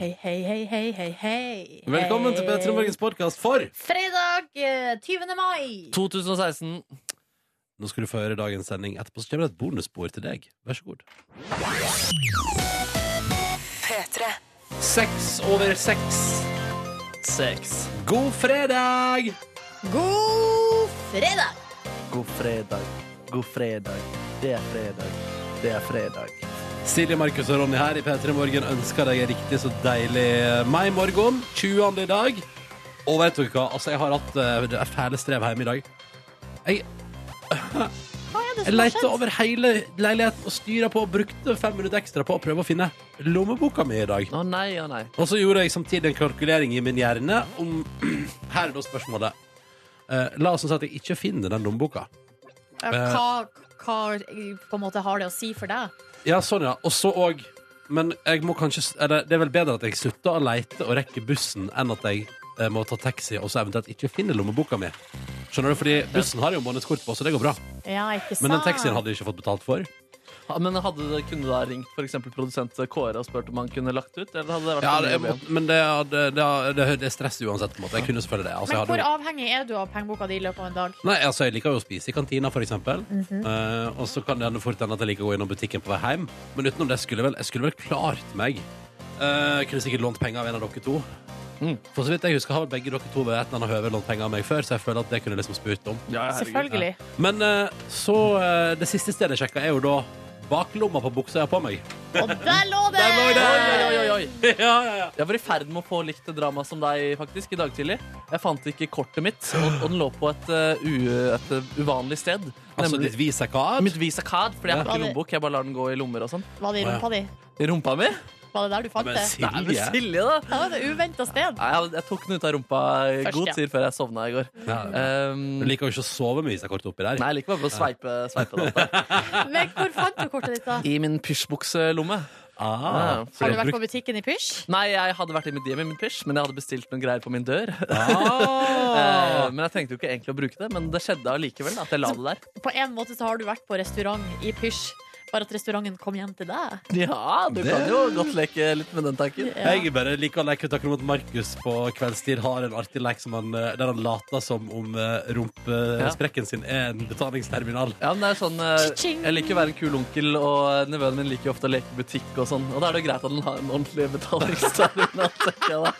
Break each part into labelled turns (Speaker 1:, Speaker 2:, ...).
Speaker 1: Hei, hei, hei, hei, hei, hei.
Speaker 2: Velkommen til P3 Morgens podkast for
Speaker 1: Fredag eh, 20. mai.
Speaker 3: 2016.
Speaker 2: Nå skal du få høre dagens sending. Etterpå så kommer det et bonusspor til deg. Vær så god. Seks over seks.
Speaker 3: Seks.
Speaker 2: God fredag!
Speaker 1: God fredag!
Speaker 4: God fredag, god fredag. Det er fredag, det er fredag.
Speaker 2: Silje, Markus og Ronny her i P3 Morgen ønsker deg en riktig så deilig eh, mai-morgen. 20. i dag. Og vet dere hva, altså, jeg har hatt eh, det er fæle strev hjemme i dag. Jeg,
Speaker 1: Hva er det
Speaker 2: jeg
Speaker 1: som har
Speaker 2: lette
Speaker 1: skjedd?
Speaker 2: over hele leiligheten og styra på og brukte fem minutter ekstra på å prøve å finne lommeboka mi i dag.
Speaker 3: Å nei, å nei.
Speaker 2: Og så gjorde jeg samtidig en kalkulering i min hjerne om Her er da spørsmålet. Eh, la oss nå si at jeg ikke finner den lommeboka.
Speaker 1: Ja, Hva, hva på en måte har det å si for deg?
Speaker 2: Ja, sånn, ja. Og så òg Men jeg må kanskje eller, Det er vel bedre at jeg slutter å leite og rekker bussen, enn at jeg eh, må ta taxi og så eventuelt ikke finner lommeboka mi. Skjønner du? Fordi bussen har jo månedskort på, så det går bra.
Speaker 1: Ja, ikke sant?
Speaker 2: Men den taxien hadde jeg ikke fått betalt for.
Speaker 3: Ha- Men hadde det, kunne du da ringt for eksempel produsent Kåre og spurt om han kunne lagt ut? Eller hadde det vært
Speaker 2: Ja,
Speaker 3: for
Speaker 2: det,
Speaker 3: mye
Speaker 2: jeg
Speaker 3: å be om?
Speaker 2: måtte- men det, det, det, det, det er stress uansett. På en måte. Jeg kunne selvfølgelig det. Altså,
Speaker 1: Men
Speaker 2: jeg hadde
Speaker 1: hvor
Speaker 2: jo-
Speaker 1: avhengig er du av pengeboka di i løpet av en dag?
Speaker 2: Nei, altså Jeg liker jo å spise i kantina, for eksempel.
Speaker 1: Mhm.
Speaker 2: Eh, og så kan det hende fort hende at jeg liker å gå innom butikken på vei hjem. Men utenom det skulle jeg vel, jeg skulle vel klart meg. Eh, kunne sikkert lånt penger av en av dere to.
Speaker 3: Mm.
Speaker 2: For så vidt jeg husker har vel begge dere to ved et eller annet høve lånt penger av meg før, så jeg føler at det kunne jeg liksom spurt om.
Speaker 3: Ja, ja, herregud.
Speaker 1: Selvfølgelig.
Speaker 2: Men eh, så eh, Det siste stedet jeg sjekka, er jo da baklomma på buksa jeg har på meg.
Speaker 1: Og der lå det!
Speaker 2: Der lå det!
Speaker 3: Oi, oi, oi, oi.
Speaker 2: ja, ja, ja.
Speaker 3: Jeg var i ferd med å få likt drama som deg faktisk i dag tidlig. Jeg fant ikke kortet mitt, og, og den lå på et, eh, u, et eh, uvanlig sted.
Speaker 2: Altså
Speaker 3: Nemlig
Speaker 2: ditt visakard.
Speaker 3: mitt Visa-card, fordi jeg har
Speaker 1: Ja.
Speaker 3: ikke lommebok. Jeg bare lar den gå i lommer og sånn.
Speaker 1: Var det i rumpa di?
Speaker 3: I rumpa mi?
Speaker 1: Var det der du fant
Speaker 2: Men
Speaker 1: det?
Speaker 3: Nei, men
Speaker 2: Silje.
Speaker 3: Silje, da!
Speaker 1: Det var et uventa sted.
Speaker 3: Nei, jeg, jeg tok den ut av rumpa i
Speaker 1: Først,
Speaker 3: god
Speaker 1: ja.
Speaker 3: tid før jeg sovna i går.
Speaker 2: Ja, ja.
Speaker 3: Um,
Speaker 2: Du liker jo ikke å sove med visakort oppi der.
Speaker 3: nei, jeg liker bare å sveipe, sveipe det opp.
Speaker 1: Men hvor fant du kortet ditt, da?
Speaker 3: I min pysjbukselomme.
Speaker 2: Ah,
Speaker 3: Ja.
Speaker 2: for
Speaker 1: Har du
Speaker 2: jeg
Speaker 1: vært
Speaker 2: brukte-
Speaker 1: på butikken i pysj?
Speaker 3: Nei, jeg hadde vært i mitt hjem i min pysj, men jeg hadde bestilt noen greier på min dør. Eh,
Speaker 2: ah.
Speaker 3: men jeg trengte jo ikke egentlig å bruke det, men det skjedde allikevel. da, At jeg la det der.
Speaker 1: På en måte så har du vært på restaurant i pysj, bare at restauranten kom hjem til deg.
Speaker 3: Ja, du kan jo godt leke litt med den tanken.
Speaker 1: Ja.
Speaker 2: Jeg bare liker å leke ut akkurat mot Markus på kveldstid har en artig lek som han, eh, der han later som om eh, rumpesprekken sin er en betalingsterminal.
Speaker 3: Ja, men det er sånn eh,
Speaker 1: Cha-ching.
Speaker 3: Jeg liker å være en kul onkel, og eh, nevøen min liker jo ofte å leke butikk og sånn. Og da er det jo greit at den har en ordentlig betalingsterminal, tenker jeg da.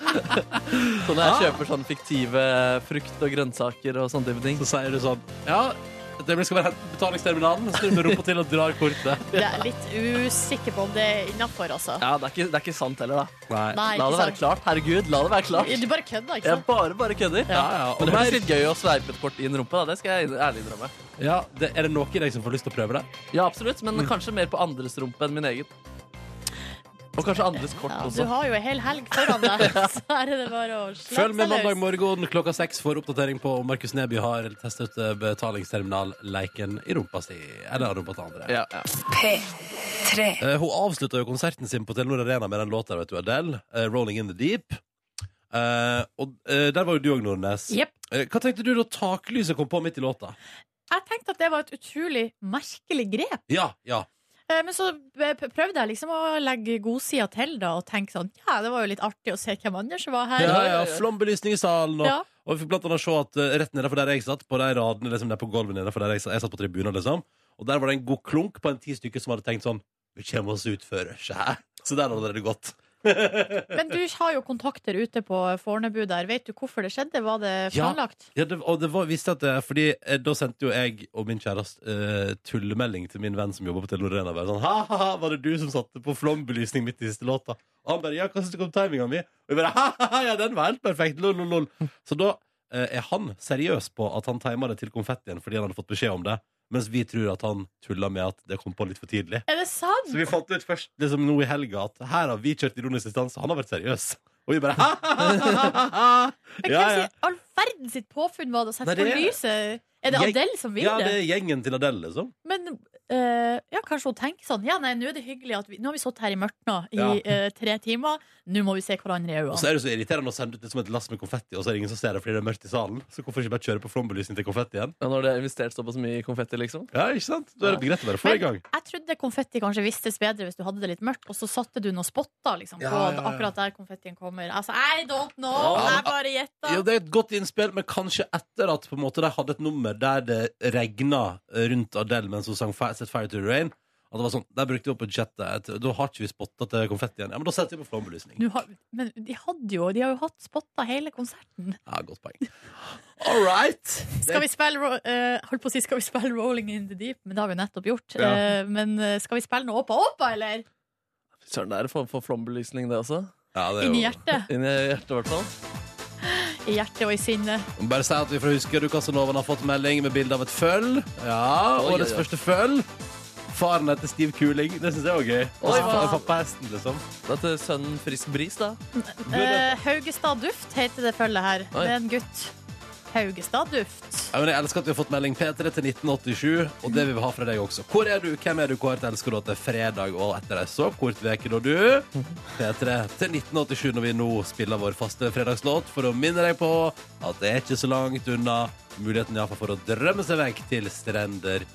Speaker 3: Så når jeg kjøper sånn fiktive frukt og grønnsaker og sånne type ting.
Speaker 2: Så sier du sånn Ja, det blir- skal være hent- betalingsterminalen. Så snur du med rumpa til og drar kortet.
Speaker 1: Det er litt usikker på om det er innafor, altså.
Speaker 3: Ja, det er ikke, det er ikke sant heller, da.
Speaker 2: Nei.
Speaker 1: Nei,
Speaker 3: La
Speaker 1: ikke
Speaker 3: det være
Speaker 1: sant?
Speaker 3: klart. Herregud, la det være klart.
Speaker 1: Du bare kødda, ikke
Speaker 3: Jeg
Speaker 1: sant?
Speaker 3: bare bare kødder.
Speaker 2: Ja, ja.
Speaker 3: Men
Speaker 2: Og
Speaker 3: det
Speaker 2: mer,
Speaker 3: blir litt gøy å sveipe et kort i en rumpe. da, Det skal jeg ærlig innrømme.
Speaker 2: ja, det, er det noe i deg som får lyst til å prøve det?
Speaker 3: Ja, absolutt, men kanskje mer på andres rumpe enn min egen. Og kanskje andres kort
Speaker 1: Ja, du
Speaker 3: også.
Speaker 1: har jo ei hel helg foran deg, så her er det bare å
Speaker 2: Følg
Speaker 1: slappe
Speaker 2: med mandag
Speaker 1: løs.
Speaker 2: morgen klokka seks for oppdatering på om Markus Neby har testet ut eh, betalingsterminal-leiken i rumpa si. Eller rumpa til andre.
Speaker 3: Ja, ja.
Speaker 2: Eh, hun avslutta jo konserten sin på Telenor Arena med den låta, vet du, Adele. eh, 'Rolling in the Deep'. Eh, og eh, der var jo du òg, Nordnes.
Speaker 1: Jepp.
Speaker 2: Eh, hva tenkte du da taklyset kom på midt i låta?
Speaker 1: Jeg tenkte at det var et utrolig merkelig grep.
Speaker 2: Ja, ja.
Speaker 1: Eh, Men så eh, p- prøvde jeg liksom å legge godsida til da, og tenke sånn Ja, det var jo litt artig å se hvem andre som var her.
Speaker 2: ja, ja Flombelysning i salen. Og,
Speaker 1: Ja.
Speaker 2: og vi fikk blant annet se at eh, rett nedenfor der jeg satt, på de radene liksom, der på gulvet nedenfor der jeg satt, jeg satt på tribunen, liksom. Og der var det en god klunk på en ti stykker som hadde tenkt sånn Vi kommer oss ut før skjær. Så der hadde det gått.
Speaker 1: Men du har jo kontakter ute på Fornebu der. Vet du hvorfor det skjedde? Var det
Speaker 2: Ja.
Speaker 1: planlagt?
Speaker 2: Ja, det, og det var, visste at det, fordi eh, Da sendte jo jeg og min kjæreste eh, tullemelding til min venn som jobber på Telenor Arena. Bare sånn, ha, ha, ha, var det du som satte på flombelysning midt i siste låta? Og han bare ja, hva syns du om timinga mi? Og jeg bare ha, ha, ha, ja, den var helt perfekt. Lol, lol, lol. Så da eh, er han seriøs på at han tima det til konfettien fordi han hadde fått beskjed om det. Mens vi tror at han tulla med at det kom på litt for tidlig.
Speaker 1: Er det sant?
Speaker 2: Så vi fant ut først liksom nå i helga at her har vi kjørt ironisk distanse. Han har vært seriøs. Og vi bare ha, ha, ha, ha, ha, ha.
Speaker 1: Men hvem sier all verden sitt påfunn var det å sette
Speaker 2: Nei, det
Speaker 1: på
Speaker 2: er-
Speaker 1: lyset? Er det
Speaker 2: Jeg-
Speaker 1: Adele som vil
Speaker 2: Ja, det
Speaker 1: det?
Speaker 2: er gjengen til Adele, liksom.
Speaker 1: Men eh, ja, kanskje hun tenker sånn Ja, nei, nå er det hyggelig at vi, Nå har vi sittet her i mørket nå i
Speaker 2: Ja.
Speaker 1: eh, tre timer. Nå må vi se hverandre i
Speaker 2: Og så
Speaker 1: øynene.
Speaker 2: er det så irriterende å sende ut det som et lass med konfetti, og så er det ingen som ser det fordi det er mørkt i salen. Så hvorfor ikke bare kjøre på flombelysning til konfetti igjen?
Speaker 3: Ja, når det er investert såpass mye i konfetti, liksom.
Speaker 2: Ja, ikke sant? Da er det greit å bare få i gang.
Speaker 1: Jeg trodde konfetti kanskje vistes bedre hvis du hadde det litt mørkt, og så satte du noen spotter liksom, på
Speaker 2: Ja, ja, ja.
Speaker 1: akkurat der konfettien kommer. Altså, I don't know!
Speaker 2: Ja,
Speaker 1: jeg
Speaker 2: men-
Speaker 1: bare gjetta.
Speaker 2: Jo, det er et godt innspill, men kanskje etter at på en måte, de hadde et nummer der det regna rundt Adele mens hun sang Fi- Set Fire to the Rain. At det var sånn, Der brukte vi opp budsjettet. Et- Da har ikke vi spotta til konfetti igjen. Ja, men da setter vi på flombelysning.
Speaker 1: Nå har- Men de hadde jo De har jo hatt spotter hele konserten.
Speaker 2: Ja, godt poeng. All right.
Speaker 1: Skal vi spille ro- eh, Holdt på å si skal vi spille Rolling in the Deep, men det har vi jo nettopp gjort.
Speaker 2: Ja.
Speaker 1: Eh, men eh, skal vi spille noe Åpa Åpa, eller?
Speaker 3: Søren, det er en form for flombelysning, det også.
Speaker 2: Ja, det er
Speaker 1: Inni
Speaker 2: jo...
Speaker 1: hjertet.
Speaker 3: Inni hjertet, i hvert fall.
Speaker 1: I hjertet og i sinnet.
Speaker 2: Bare si at vi fra Husker du Casanovaen har fått melding med bilde av et føll. Ja,
Speaker 3: Oi,
Speaker 2: Årets
Speaker 3: oi, oi.
Speaker 2: første føll. Faren heter Stiv Kuling. Det syns jeg var gøy.
Speaker 3: Oi,
Speaker 2: Fa-
Speaker 3: hva-
Speaker 2: Pappahesten, liksom.
Speaker 3: Det er til sønnen Frisk Bris, da.
Speaker 1: Eh, Haugestad Duft heter det følget her.
Speaker 3: Oi.
Speaker 1: Det er en gutt. Haugestad Duft.
Speaker 2: Ja, men jeg elsker at vi har fått melding P3 til 1987, og det vil vi ha fra deg også. Hvor er du? Hvem er du? Hvor elsker du at det er fredag og etter deg så kort veke da du? P3 til 1987 når vi nå spiller vår faste fredagslåt, for å minne deg på at det er ikke så langt unna muligheten iallfall for å drømme seg vekk til strender,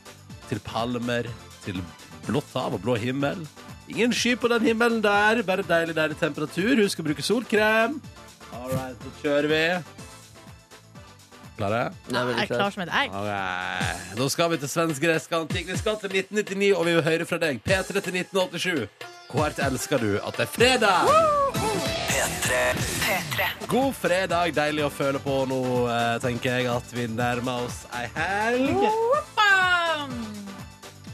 Speaker 2: til palmer, til blått hav og blå himmel. Ingen sky på den himmelen der, bare deilig, deilig temperatur. Husk å bruke solkrem. All right, så kjører vi. Klare?
Speaker 3: Det er veldig
Speaker 1: Jeg er klar som et egg.
Speaker 2: Alright. Da skal vi til svensk-gresk antikk. Vi skal til 1999, og vi vil høre fra deg. P3 til 1987. Hvert elsker du at det er fredag? God fredag. Deilig å føle på nå, eh, tenker jeg, at vi nærmer oss ei helg.
Speaker 1: Bam!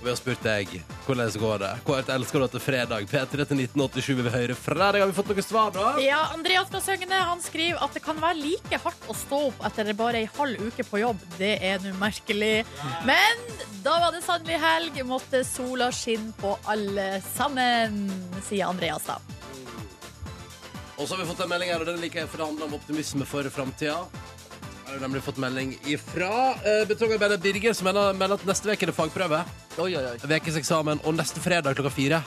Speaker 2: Og Vi har spurt deg hvordan går det. Hvert elsker du at det er fredag? P3 til 1987 vil vi høre fra deg. Har vi fått noe svar, da?
Speaker 1: Ja, Andreas fra Søgne han skriver at det kan være like hardt å stå opp etter bare ei halv uke på jobb. Det er nå merkelig. Men da var det sannelig helg. Måtte sola skinne på alle sammen, sier Andreas da.
Speaker 2: Og så har vi fått en melding her, og den liker jeg, for det handler om optimisme for framtida. Har jo nemlig fått melding ifra eh, betongarbeider Birger, som melder, melder at neste uke er det fagprøve.
Speaker 3: Oi, oi, oi.
Speaker 2: Vekes eksamen, og neste fredag klokka fire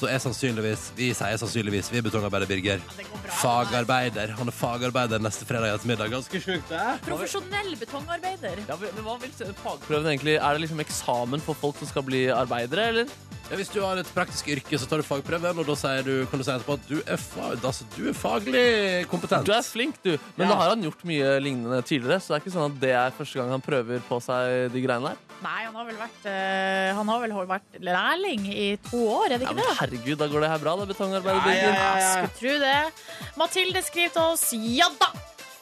Speaker 2: så er sannsynligvis Vi sier sannsynligvis, vi er betongarbeider Birger.
Speaker 1: det går
Speaker 2: Fagarbeider. Han er fagarbeider neste fredag ettermiddag. Ganske sjukt, det.
Speaker 1: Profesjonell betongarbeider.
Speaker 3: Ja, men men hva vil fagprøven egentlig? Er det liksom eksamen for folk som skal bli arbeidere, eller?
Speaker 2: Ja, hvis du har et praktisk yrke, så tar du fagprøven, og da sier du, kan du si etterpå at du er, fa altså, du er faglig kompetent.
Speaker 3: Du er flink, du. Men
Speaker 2: Ja.
Speaker 3: da har han gjort mye lignende tidligere, så det er ikke sånn at det er første gang han prøver på seg de greiene der.
Speaker 1: Nei, han har vel vært, eh, han har vel vært lærling i to år, er det
Speaker 3: Ja,
Speaker 1: ikke
Speaker 3: men
Speaker 1: det?
Speaker 3: herregud, da går det her bra, da, betongarbeider Birger.
Speaker 1: Jeg skulle tro det. Mathilde skriver til oss Ja da!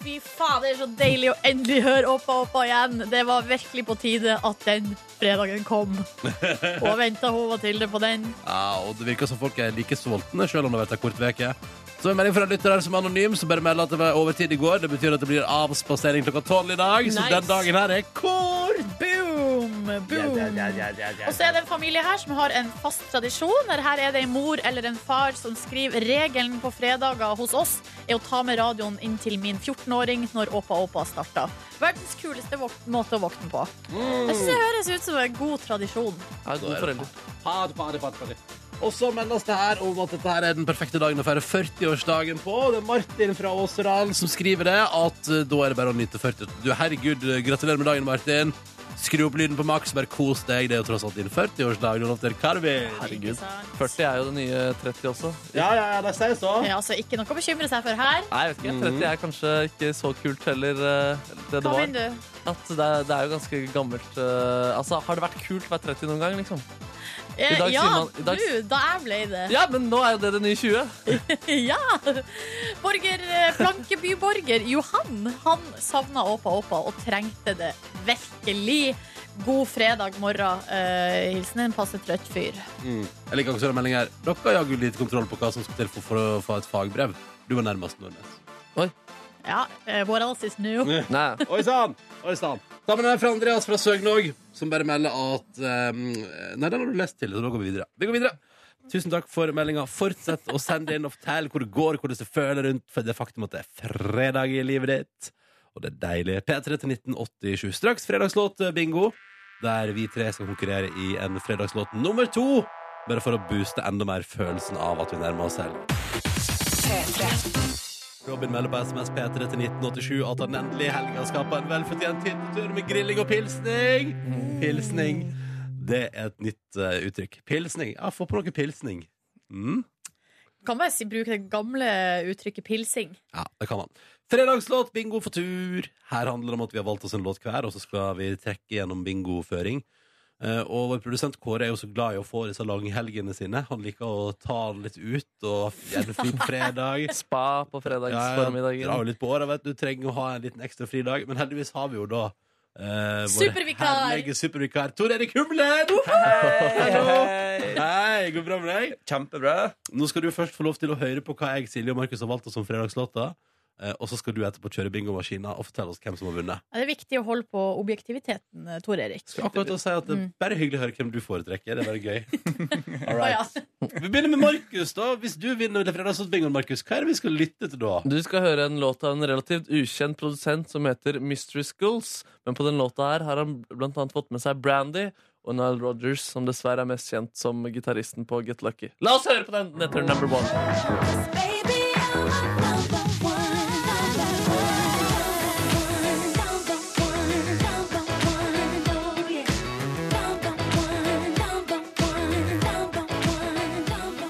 Speaker 1: Fy fader, så deilig å endelig høre Åpa Åpa igjen. Det var virkelig på tide at den fredagen kom. Og venta hun Mathilde på den.
Speaker 2: Ja, og det virker som folk er like sultne, selv om det har vært en kort veke. Så en melding fra en lytter her som er anonym, som bare melder at det var overtid i går. Det betyr at det blir avspasering klokka tolv i dag, så
Speaker 1: Nice.
Speaker 2: den dagen her er kort.
Speaker 1: Boom! Boom! Og så er det en familie her som har en fast tradisjon. Der Her er det en mor eller en far som skriver regelen på fredager hos oss er å ta med radioen inn til min 14-åring når Åpa Åpa starter. Verdens kuleste våk- måte å våkne på. Jeg synes det høres ut som en god tradisjon.
Speaker 3: Jeg er god forelder.
Speaker 2: Fad, fad, fad, fad. Og så meldes det her om at dette her er den perfekte dagen å feire 40-årsdagen på. Det er Martin fra Åseral som skriver det, at eh, da er det bare å nyte 40. Du, herregud, eh, gratulerer med dagen, Martin. Skru opp lyden på maks, bare kos deg. Det er jo tross alt din 40-årsdag. Du har lov til Karvin.
Speaker 1: Ikke
Speaker 3: Herregud.
Speaker 1: sant?
Speaker 3: 40 er jo det nye 30 også.
Speaker 2: Ja, ja, ja, de sier så.
Speaker 1: Ja, altså, ikke noe å bekymre seg for her.
Speaker 3: Nei, jeg vet ikke. 30 er kanskje ikke så kult heller, eh, det det
Speaker 1: Kom inn,
Speaker 3: var.
Speaker 1: du.
Speaker 3: At det, er- det er jo ganske gammelt eh, Altså, har det vært kult å være 30 noen gang, liksom?
Speaker 1: Eh,
Speaker 3: I dag
Speaker 1: ja,
Speaker 3: sier man- i dag-
Speaker 1: du, da jeg ble det.
Speaker 3: Ja, men nå er jo det det nye 20.
Speaker 1: Ja! Borger, eh, Plankeby-borger Johan han savna Åpa Åpa og trengte det virkelig. God fredag morgen. Eh, hilsen en passe trøtt fyr.
Speaker 2: Mm. Jeg liker også den meldingen her. Dere har jaggu lite kontroll på hva som skal til for, for å få et fagbrev. Du var nærmest Nordnes.
Speaker 1: Ja, eh, what else is new?
Speaker 3: Nei.
Speaker 2: Oi sann! Oi sann. Sammen her fra Andreas fra Søgne òg, som bare melder at eh, Nei, den har du lest til, så da går vi videre. Vi går videre. Tusen takk for meldinga. Fortsett å sende inn og fortell hvor det går, hvordan du føler rundt for det faktum at det er fredag i livet ditt. Og det er deilig. P3 til 1987. Straks fredagslåt, eh, bingo. der vi tre skal konkurrere i en fredagslåt nummer to. Bare for å booste enda mer følelsen av at vi nærmer oss helg. Robin melder på SMS P3 til 1987 at han endelig i helga skal på en velfortjent hyttetur med grilling og pilsning. Pilsning. Det er et nytt eh, uttrykk. Pilsning. Ja, få på noe pilsning. Mm.
Speaker 1: Kan man si, bruke det gamle uttrykket pilsing?
Speaker 2: Ja, det kan man. Fredagslåt, bingo for tur. Her handler det om at vi har valgt oss en låt hver, og så skal vi trekke gjennom bingoføring. Eh, og vår produsent Kåre er jo så glad i å få disse langhelgene sine. Han liker å ta den litt ut og gjerne fri på fredag.
Speaker 3: Spa på
Speaker 2: Ja, drar jo
Speaker 3: fredagsformiddagen.
Speaker 2: litt på året, vet du. Trenger å ha en liten ekstra fridag. Men heldigvis har vi jo da eh, vår
Speaker 1: Supervikar.
Speaker 2: herlige supervikar Tor Erik Humlen! Hallo. Hei, går det bra med deg?
Speaker 5: Kjempebra.
Speaker 2: Nå skal du først få lov til å høre på hva jeg, Silje og Markus har valgt oss som fredagslåter. eh, Og så skal du etterpå kjøre bingomaskina og fortelle oss hvem som har vunnet.
Speaker 1: Ja, Det er viktig å holde på objektiviteten, eh, Tor Erik.
Speaker 2: Skal akkurat til å si at det er bare hyggelig å høre hvem du foretrekker. Det er bare gøy. All
Speaker 1: Å, ja.
Speaker 2: right. Vi begynner med Markus, da. Hvis du vinner det fredagslåtbingoen, Markus, hva er det vi skal lytte til da?
Speaker 3: Du skal høre en låt av en relativt ukjent produsent som heter Mystery Schools. Men på den låta her har han blant annet fått med seg Brandy og Nile Rogers, som dessverre er mest kjent som gitaristen på Get Lucky. La oss høre på den! Den heter Number One.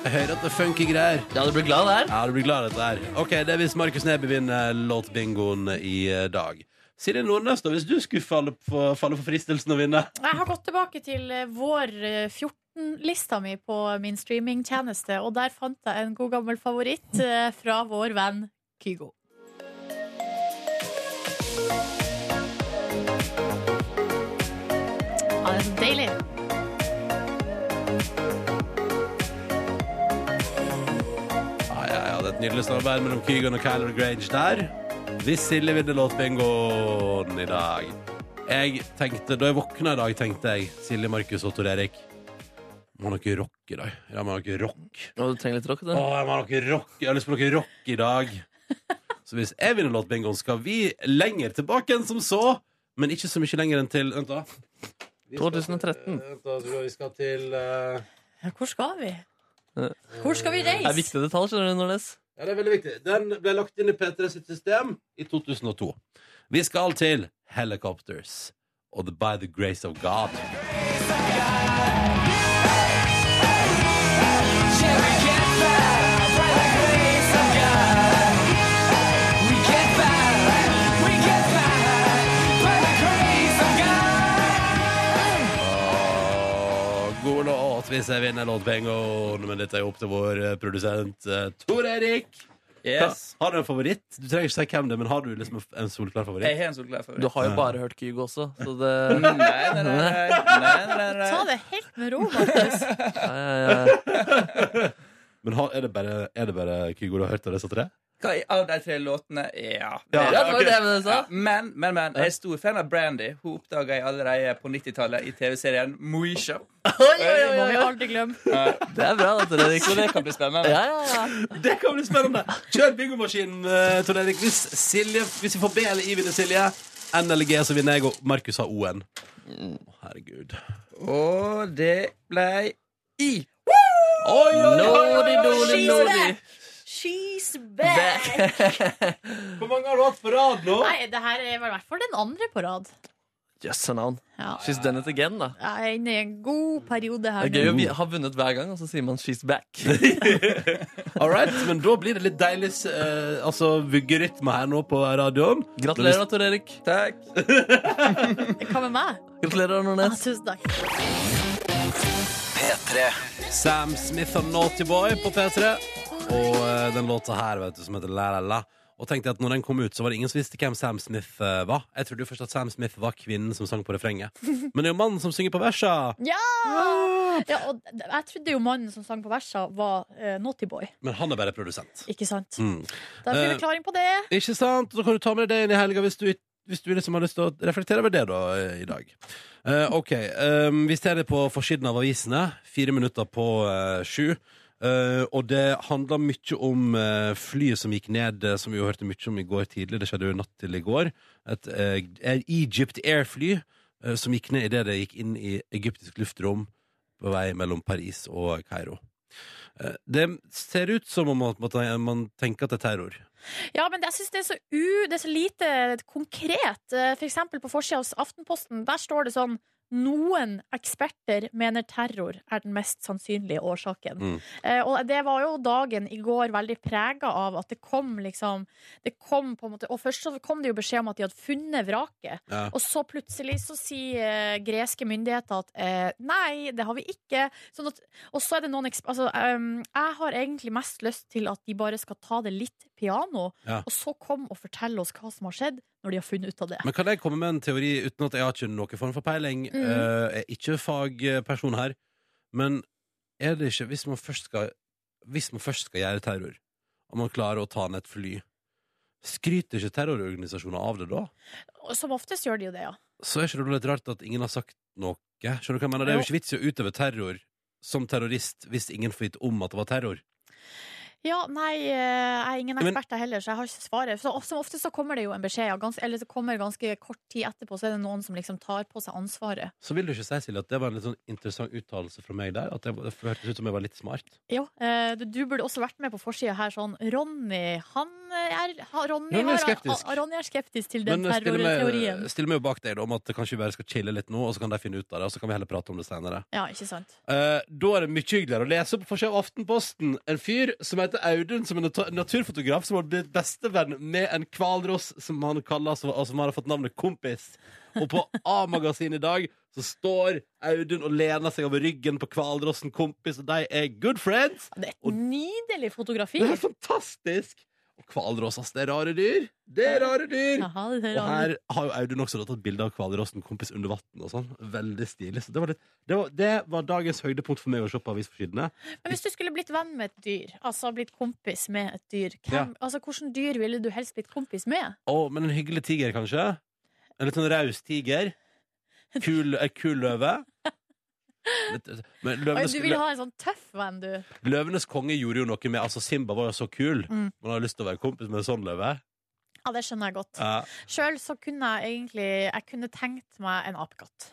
Speaker 2: Jeg hører at det er funky greier.
Speaker 3: Ja, du blir glad der?
Speaker 2: Ja, du blir glad av dette her. Ok, det er hvis Markus Neby vinner låtbingoen i eh, dag. Silje Nordnes, da, hvis du skulle falle for, falle for fristelsen å vinne
Speaker 1: Jeg har gått tilbake til eh, vår eh, 14-lista mi på min streamingtjeneste, og der fant jeg en god gammel favoritt eh, fra vår venn Kygo. Ja, det er så deilig.
Speaker 2: Ja, Ah, ja, ja, det er et nydelig samarbeid mellom Kygon og Kyler Grange der. Hvis Silje vinner låtbingoen i dag. Jeg tenkte, Da jeg våkna i dag, tenkte jeg Silje, Markus og Tor Erik. Må ha noe rock i dag. Jeg må ha noe rock.
Speaker 3: Og du trenger litt rock,
Speaker 2: Å,
Speaker 3: da.
Speaker 2: jeg må ha noe rock. Jeg har lyst på noe rock i dag. Så hvis jeg vinner låtbingoen, skal vi lenger tilbake enn som så. Men ikke så mye lenger enn til Vent, da. Vi skal-
Speaker 3: 2013.
Speaker 2: Vent da, tror jeg vi skal til eh,
Speaker 1: Ja, Hvor skal vi? Hvor skal vi
Speaker 3: Det
Speaker 1: reise?
Speaker 3: er viktige detaljer, skjønner du, Nordnes.
Speaker 2: Ja, det er veldig viktig. Den ble lagt inn i P3 sitt system i 2002. Vi skal til Helicopters og the By the Grace of God. Åh, God låt hvis jeg vinner låtpengoen, men dette er jo opp til vår eh, produsent eh, Tor Erik.
Speaker 5: Yes.
Speaker 2: Har du en favoritt? Du trenger ikke si hvem det er, men har du liksom en- en solklar
Speaker 5: Jeg
Speaker 2: favoritt?
Speaker 5: har en solglær favoritt.
Speaker 3: Du har jo bare hørt Kygo også, så det
Speaker 5: Nei, nei, nei, nei, nei, nei.
Speaker 1: Ta det helt med ro, Markus.
Speaker 3: ja, ja, ja.
Speaker 2: Men har, er, det bare, er det bare Kygo du har hørt av disse tre?
Speaker 5: Hva i- Av de tre låtene Ja. Det
Speaker 3: Ja, det var det jeg sa.
Speaker 5: Ja, men, men, men jeg er stor fan av Brandy. Hun oppdaga jeg allerede på 90-tallet i TV-serien Moisha.
Speaker 1: Det må vi aldri glemme.
Speaker 3: Det er bra, da, Tor Erik.
Speaker 5: Så det kan bli spennende.
Speaker 3: Ja, ja, ja.
Speaker 2: Det kan bli spennende. Kjør bingomaskinen, eh, Tor Erik. Hvis, Silje, hvis vi får B eller I, vinner Silje. N eller G, så vinner jeg, og Markus har O-en. Å, Herregud.
Speaker 5: Og det ble I.
Speaker 2: Oi, oi, oi,
Speaker 3: Lordy,
Speaker 2: oi, oi.
Speaker 3: lordy, lordy.
Speaker 1: She's back!
Speaker 2: Hvor mange har du hatt på rad nå?
Speaker 1: Nei, det her er vel i hvert fall den andre på rad.
Speaker 3: Jøsse navn.
Speaker 1: Ja.
Speaker 3: She's done it again, da.
Speaker 1: Jeg er inne i en god periode her.
Speaker 3: Det er gøy å vi- ha vunnet hver gang, og så sier man 'she's back'.
Speaker 2: All right, men da blir det litt deilig eh, altså, vuggerytme her nå på radioen.
Speaker 3: Gratulerer, da, Tor Erik.
Speaker 5: Takk.
Speaker 1: Hva med meg?
Speaker 3: Gratulerer,
Speaker 1: Ja,
Speaker 3: Nordnes.
Speaker 1: tusen takk.
Speaker 2: Sam Smith og Naughty Boy på P3. Og eh, den låta her, vet du, som heter La La La. Og tenkte at når den kom ut, så var det ingen som visste hvem Sam Smith eh, var. Jeg trodde jo først at Sam Smith var kvinnen som sang på refrenget. Men det er jo mannen som synger på versa.
Speaker 1: Ja! ja! Og d- jeg trodde jo mannen som sang på versa, var eh, Naughty Boy.
Speaker 2: Men han er bare produsent.
Speaker 1: Ikke sant?
Speaker 2: Mm.
Speaker 1: Da blir
Speaker 2: Eh,
Speaker 1: det klaring på det.
Speaker 2: Ikke sant? Da kan du ta med deg det inn i helga hvis du, hvis du liksom har lyst til å reflektere over det da, eh, i dag. Eh, ok, um, vi ser det på forsiden av avisene. Fire minutter på eh, sju. Eh, og det handler mye om eh, flyet som gikk ned, eh, som vi jo hørte mye om i går tidlig. Det skjedde jo natt til i går. Et eh, et Egypt Air-fly eh, som gikk ned idet det gikk inn i egyptisk luftrom på vei mellom Paris og Kairo. Eh, Det ser ut som om at man- man tenker at det er terror.
Speaker 1: Ja, men jeg synes det er så, u, det er så lite konkret. Eh, For eksempel på forsida hos Aftenposten, der står det sånn noen eksperter mener terror er den mest sannsynlige årsaken.
Speaker 2: Mm.
Speaker 1: Eh, og det var jo dagen i går veldig prega av at det kom liksom Det kom på en måte Og først så kom det jo beskjed om at de hadde funnet vraket.
Speaker 2: Ja.
Speaker 1: Og så plutselig så sier eh, greske myndigheter at eh, nei, det har vi ikke. Sånn at, og så er det noen eksp- altså, ehm, Jeg har egentlig mest lyst til at de bare skal ta det litt piano,
Speaker 2: Ja.
Speaker 1: og så kom og fortelle oss hva som har skjedd, når de har funnet ut av det.
Speaker 2: Men kan jeg komme med en teori uten at jeg har ikke noen form for peiling?
Speaker 1: Mm.
Speaker 2: Eh, jeg er ikke fagperson her. Men er det ikke, hvis man først skal Hvis man først skal gjøre terror, og man klarer å ta ned et fly, skryter ikke terrororganisasjoner av det da?
Speaker 1: Og som oftest gjør de jo det, ja.
Speaker 2: Så er ikke det litt rart at ingen har sagt noe? Skjønner du hva jeg mener? Det er jo ikke vits i å utøve terror som terrorist hvis ingen får vite om at det var terror.
Speaker 1: Ja, nei, eh, jeg er ingen
Speaker 2: Men-
Speaker 1: ekspert jeg heller, så jeg har ikke svaret. Så, som oftest så kommer det jo en beskjed, ja, gans, eller så kommer det ganske kort tid etterpå, så er det noen som liksom tar på seg ansvaret.
Speaker 2: Så vil du ikke si, Silje, at det var en litt sånn interessant uttalelse fra meg der? At det, det hørtes ut som jeg var litt smart?
Speaker 1: Jo, eh, du, du burde også vært med på forsida her sånn Ronny, han er ha- Ronny,
Speaker 2: Ronny er
Speaker 1: har-
Speaker 2: skeptisk.
Speaker 1: ha- Ronny er skeptisk til den
Speaker 2: Men eh, stiller
Speaker 1: terrorteorien.
Speaker 2: meg, stiller meg jo bak deg da, om at kanskje vi bare skal chille litt nå, og så kan de finne ut av det. Og så kan vi heller prate om det senere.
Speaker 1: Ja, ikke sant?
Speaker 2: Eh, da er det mye hyggeligere å lese på forsida av Aftenposten en fyr som heter Audun, som er nat- naturfotograf, som har blitt bestevenn med en hvalross som han kaller, som, og som har fått navnet Kompis. Og på A-magasinet i dag så står Audun og lener seg over ryggen på hvalrossen Kompis, og de er good friends.
Speaker 1: Ja, Det er
Speaker 2: Og-
Speaker 1: et nydelig fotografi.
Speaker 2: Det er fantastisk! Og hvalross, ass, det er rare dyr. Det er rare dyr.
Speaker 1: Jaha, det er
Speaker 2: Og
Speaker 1: rart.
Speaker 2: her har jo Audun også da tatt bilde av hvalrossen kompis under vann og sånn. Veldig stilig. Så det var, litt, det, var, det var dagens høydepunkt for meg å se på avisforsidene.
Speaker 1: Men hvis du skulle blitt venn med et dyr, altså blitt kompis med et dyr, hvem, altså, hvilket dyr ville du helst blitt kompis med?
Speaker 2: Å, men en hyggelig tiger, kanskje? En litt sånn raus tiger. Kul, eh, kul løve. Litt, men
Speaker 1: Oi,
Speaker 2: løvenes,
Speaker 1: Du vil ha en sånn tøff venn, du.
Speaker 2: løvenes konge gjorde jo noe med Altså, Simba var jo så kul.
Speaker 1: Mm.
Speaker 2: Man har lyst til å være kompis med en sånn løve.
Speaker 1: Ja, det skjønner jeg godt.
Speaker 2: Ja.
Speaker 1: Sjøl så kunne jeg egentlig Jeg kunne tenkt meg en apekatt.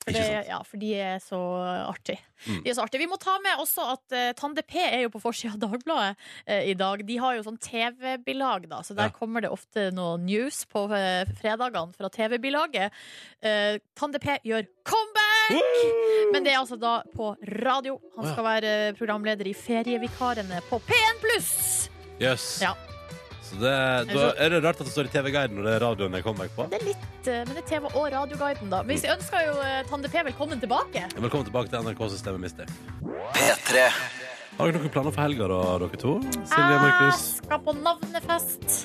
Speaker 1: For,
Speaker 2: Ikke
Speaker 1: det,
Speaker 2: sant?
Speaker 1: ja, for de er så artige.
Speaker 2: Mm.
Speaker 1: De er så artige. Vi må ta med også at eh, Tande P er jo på forsida av Dagbladet eh, i dag. De har jo sånn TV-bilag, da, så der
Speaker 2: Ja.
Speaker 1: kommer det ofte noe news på eh, fredagene fra TV-bilaget. Eh, Tande P gjør comeback! Men det er altså da på radio. Han
Speaker 2: Å, ja.
Speaker 1: skal være eh, programleder i Ferievikarene på P1 pluss!
Speaker 2: Jøss.
Speaker 1: Ja.
Speaker 2: Så det, da er det rart at det står i TV-guiden når det er radioen jeg kommer meg på.
Speaker 1: Det er litt, eh, men det er TV og radioguiden, da. Vi ønsker jo eh, Tande P velkommen tilbake.
Speaker 2: Velkommen tilbake til NRK-systemet, mister.
Speaker 4: P3.
Speaker 2: Har dere noen planer for helga, da, dere to? Silje og
Speaker 1: Jeg
Speaker 2: Markus?
Speaker 1: skal på navnefest.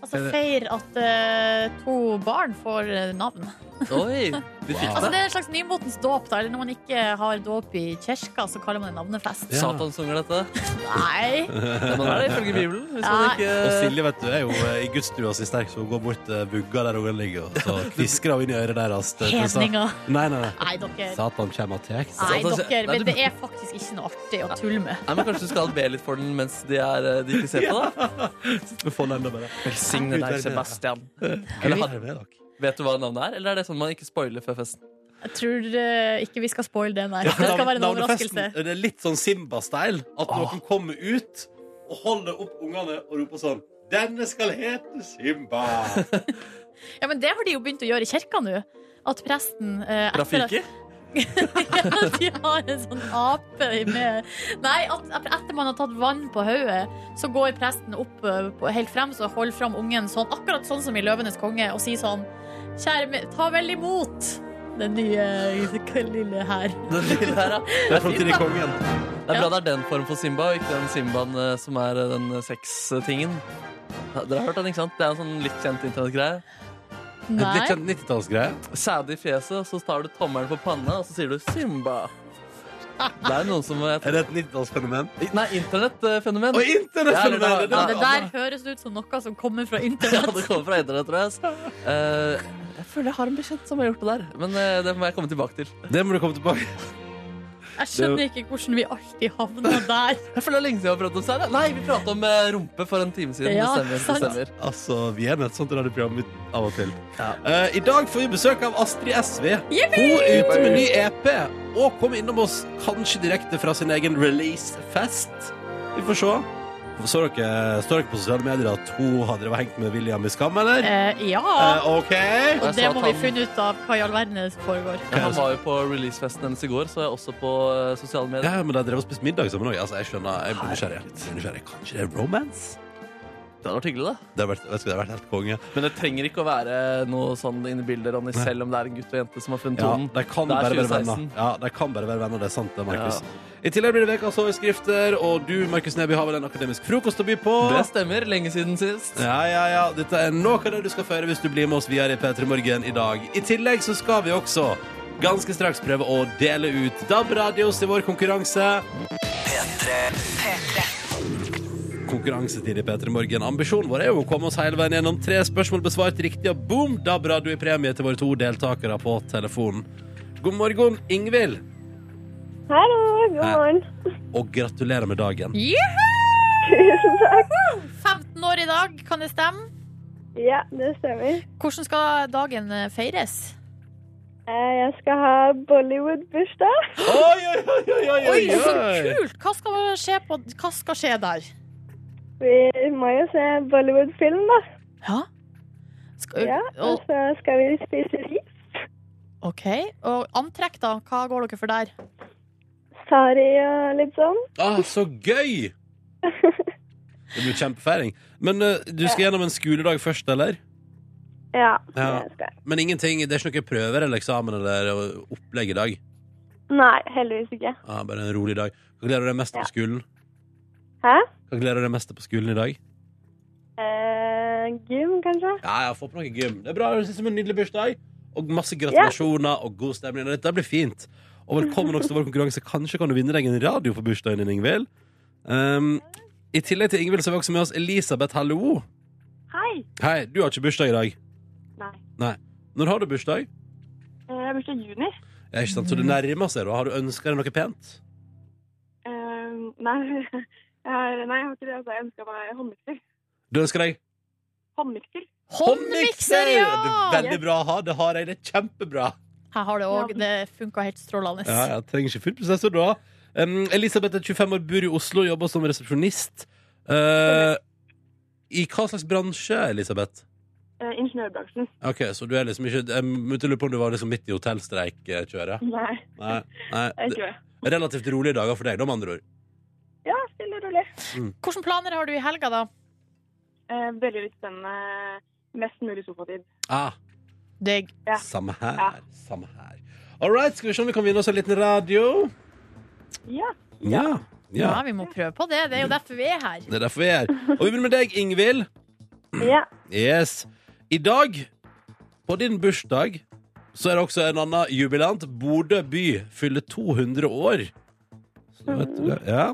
Speaker 1: Altså
Speaker 2: Er det-
Speaker 1: feir at eh, to barn får eh, navn.
Speaker 3: Oi, de fikk
Speaker 1: Altså
Speaker 3: det.
Speaker 1: Det er en slags nymotens dåp. da Eller Når man ikke har dåp i kirka, så kaller man det navnefest.
Speaker 2: Ja.
Speaker 3: Satan sunger dette.
Speaker 1: Nei!
Speaker 3: Men man er det ifølge Bibelen. Hvis
Speaker 1: Nei.
Speaker 3: man
Speaker 2: Og
Speaker 3: ikke
Speaker 2: Silje vet du, er jo eh, i gudsstua si sterk, så hun går bort til vugga der ungen ligger, og så hvisker hun inn i øret altså. deres. til- til sa-
Speaker 1: Hedninger.
Speaker 2: Nei, nei, nei.
Speaker 1: Nei, dere.
Speaker 2: Satan kommer og tar seg.
Speaker 1: Nei,
Speaker 3: Satan,
Speaker 1: dere.
Speaker 3: nei,
Speaker 1: Men
Speaker 3: du-
Speaker 1: det er faktisk ikke noe artig å tulle med.
Speaker 3: Nei, men Kanskje du skal be litt for den mens de, er, eh, de ikke ser på? da
Speaker 2: Vi får den enda bare.
Speaker 3: Velsigne
Speaker 2: deg,
Speaker 3: Sebastian.
Speaker 2: Eller har dere med dere?
Speaker 3: Vet du hva navnet er, eller er det sånn man ikke spoiler før festen?
Speaker 1: Jeg tror eh, ikke vi skal spoile det, nei. Det skal være en overraskelse.
Speaker 2: Navnefesten, Det er litt sånn Simba-style. At noen kommer ut og holder opp ungene og roper sånn Denne skal hete Simba!
Speaker 1: Ja, men det har de jo begynt å gjøre i kirka nå. At presten eh, etter at-
Speaker 3: Rafiki?
Speaker 1: Ja, de har en sånn ape med Nei, at at etter man har tatt vann på hodet, så går presten opp eh, på, helt frem så holder fram ungen sånn, akkurat sånn som i 'Løvenes konge', og sier sånn Kjære, me- ta vel imot den nye k- lille her.
Speaker 3: Den lille her, ja.
Speaker 2: Det er framtidig kongen.
Speaker 3: Det er bra det er den formen for Simba, og ikke den Simbaen eh, som er eh, den eh, sex-tingen. Ja, Dere har hørt den, ikke sant? Det er en sånn litt kjent internettgreie.
Speaker 2: Litt sånn
Speaker 1: Nei.
Speaker 3: sånn-
Speaker 2: kjent 90-tallsgreie.
Speaker 3: Sæde i fjeset, så tar du tommelen på panna, og så sier du 'Simba'. Det er noen som eh,
Speaker 2: Er det et 90-tallsfenomen?
Speaker 3: Nei, eh, internettfenomen.
Speaker 2: Og internettfenomenet!
Speaker 1: Ja,
Speaker 3: Ja,
Speaker 1: det
Speaker 3: ja,
Speaker 1: der høres ut som noe som kommer fra
Speaker 3: Ja,
Speaker 1: internett.
Speaker 3: det kommer fra internett, tror jeg. ass. Eh, jeg føler jeg har en bekjent som har gjort det der, men eh, det må jeg komme tilbake til.
Speaker 2: Det må du komme tilbake
Speaker 1: Jeg skjønner ikke hvordan vi alltid havner der.
Speaker 3: Jeg føler det er lenge siden vi har pratet om Sara. Nei, vi pratet om eh, rumpe for en time siden.
Speaker 1: Ja,
Speaker 3: det
Speaker 1: sant.
Speaker 3: stemmer. Det stemmer.
Speaker 2: Altså, Vi er med et sånt radioprogram av og til. Eh, I dag får vi besøk av Astrid SV. Hun er ute med ny EP og kom innom oss kanskje direkte fra sin egen releasefest. Vi får se. Så dere, står dere på sosiale medier at hun har drevet og hengt med William i Skam, eller?
Speaker 1: Eh, ja.
Speaker 2: Eh, OK.
Speaker 1: Og
Speaker 3: Jeg
Speaker 1: det
Speaker 3: sa at
Speaker 1: må vi
Speaker 3: han-
Speaker 1: finne ut av hva i all verden det foregår.
Speaker 3: Ja, Han var jo på releasefesten hennes i går, så jeg også på eh, sosiale medier.
Speaker 2: Ja, men de drev og spiste middag sammen òg. Altså, jeg skjønner. Jeg blir nysgjerrig. Jeg blir nysgjerrig. Kanskje det er romance?
Speaker 3: Det hadde vært hyggelig, da.
Speaker 2: Det har vært, vet du, det har vært helt konge.
Speaker 3: Men det trenger ikke å være noe sånn inni bildet, Ronny, selv om det er en gutt og jente som har funnet
Speaker 2: Ja,
Speaker 3: tonen.
Speaker 2: de kan
Speaker 3: Det er
Speaker 2: bare være
Speaker 3: 2016.
Speaker 2: venner. Ja, de kan bare være venner, det er sant det, Markus. I tillegg blir det ukas overskrifter, og du, Markus Neby, har vel en akademisk frokost å by på?
Speaker 3: Det stemmer. Lenge siden sist.
Speaker 2: Ja, ja, ja. Dette er noe av det du skal føre hvis du blir med oss videre i P3 Morgen i dag. I tillegg så skal vi også ganske straks prøve å dele ut DAB-radios i vår konkurranse. Konkurransetid i P3 Morgen. Ambisjonen vår er jo å komme oss hele veien gjennom tre spørsmål besvart riktig, og boom, DAB-radio i premie til våre to deltakere på telefonen. God morgen, Ingvild,
Speaker 6: Hallo, god
Speaker 2: Hei.
Speaker 6: morgen.
Speaker 2: og gratulerer med dagen.
Speaker 1: Juhu!
Speaker 6: Tusen takk.
Speaker 1: 15 år i dag, kan det stemme?
Speaker 6: Ja, det stemmer.
Speaker 1: Hvordan skal dagen eh, feires?
Speaker 6: Eh, Jeg skal ha Bollywood-bursdag.
Speaker 2: Oi, oi, oi, oi, oi,
Speaker 1: Oi, så kult! Hva skal skje, på, hva skal skje der?
Speaker 6: Vi må jo se Bollywood-film, da.
Speaker 1: Ja? Skal,
Speaker 6: Ja, Og
Speaker 1: og,
Speaker 6: så skal vi spise ris.
Speaker 1: OK. Og antrekk, da? Hva går dere for der?
Speaker 6: Sari og litt sånn.
Speaker 2: Ah, så gøy! Det blir kjempefeiring. Men eh, du skal gjennom en skoledag først, eller?
Speaker 6: Ja,
Speaker 2: Ja.
Speaker 6: det skal jeg.
Speaker 2: Men ingenting, det er ikke noen prøver eller eksamen eller eh, opplegg i dag?
Speaker 6: Nei, heldigvis ikke.
Speaker 2: Ah, bare en rolig dag. Hva gleder du deg mest
Speaker 6: Ja.
Speaker 2: på skolen?
Speaker 6: Hæ?
Speaker 2: Hva gleder du deg mest til på skolen i dag?
Speaker 6: Eh, gym, kanskje?
Speaker 2: Ja, jeg har fått på noe gym. Det er bra, det synes jeg er en nydelig bursdag. Og masse gratulasjoner og god stemning. og Dette blir fint. Og velkommen også til vår konkurranse. Kanskje kan du vinne deg en radio for bursdagen din, Ingvild. Um, I tillegg til Ingvild så har vi også med oss Elisabeth, hallo.
Speaker 6: Hei.
Speaker 2: Hei, du har ikke bursdag i dag.
Speaker 6: Nei. Eh,
Speaker 2: Når har du bursdag?
Speaker 6: Jeg har bursdag i juni.
Speaker 2: Ja, ikke sant? Så du nærmer seg, da. Har du ønska deg noe pent?
Speaker 6: Eh, Nei, jeg har, ikke det. Altså, Jeg ønska meg håndmikser.
Speaker 2: Du ønsker deg
Speaker 6: Håndmikser?
Speaker 1: Håndmikser,
Speaker 2: Ja, det er
Speaker 1: ja!
Speaker 2: Veldig bra å ha. Det har jeg. Det er kjempebra.
Speaker 1: Her har det òg. Det funka helt strålende.
Speaker 2: Ja, jeg trenger ikke full prosessor da. Um, Elisabeth er 25 år, bor i Oslo, jobber som resepsjonist. Eh, I hva slags bransje, Elisabeth?
Speaker 6: Eh, ingeniørbransjen.
Speaker 2: Ok, Så du er liksom ikke Jeg begynte å lure på om du var liksom midt i hotellstreikkjøret?
Speaker 6: Nei,
Speaker 2: Nei. nei.
Speaker 6: ikke det.
Speaker 2: Det er Relativt rolige dager for deg, da, med andre ord.
Speaker 6: Ja, stille og rolig.
Speaker 1: Hvilke planer har du i helga, da?
Speaker 6: Eh, veldig litt spennende. Mest mulig sofatid.
Speaker 2: Ah,
Speaker 1: Digg.
Speaker 6: Ja.
Speaker 2: Samme
Speaker 6: Ja.
Speaker 2: her. Samme her. All right, skal vi se om vi kan vinne oss en liten radio?
Speaker 6: Ja.
Speaker 2: Ja.
Speaker 1: Ja,
Speaker 2: ja.
Speaker 1: vi må prøve på det. Det er jo derfor vi er her.
Speaker 2: Det er derfor vi er her. Og vi begynner med deg, Ingvild.
Speaker 6: ja.
Speaker 2: Yes. I dag, på din bursdag, så er det også en annen jubilant. Bodø by fyller 200 år. Så da vet du det. Ja.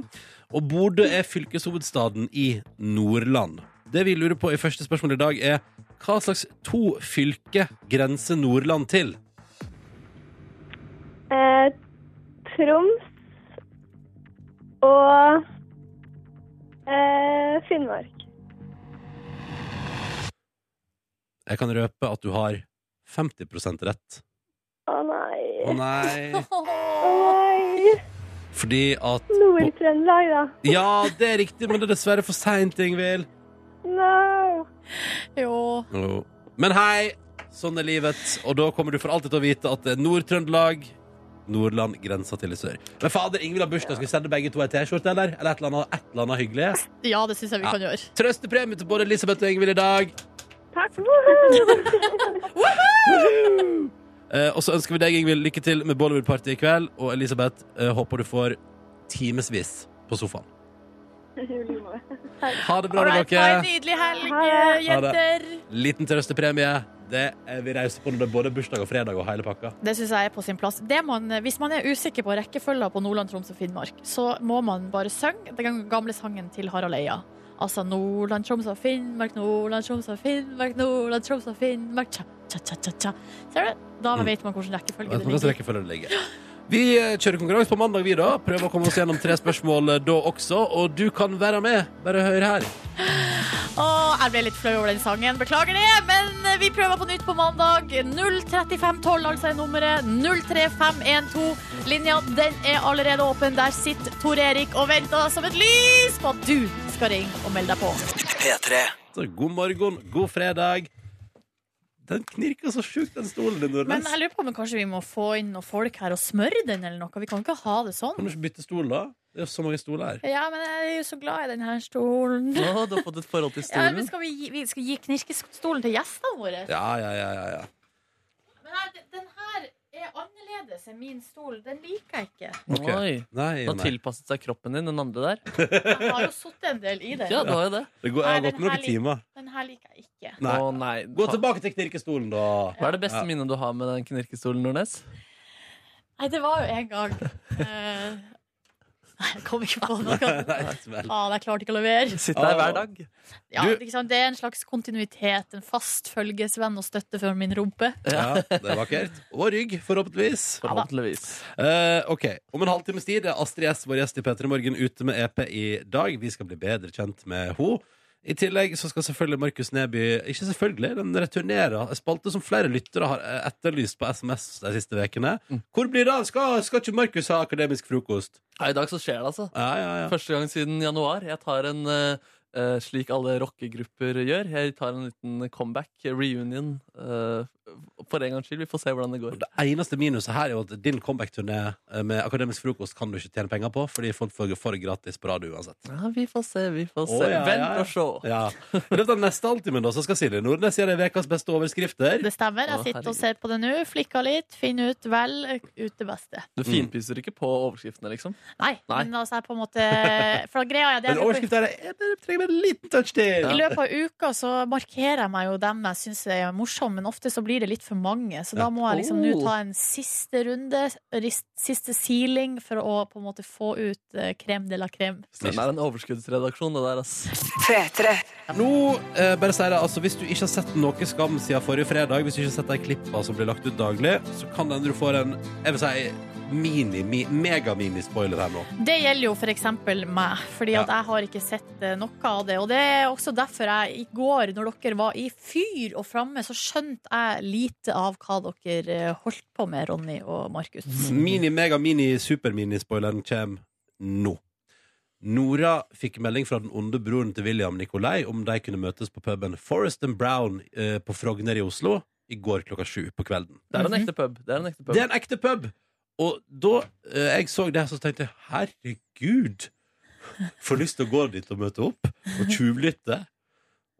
Speaker 2: Og Bodø er fylkeshovedstaden i Nordland. Det vi lurer på i første spørsmål i dag, er hva slags to fylker grenser Nordland til?
Speaker 6: Eh, Troms og eh, Finnmark.
Speaker 2: Jeg kan røpe at du har 50 rett.
Speaker 6: Å nei.
Speaker 2: Å nei.
Speaker 6: Å nei.
Speaker 2: Fordi at
Speaker 6: Nord-Trøndelag, da.
Speaker 2: Ja, det er riktig, men det er dessverre for seint, Ingvild.
Speaker 6: No.
Speaker 1: Jo.
Speaker 2: Jo. Men hei, sånn er livet. Og da kommer du for alltid til å vite at det er Nord-Trøndelag, Nordland, grensa til i sør. Men fader, Ingvild har bursdag. Skal vi sende begge to ei T-skjorte, eller? Eller et eller annet, et eller annet hyggelig?
Speaker 1: Ja, det syns jeg vi
Speaker 2: Ja.
Speaker 1: kan gjøre.
Speaker 2: Trøstepremie til både Elisabeth og Ingvild i dag.
Speaker 6: Takk. Woohoo!
Speaker 2: Eh, og så ønsker vi deg, Ingvild, lykke til med Bollywood-party i kveld. Og Elisabeth, eh, håper du får timevis på sofaen.
Speaker 6: I like måte.
Speaker 2: Ha det bra,
Speaker 1: All
Speaker 2: med
Speaker 1: right, ha en
Speaker 2: dere.
Speaker 1: nydelig helg,
Speaker 6: Ha det.
Speaker 2: Ha det.
Speaker 1: jenter.
Speaker 2: Liten trøstepremie. Det er vi reiser på når det er både bursdag og fredag og hele pakka.
Speaker 1: Det syns jeg er på sin plass. Det man, hvis man er usikker på rekkefølgen på Nordland, Troms og Finnmark, så må man bare synge den gamle sangen til Harald Eia. Altså Nordland, Troms og Finnmark, Nordland, Troms og Finnmark, Nordland, Troms og Finnmark, tja, tja, tja, tja, tja. Ser du? Da vet man hvilken rekkefølge
Speaker 2: Vet
Speaker 1: det
Speaker 2: man hva slags
Speaker 1: ligger i.
Speaker 2: rekkefølge det ligger. Vi eh, kjører konkurranse på mandag, vi da. Prøver å komme oss gjennom tre spørsmål eh, da også. Og du kan være med. Bare hør her.
Speaker 1: Åh, jeg ble litt flau over den sangen. Beklager det, men eh, vi prøver på nytt på mandag. 03512, altså er nummeret. 03512. Linja den er allerede åpen. Der sitter Tor Erik og venter som et lys på at du skal ringe og melde deg på.
Speaker 2: Så god morgen, god fredag. Den knirker så sjukt, den stolen din,
Speaker 1: Men
Speaker 2: Nordnes.
Speaker 1: jeg lurer på om kanskje vi må få inn noen folk her og smøre den eller noe. Vi kan ikke ha det sånn.
Speaker 2: Kan du ikke bytte stol, da? Det er jo så mange stoler her.
Speaker 1: Ja, men jeg er jo så glad i den her stolen.
Speaker 3: Å, du har fått et forhold til
Speaker 1: Ja, men
Speaker 3: stolen?
Speaker 1: skal vi, gi, vi skal gi knirkestolen til gjestene våre?
Speaker 2: Ja, ja, ja, ja, ja.
Speaker 1: Men her, den her er annerledes enn min stol. Den liker jeg ikke.
Speaker 2: Ok.
Speaker 3: Oi.
Speaker 2: Nei,
Speaker 3: Den har
Speaker 2: nei.
Speaker 3: tilpasset seg kroppen din, den andre der.
Speaker 1: Jeg har jo sittet en del i den.
Speaker 3: Ja, det har jo det.
Speaker 2: Det går, jeg har
Speaker 1: Nei,
Speaker 2: gått
Speaker 1: den her
Speaker 2: noen
Speaker 1: lik-
Speaker 2: timer.
Speaker 1: Den her liker jeg ikke.
Speaker 2: Nei.
Speaker 3: Å, nei.
Speaker 2: Gå
Speaker 3: Ta-
Speaker 2: tilbake til knirkestolen, da.
Speaker 3: Hva er det beste
Speaker 2: Ja.
Speaker 3: minnet du har med den knirkestolen, Nordnes?
Speaker 1: Nei, det var jo en gang eh, Nei, jeg kom ikke på noe.
Speaker 2: Nei, vel.
Speaker 1: Faen, jeg klarte ikke å levere.
Speaker 3: Sitt der hver dag.
Speaker 1: Ja,
Speaker 2: Du-
Speaker 1: ikke sant? Det er en slags kontinuitet. En fast følgesvenn og støtte for min rumpe.
Speaker 2: Ja, det er vakkert. Og rygg, forhåpentligvis.
Speaker 3: Forhåpentligvis.
Speaker 2: Eh, ok, Om en halvtimes tid er Astrid S, vår gjest i P3 Morgen, ute med EP i dag. Vi skal bli bedre kjent med henne. I tillegg så skal selvfølgelig Markus Neby Ikke selvfølgelig, den returnerer. En spalte som flere lyttere har eh, etterlyst på SMS de siste ukene. Hvor blir det av? Skal, skal ikke Markus ha akademisk frokost?
Speaker 3: Ja, I dag så skjer det, altså.
Speaker 2: Ja, ja, ja.
Speaker 3: Første gang siden januar. Jeg tar en eh, eh, slik alle rockegrupper gjør. Jeg tar en liten comeback, reunion, eh, for en gangs skyld. Vi får se hvordan det går.
Speaker 2: Og Det eneste minuset her er jo at din comeback-turné eh, med akademisk frokost kan du ikke tjene penger på, fordi folk får får det gratis på radio uansett.
Speaker 3: Ja, vi får se, vi får se.
Speaker 2: Å, ja,
Speaker 3: Vent
Speaker 2: ja, ja.
Speaker 3: og se.
Speaker 2: Ja. I løpet av neste halvtimen da, så skal Silje Nordnes gjøre ukas beste overskrifter.
Speaker 1: Det stemmer.
Speaker 3: Å,
Speaker 1: Jeg sitter
Speaker 3: herregud.
Speaker 1: og ser på det nå. Flikker litt. Finner ut vel ut det beste.
Speaker 3: Du finpusser ikke på overskriftene, liksom?
Speaker 1: Nei,
Speaker 3: Nei.
Speaker 1: men altså jeg på en måte For da greia er det
Speaker 2: Den overskriften her er jeg trenger en liten touch til.
Speaker 1: I løpet av uka så markerer jeg meg jo dem jeg syns er morsomme, men ofte så blir det litt for mange. Så da må jeg liksom nå
Speaker 3: Oh.
Speaker 1: ta en siste runde, rist- siste sealing, for å på en måte få ut eh, crème de la crème.
Speaker 3: Det er en overskuddsredaksjon, det der, ass.
Speaker 2: Nå eh, bare sier jeg, altså, Hvis du ikke har sett noe Skam siden forrige fredag, hvis du ikke har sett de klippa som blir lagt ut daglig, så kan det hende du får en jeg vil si, mini, mi, mega-mini-spoiler her nå.
Speaker 1: Det gjelder jo for eksempel meg, fordi at jeg har ikke sett eh, noe av det. Og det er også derfor jeg i går, når dere var i fyr og flamme, så skjønte jeg lite av hva dere eh, holdt på med, Ronny og Markus.
Speaker 2: Mm. Mini-mega-mini-super-mini-spoileren kommer nå. Nora fikk melding fra den onde broren til William Nikolai om de kunne møtes på puben Forest and Brown eh, på Frogner i Oslo i går klokka sju på kvelden.
Speaker 3: Det er en ekte pub. Det er en ekte pub.
Speaker 2: Det er en ekte pub. Og da eh, jeg så det, her, så tenkte jeg herregud, får lyst til å gå dit og møte opp og tjuvlytte.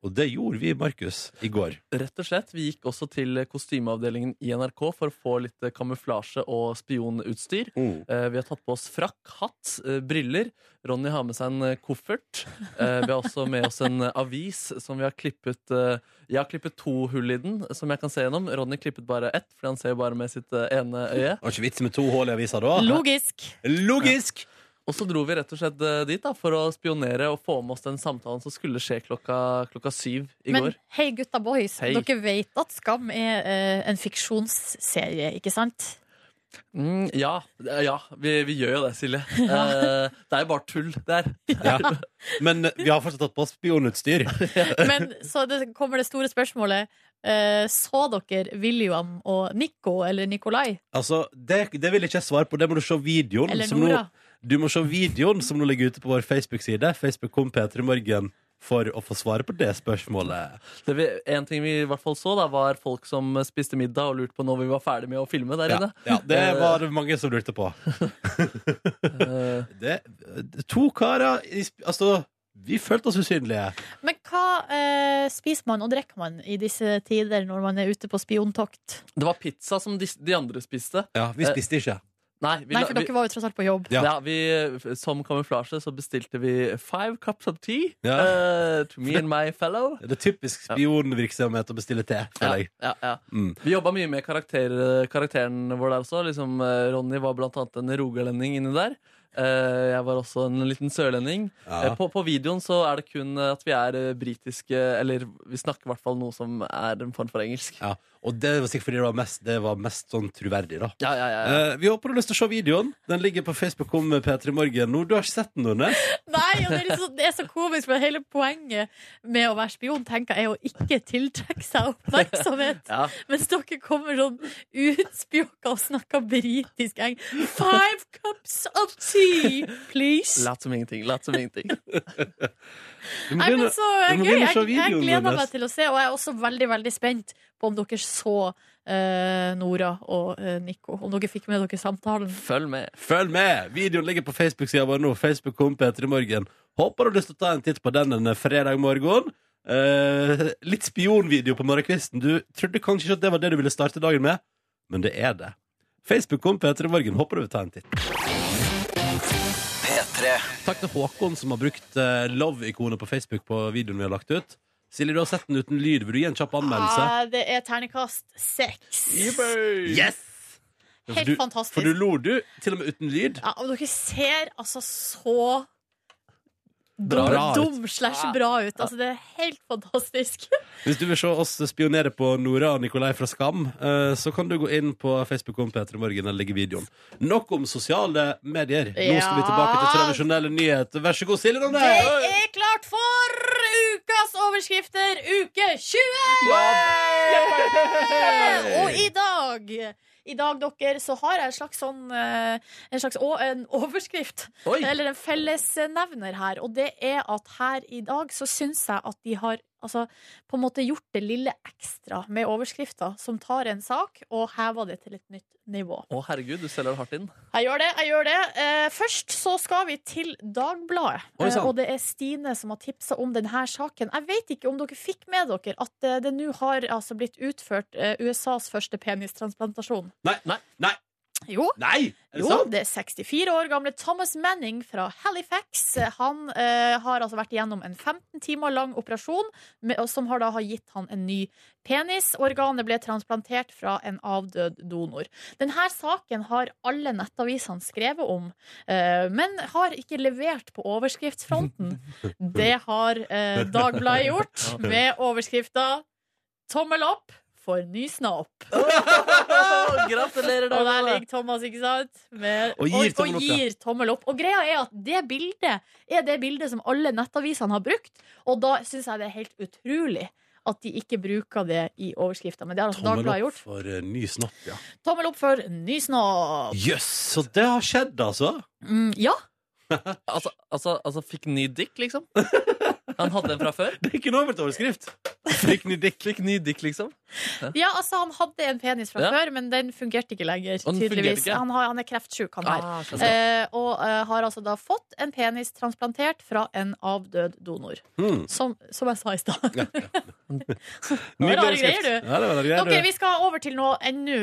Speaker 2: Og det gjorde vi, Markus, i går.
Speaker 3: Rett og slett, Vi gikk også til kostymeavdelingen i NRK for å få litt eh, kamuflasje og spionutstyr. Eh, Vi har tatt på oss frakk, hatt, eh, briller. Ronny har med seg en eh, koffert. Eh, Vi har også med oss en eh, avis som vi har klippet eh, Jeg har klippet to hull i den, som jeg kan se gjennom. Ronny klippet bare ett, for han ser jo bare med sitt eh, ene øye.
Speaker 2: Var ikke vits med to hull i avisa da.
Speaker 1: Logisk.
Speaker 2: Logisk!
Speaker 3: Og så dro vi rett og slett eh, dit da, for å spionere og få med oss den samtalen som skulle skje klokka, klokka syv i
Speaker 1: Men
Speaker 3: går.
Speaker 1: hei, gutta boys.
Speaker 3: Hei.
Speaker 1: Dere vet at Skam er eh, en fiksjonsserie, ikke sant?
Speaker 3: Mm, ja, eh, ja vi, vi gjør jo det, Silje. Eh, Det er jo bare tull der.
Speaker 2: Ja. Men vi har fortsatt tatt på oss spionutstyr.
Speaker 1: Men så det kommer det store spørsmålet. Eh, så dere William og Nico, eller Nikolai,
Speaker 2: Altså, det, det vil ikke jeg svare på. Det må du se videoen.
Speaker 1: eller
Speaker 2: som nå,
Speaker 1: Nora?
Speaker 2: du må se videoen som nå ligger ute på vår Facebook-side. Facebook kom Peter i morgen for å få svare på det spørsmålet.
Speaker 3: Det vi, en ting vi i hvert fall så, da, var folk som spiste middag og lurte på når vi var ferdig med å filme der
Speaker 2: Ja,
Speaker 3: inne.
Speaker 2: ja, det var det mange som lurte på.
Speaker 3: Eh,
Speaker 2: det, To karer i, sp- Altså, vi følte oss usynlige.
Speaker 1: Men hva eh, spiser man og drikker man i disse tider når man er ute på spiontokt?
Speaker 3: Det var pizza som de, de andre spiste.
Speaker 2: Ja, Vi
Speaker 3: Eh,
Speaker 2: spiste ikke.
Speaker 3: Nei, vi,
Speaker 1: Nei,
Speaker 3: la-
Speaker 1: for
Speaker 3: vi,
Speaker 1: dere var jo tross alt på jobb.
Speaker 2: Ja.
Speaker 3: ja, vi, som kamuflasje så bestilte vi five cups of tea
Speaker 2: Ja.
Speaker 3: eh, to me and my fellow.
Speaker 2: Det er typisk spionvirksomhet å bestille te.
Speaker 3: Ja,
Speaker 2: føler jeg.
Speaker 3: ja, ja.
Speaker 2: Mm.
Speaker 3: Vi jobba mye med karakter, karakteren vår der også. Liksom, eh, Ronny var blant annet en rogalending inni der. Eh, Jeg var også en liten sørlending.
Speaker 2: Ja.
Speaker 3: Eh, På, på videoen så er eh, det kun at vi er eh, britiske Eller vi snakker i hvert fall noe som er en form for engelsk.
Speaker 2: Ja. Og det var sikkert fordi det var mest, det var mest sånn troverdig, da.
Speaker 3: Ja, ja, ja. ja.
Speaker 2: Eh, vi håper du har lyst til å se videoen. Den ligger på Facebook om P3 Morgen nå. Du har ikke sett den, Nordnes?
Speaker 1: Nei, og det er, liksom, det er så komisk, men hele poenget med å være spion tenker jeg, er å ikke tiltrekke seg oppmerksomhet.
Speaker 3: Ja.
Speaker 1: Mens dere kommer sånn utspjåka og snakker britisk eng. Five cups of tea, please!
Speaker 3: Lat som ingenting. Lat som ingenting.
Speaker 2: Du må
Speaker 1: Nei, men
Speaker 2: begynne-
Speaker 1: så
Speaker 2: du
Speaker 1: gøy.
Speaker 2: må begynne å
Speaker 1: Jeg,
Speaker 2: se
Speaker 1: jeg
Speaker 2: videoen,
Speaker 1: gleder
Speaker 2: Nordnes.
Speaker 1: meg til å se, og jeg er også veldig, veldig spent på om dere så eh, Nora og eh, Nico. Om dere fikk med dere samtalen.
Speaker 3: Følg med.
Speaker 2: Følg med! Videoen ligger på Facebook-sida vår nå. Facebook kom P3 Morgen. Håper du har lyst til å ta en titt på den en fredag morgen. Eh, litt spionvideo på morgenkvisten. Du trodde kanskje ikke at det var det du ville starte dagen med, men det er det. Facebook kom P3 Morgen. Håper du vil ta en titt. Takk til Håkon som har brukt eh, love-ikonet på Facebook på videoen vi har lagt ut. Silje, du har sett den uten lyd. Vil du gi en kjapp anmeldelse?
Speaker 1: Ah, det er terningkast seks.
Speaker 2: Yes!
Speaker 1: Helt
Speaker 2: For du,
Speaker 1: fantastisk.
Speaker 2: For du lo, du. Til og med uten lyd.
Speaker 1: Ja, og dere ser altså så
Speaker 2: Bra
Speaker 1: dum-
Speaker 2: ut.
Speaker 1: dum slash bra ut. Altså, det er helt fantastisk.
Speaker 2: Hvis du vil se oss spionere på Nora og Nikolai fra Skam, eh, så kan du gå inn på Facebook om Petra Morgen. Der ligger videoen. Nok om sosiale medier. Nå skal vi tilbake til tradisjonelle nyheter. Vær så god, Silje
Speaker 1: Det
Speaker 2: Nordnes!
Speaker 1: er klart for ukas overskrifter, uke 20! Og i dag i dag dere, så har jeg en slags, sånn, eh, en slags å, en overskrift,
Speaker 3: Oi.
Speaker 1: eller en fellesnevner her. Og det er at her i dag så syns jeg at de har altså, på en måte gjort det lille ekstra med overskrifta, som tar en sak og hever det til et nytt nivå.
Speaker 3: Å, herregud, du selger det hardt inn.
Speaker 1: Jeg gjør det. jeg gjør det eh, Først så skal vi til Dagbladet.
Speaker 2: Oi,
Speaker 1: Eh,
Speaker 2: sann.
Speaker 1: og det er Stine som har tipsa om denne saken. Jeg vet ikke om dere fikk med dere at eh, det nå har altså, blitt utført eh, USAs første penistransplantasjon.
Speaker 2: Nei, nei, nei!
Speaker 1: Jo.
Speaker 2: nei. Er det
Speaker 1: Jo,
Speaker 2: sant?
Speaker 1: det er 64 år gamle Thomas Manning fra Halifax. Han eh, har altså vært igjennom en 15 timer lang operasjon, med, og som har da har gitt han en ny penis. Organet ble transplantert fra en avdød donor. Denne saken har alle nettavisene skrevet om, eh, men har ikke levert på overskriftsfronten. Det har eh, Dagbladet gjort, med overskrifta 'Tommel opp for nysna opp'.
Speaker 3: Å, gratulerer,
Speaker 1: Og der
Speaker 3: Dagbladet.
Speaker 1: ligger Thomas, ikke sant? Med,
Speaker 2: Og gir tommel opp, ja.
Speaker 1: gir tommel opp. Og greia er at det bildet er det bildet som alle nettavisene har brukt, og da syns jeg det er helt utrolig. At de ikke bruker det i overskrifta. Men det har altså
Speaker 2: Tommel
Speaker 1: Dagbladet
Speaker 2: opp
Speaker 1: gjort.
Speaker 2: for eh, ny snopp, ja.
Speaker 1: Tommel opp for ny snopp.
Speaker 2: Jøss, så det har skjedd, altså?
Speaker 1: Mm, ja.
Speaker 3: Altså, altså, altså, fikk ny dick, liksom? Han hadde en fra før?
Speaker 2: Det er ikke noe med overskrift. Fikk ny dick.
Speaker 3: Fikk ny dick, liksom?
Speaker 1: ja, altså han hadde en penis fra
Speaker 3: Ja.
Speaker 1: før, men den fungerte ikke lenger.
Speaker 3: Og den fungerte
Speaker 1: tydeligvis.
Speaker 3: ikke?
Speaker 1: Han, har, han er kreftsjuk, han her.
Speaker 3: Ah, skjønner.
Speaker 1: Eh, og eh, har altså da fått en penis transplantert fra en avdød donor.
Speaker 2: Hmm.
Speaker 1: Som, som jeg sa i stad.
Speaker 2: Ja, ja.
Speaker 1: Nå er det rare
Speaker 2: overskrift.
Speaker 1: greier, du.
Speaker 2: Ja, det var rare
Speaker 1: Dere,
Speaker 2: greier, du.
Speaker 1: vi skal over til noe enda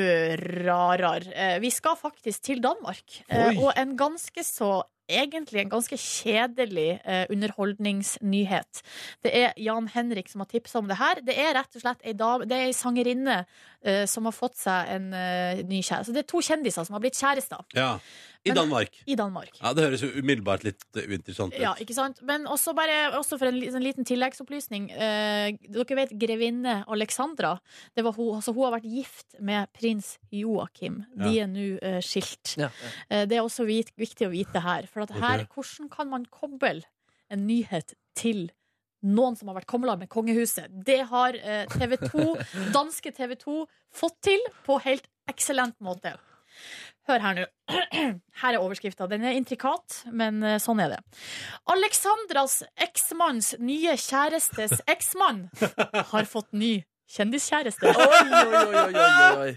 Speaker 1: rarere. Eh, Vi skal faktisk til Danmark. Eh,
Speaker 2: Oi.
Speaker 1: Og en ganske så Egentlig en ganske kjedelig eh, underholdningsnyhet. Det er Jan Henrik som har tipsa om det her. Det er rett og slett ei, dame, det er ei sangerinne eh, som har fått seg en eh, ny kjæreste. Så Det er to kjendiser som har blitt kjærester
Speaker 2: Ja. I
Speaker 1: Men-
Speaker 2: Danmark.
Speaker 1: i Danmark.
Speaker 2: Ja, Det høres jo umiddelbart litt eh, uinteressant ut.
Speaker 1: Ja, ikke sant? Men også, bare, også for en li- sånn liten tilleggsopplysning. Eh, dere vet grevinne Alexandra. Det var hun, altså, hun har vært gift med prins Joakim. De er nå eh, skilt.
Speaker 3: Ja,
Speaker 1: Eh, det er også vit, viktig å vite her. For at her,
Speaker 2: Ok.
Speaker 1: hvordan kan man koble en nyhet til noen som har vært kobla med kongehuset? Det har eh, TV 2, danske TV 2 fått til på helt eksellent måte. Hør her nå. Her er overskrifta. Den er intrikat, men eh, sånn er det. Alexandras eksmanns nye kjærestes eksmann har fått ny kjendiskjæreste.
Speaker 3: Oi, oi, oi, oi, oi, oi.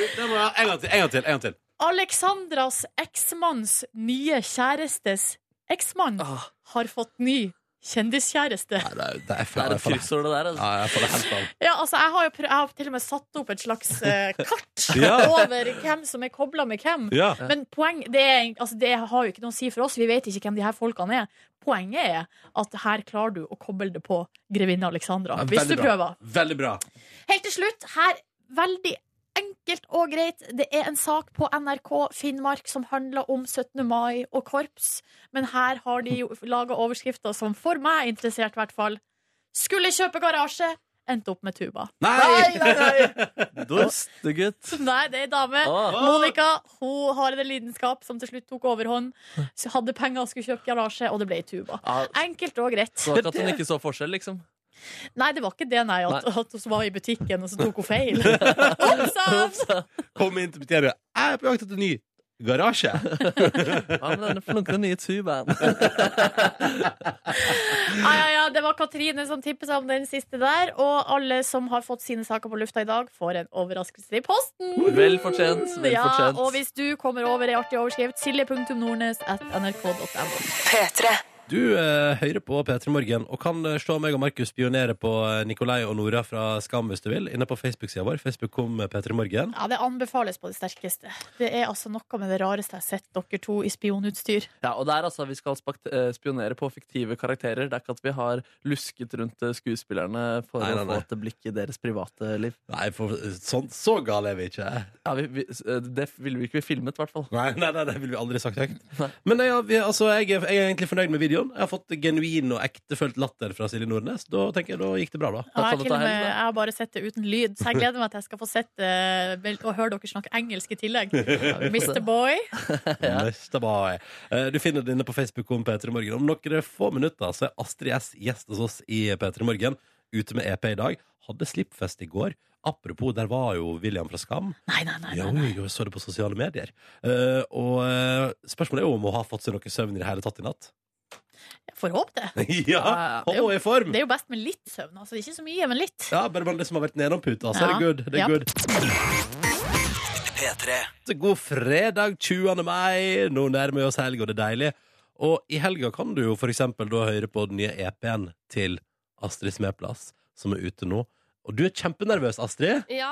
Speaker 2: Det må jeg ha. En gang til, en gang til. en gang til
Speaker 1: Alexandras eksmanns nye kjærestes eksmann
Speaker 3: Ah,
Speaker 1: har fått ny kjendiskjæreste.
Speaker 2: Nei, det er, det er,
Speaker 3: det er
Speaker 2: jeg
Speaker 3: et
Speaker 2: får det-
Speaker 3: kryssord, det der. Altså.
Speaker 2: Ja, jeg får det helt av.
Speaker 1: Ja, altså, jeg har jo prøv, jeg har til og med satt opp et slags eh, kart
Speaker 2: Ja.
Speaker 1: over hvem som er kobla med hvem.
Speaker 2: Ja.
Speaker 1: Men poeng, det, er, altså, det har jo ikke noe å si for oss. Vi vet ikke hvem de her folkene er. Poenget er at her klarer du å koble det på grevinne Alexandra.
Speaker 2: Ja,
Speaker 1: hvis
Speaker 2: veldig
Speaker 1: du
Speaker 2: bra.
Speaker 1: prøver.
Speaker 2: Veldig bra.
Speaker 1: Helt til slutt, her veldig enkelt og greit. Det er en sak på NRK Finnmark som handler om 17. mai og korps. Men her har de laga overskrifter som for meg er interessert, i hvert fall. Skulle kjøpe garasje. endte opp med tuba.
Speaker 2: Nei!
Speaker 3: Dustegutt.
Speaker 1: Nei, det er ei dame.
Speaker 3: Ah.
Speaker 1: Monica hun har en lidenskap som til slutt tok overhånd. Så Hadde penger og skulle kjøpe garasje, og det ble tuba.
Speaker 3: Ah,
Speaker 1: Enkelt og greit.
Speaker 3: så akkurat hun ikke så forskjell, liksom.
Speaker 1: Nei, det var ikke det, nei. At, at hun var i butikken, og så tok hun feil. Oppsatt!
Speaker 2: Kom inn til mitt hjemme. Jeg er på jakt etter ny garasje.
Speaker 3: Ja, men den flunkende nye tubaen.
Speaker 1: Ja, ja, ja, det var Katrine som tippet seg om den siste der. Og alle som har fått sine saker på lufta i dag, får en overraskelse i posten.
Speaker 3: Vel fortjent. Vel
Speaker 1: Ja,
Speaker 3: fortjent.
Speaker 1: og hvis du kommer over ei artig overskrift, silje.nordnes.nrk.no.
Speaker 2: Du eh, hører på P3 Morgen og kan eh, se meg og Markus spionere på eh, Nikolai og Nora fra Skam hvis du vil, inne på Facebook-sida vår. Facebook kom eh, P3 Morgen.
Speaker 1: Ja, Det anbefales på det sterkeste. Det er altså noe med det rareste jeg har sett dere to i spionutstyr.
Speaker 3: Ja, og der altså, Vi skal spakt- eh, spionere på fiktive karakterer. Det er ikke at vi har lusket rundt eh, skuespillerne for
Speaker 2: Nei, nei,
Speaker 3: å
Speaker 2: nei.
Speaker 3: få et blikk i deres private liv.
Speaker 2: Nei, for sånn, så gal er vi ikke.
Speaker 3: Ja, vi, vi, s- eh, Det ville vi ikke filmet, i hvert fall.
Speaker 2: Nei, nei, nei, det ville vi aldri sagt høyt.
Speaker 3: Nei.
Speaker 2: Men ja, vi, altså, jeg, er, jeg er egentlig fornøyd med videoen. Jeg har fått genuin og ektefølt latter fra Silje Nordnes. Da tenker jeg, da gikk det bra, da.
Speaker 1: Ja,
Speaker 3: kan
Speaker 1: jeg,
Speaker 3: du
Speaker 1: til
Speaker 3: ta
Speaker 1: og med,
Speaker 3: helgen, da.
Speaker 1: jeg har bare sett det uten lyd, så jeg gleder meg til jeg skal få sett det vel- og høre dere snakke engelsk i tillegg. Mr. Boy.
Speaker 2: Neste boy. Eh, Du finner det inne på Facebook om P3 Morgen. Om noen få minutter så er Astrid S gjest hos oss i P3 Morgen. Ute med EP i dag. Hadde slippfest i går. Apropos, der var jo William fra Skam.
Speaker 1: Nei, nei, nei.
Speaker 2: Jo,
Speaker 1: nei.
Speaker 2: jo, jeg så det på sosiale medier. Eh, og eh, spørsmålet er jo om hun har fått seg noe søvn i det hele tatt i natt.
Speaker 1: Jeg får håpe det.
Speaker 2: ja, og hun er i form!
Speaker 1: Det er jo best med litt søvn. Altså, ikke så mye, men litt.
Speaker 2: Ja, bare man liksom har vært nedom puta, så er det
Speaker 1: Ja.
Speaker 2: good. Det er
Speaker 1: Ja.
Speaker 2: good. God fredag 20. mai. Nå nærmer vi oss helg, og det er deilig. Og i helga kan du jo for eksempel da høre på den nye EP-en til Astrid Smeplass, som er ute nå. Og du er kjempenervøs, Astrid.
Speaker 7: Ja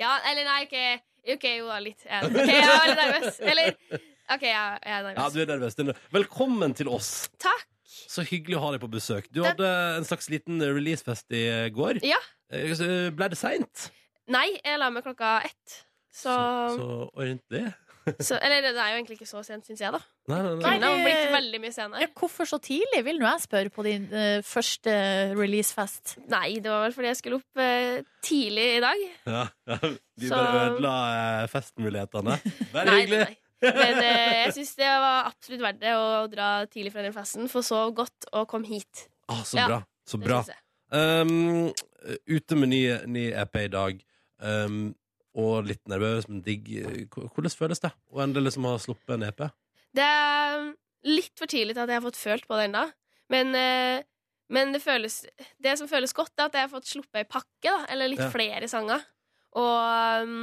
Speaker 7: Ja, eller nei, OK, ok, jo da, litt. Ja. Ok, jeg er veldig nervøs. Eller OK, jeg, jeg er nervøs.
Speaker 2: Ja, du er nervøs. Den- Velkommen til oss.
Speaker 7: Takk.
Speaker 2: Så hyggelig å ha deg på besøk. Du hadde en slags liten releasefest i går.
Speaker 7: Ja.
Speaker 2: Eh, så Ble det seint?
Speaker 7: Nei, jeg la meg klokka ett. Så, så,
Speaker 2: så ordentlig?
Speaker 7: Eller det er jo egentlig ikke så sent, syns jeg, da.
Speaker 2: Nei, nei,
Speaker 7: Det
Speaker 2: nei.
Speaker 1: Nei,
Speaker 7: har blitt
Speaker 1: det-
Speaker 7: veldig mye
Speaker 1: Ja,
Speaker 7: senere.
Speaker 1: hvorfor så tidlig, vil nå jeg spørre, på din eh, første releasefest?
Speaker 7: Nei, det var vel fordi jeg skulle opp eh, tidlig i dag.
Speaker 2: Ja, ja. Vi
Speaker 7: Så-
Speaker 2: bare ødela eh, festmulighetene. Vær
Speaker 7: Nei,
Speaker 2: hyggelig.
Speaker 7: nei, nei. Men eh, jeg syns det var absolutt verdt det å dra tidlig fra den festen, få sove godt og komme hit.
Speaker 2: Ah, så
Speaker 7: Ja,
Speaker 2: bra. Så
Speaker 7: Det
Speaker 2: bra.
Speaker 7: synes jeg.
Speaker 2: Um, ute med ny, ny EP i dag. Um, og litt nervøs, men digg. H- Hvordan føles det å endelig liksom ha sluppet en EP?
Speaker 7: Det er litt for tidlig til at jeg har fått følt på det ennå. Men, eh, men det, føles, det som føles godt, er at jeg har fått sluppet ei pakke, da, eller litt
Speaker 2: Ja.
Speaker 7: flere sanger. Og um,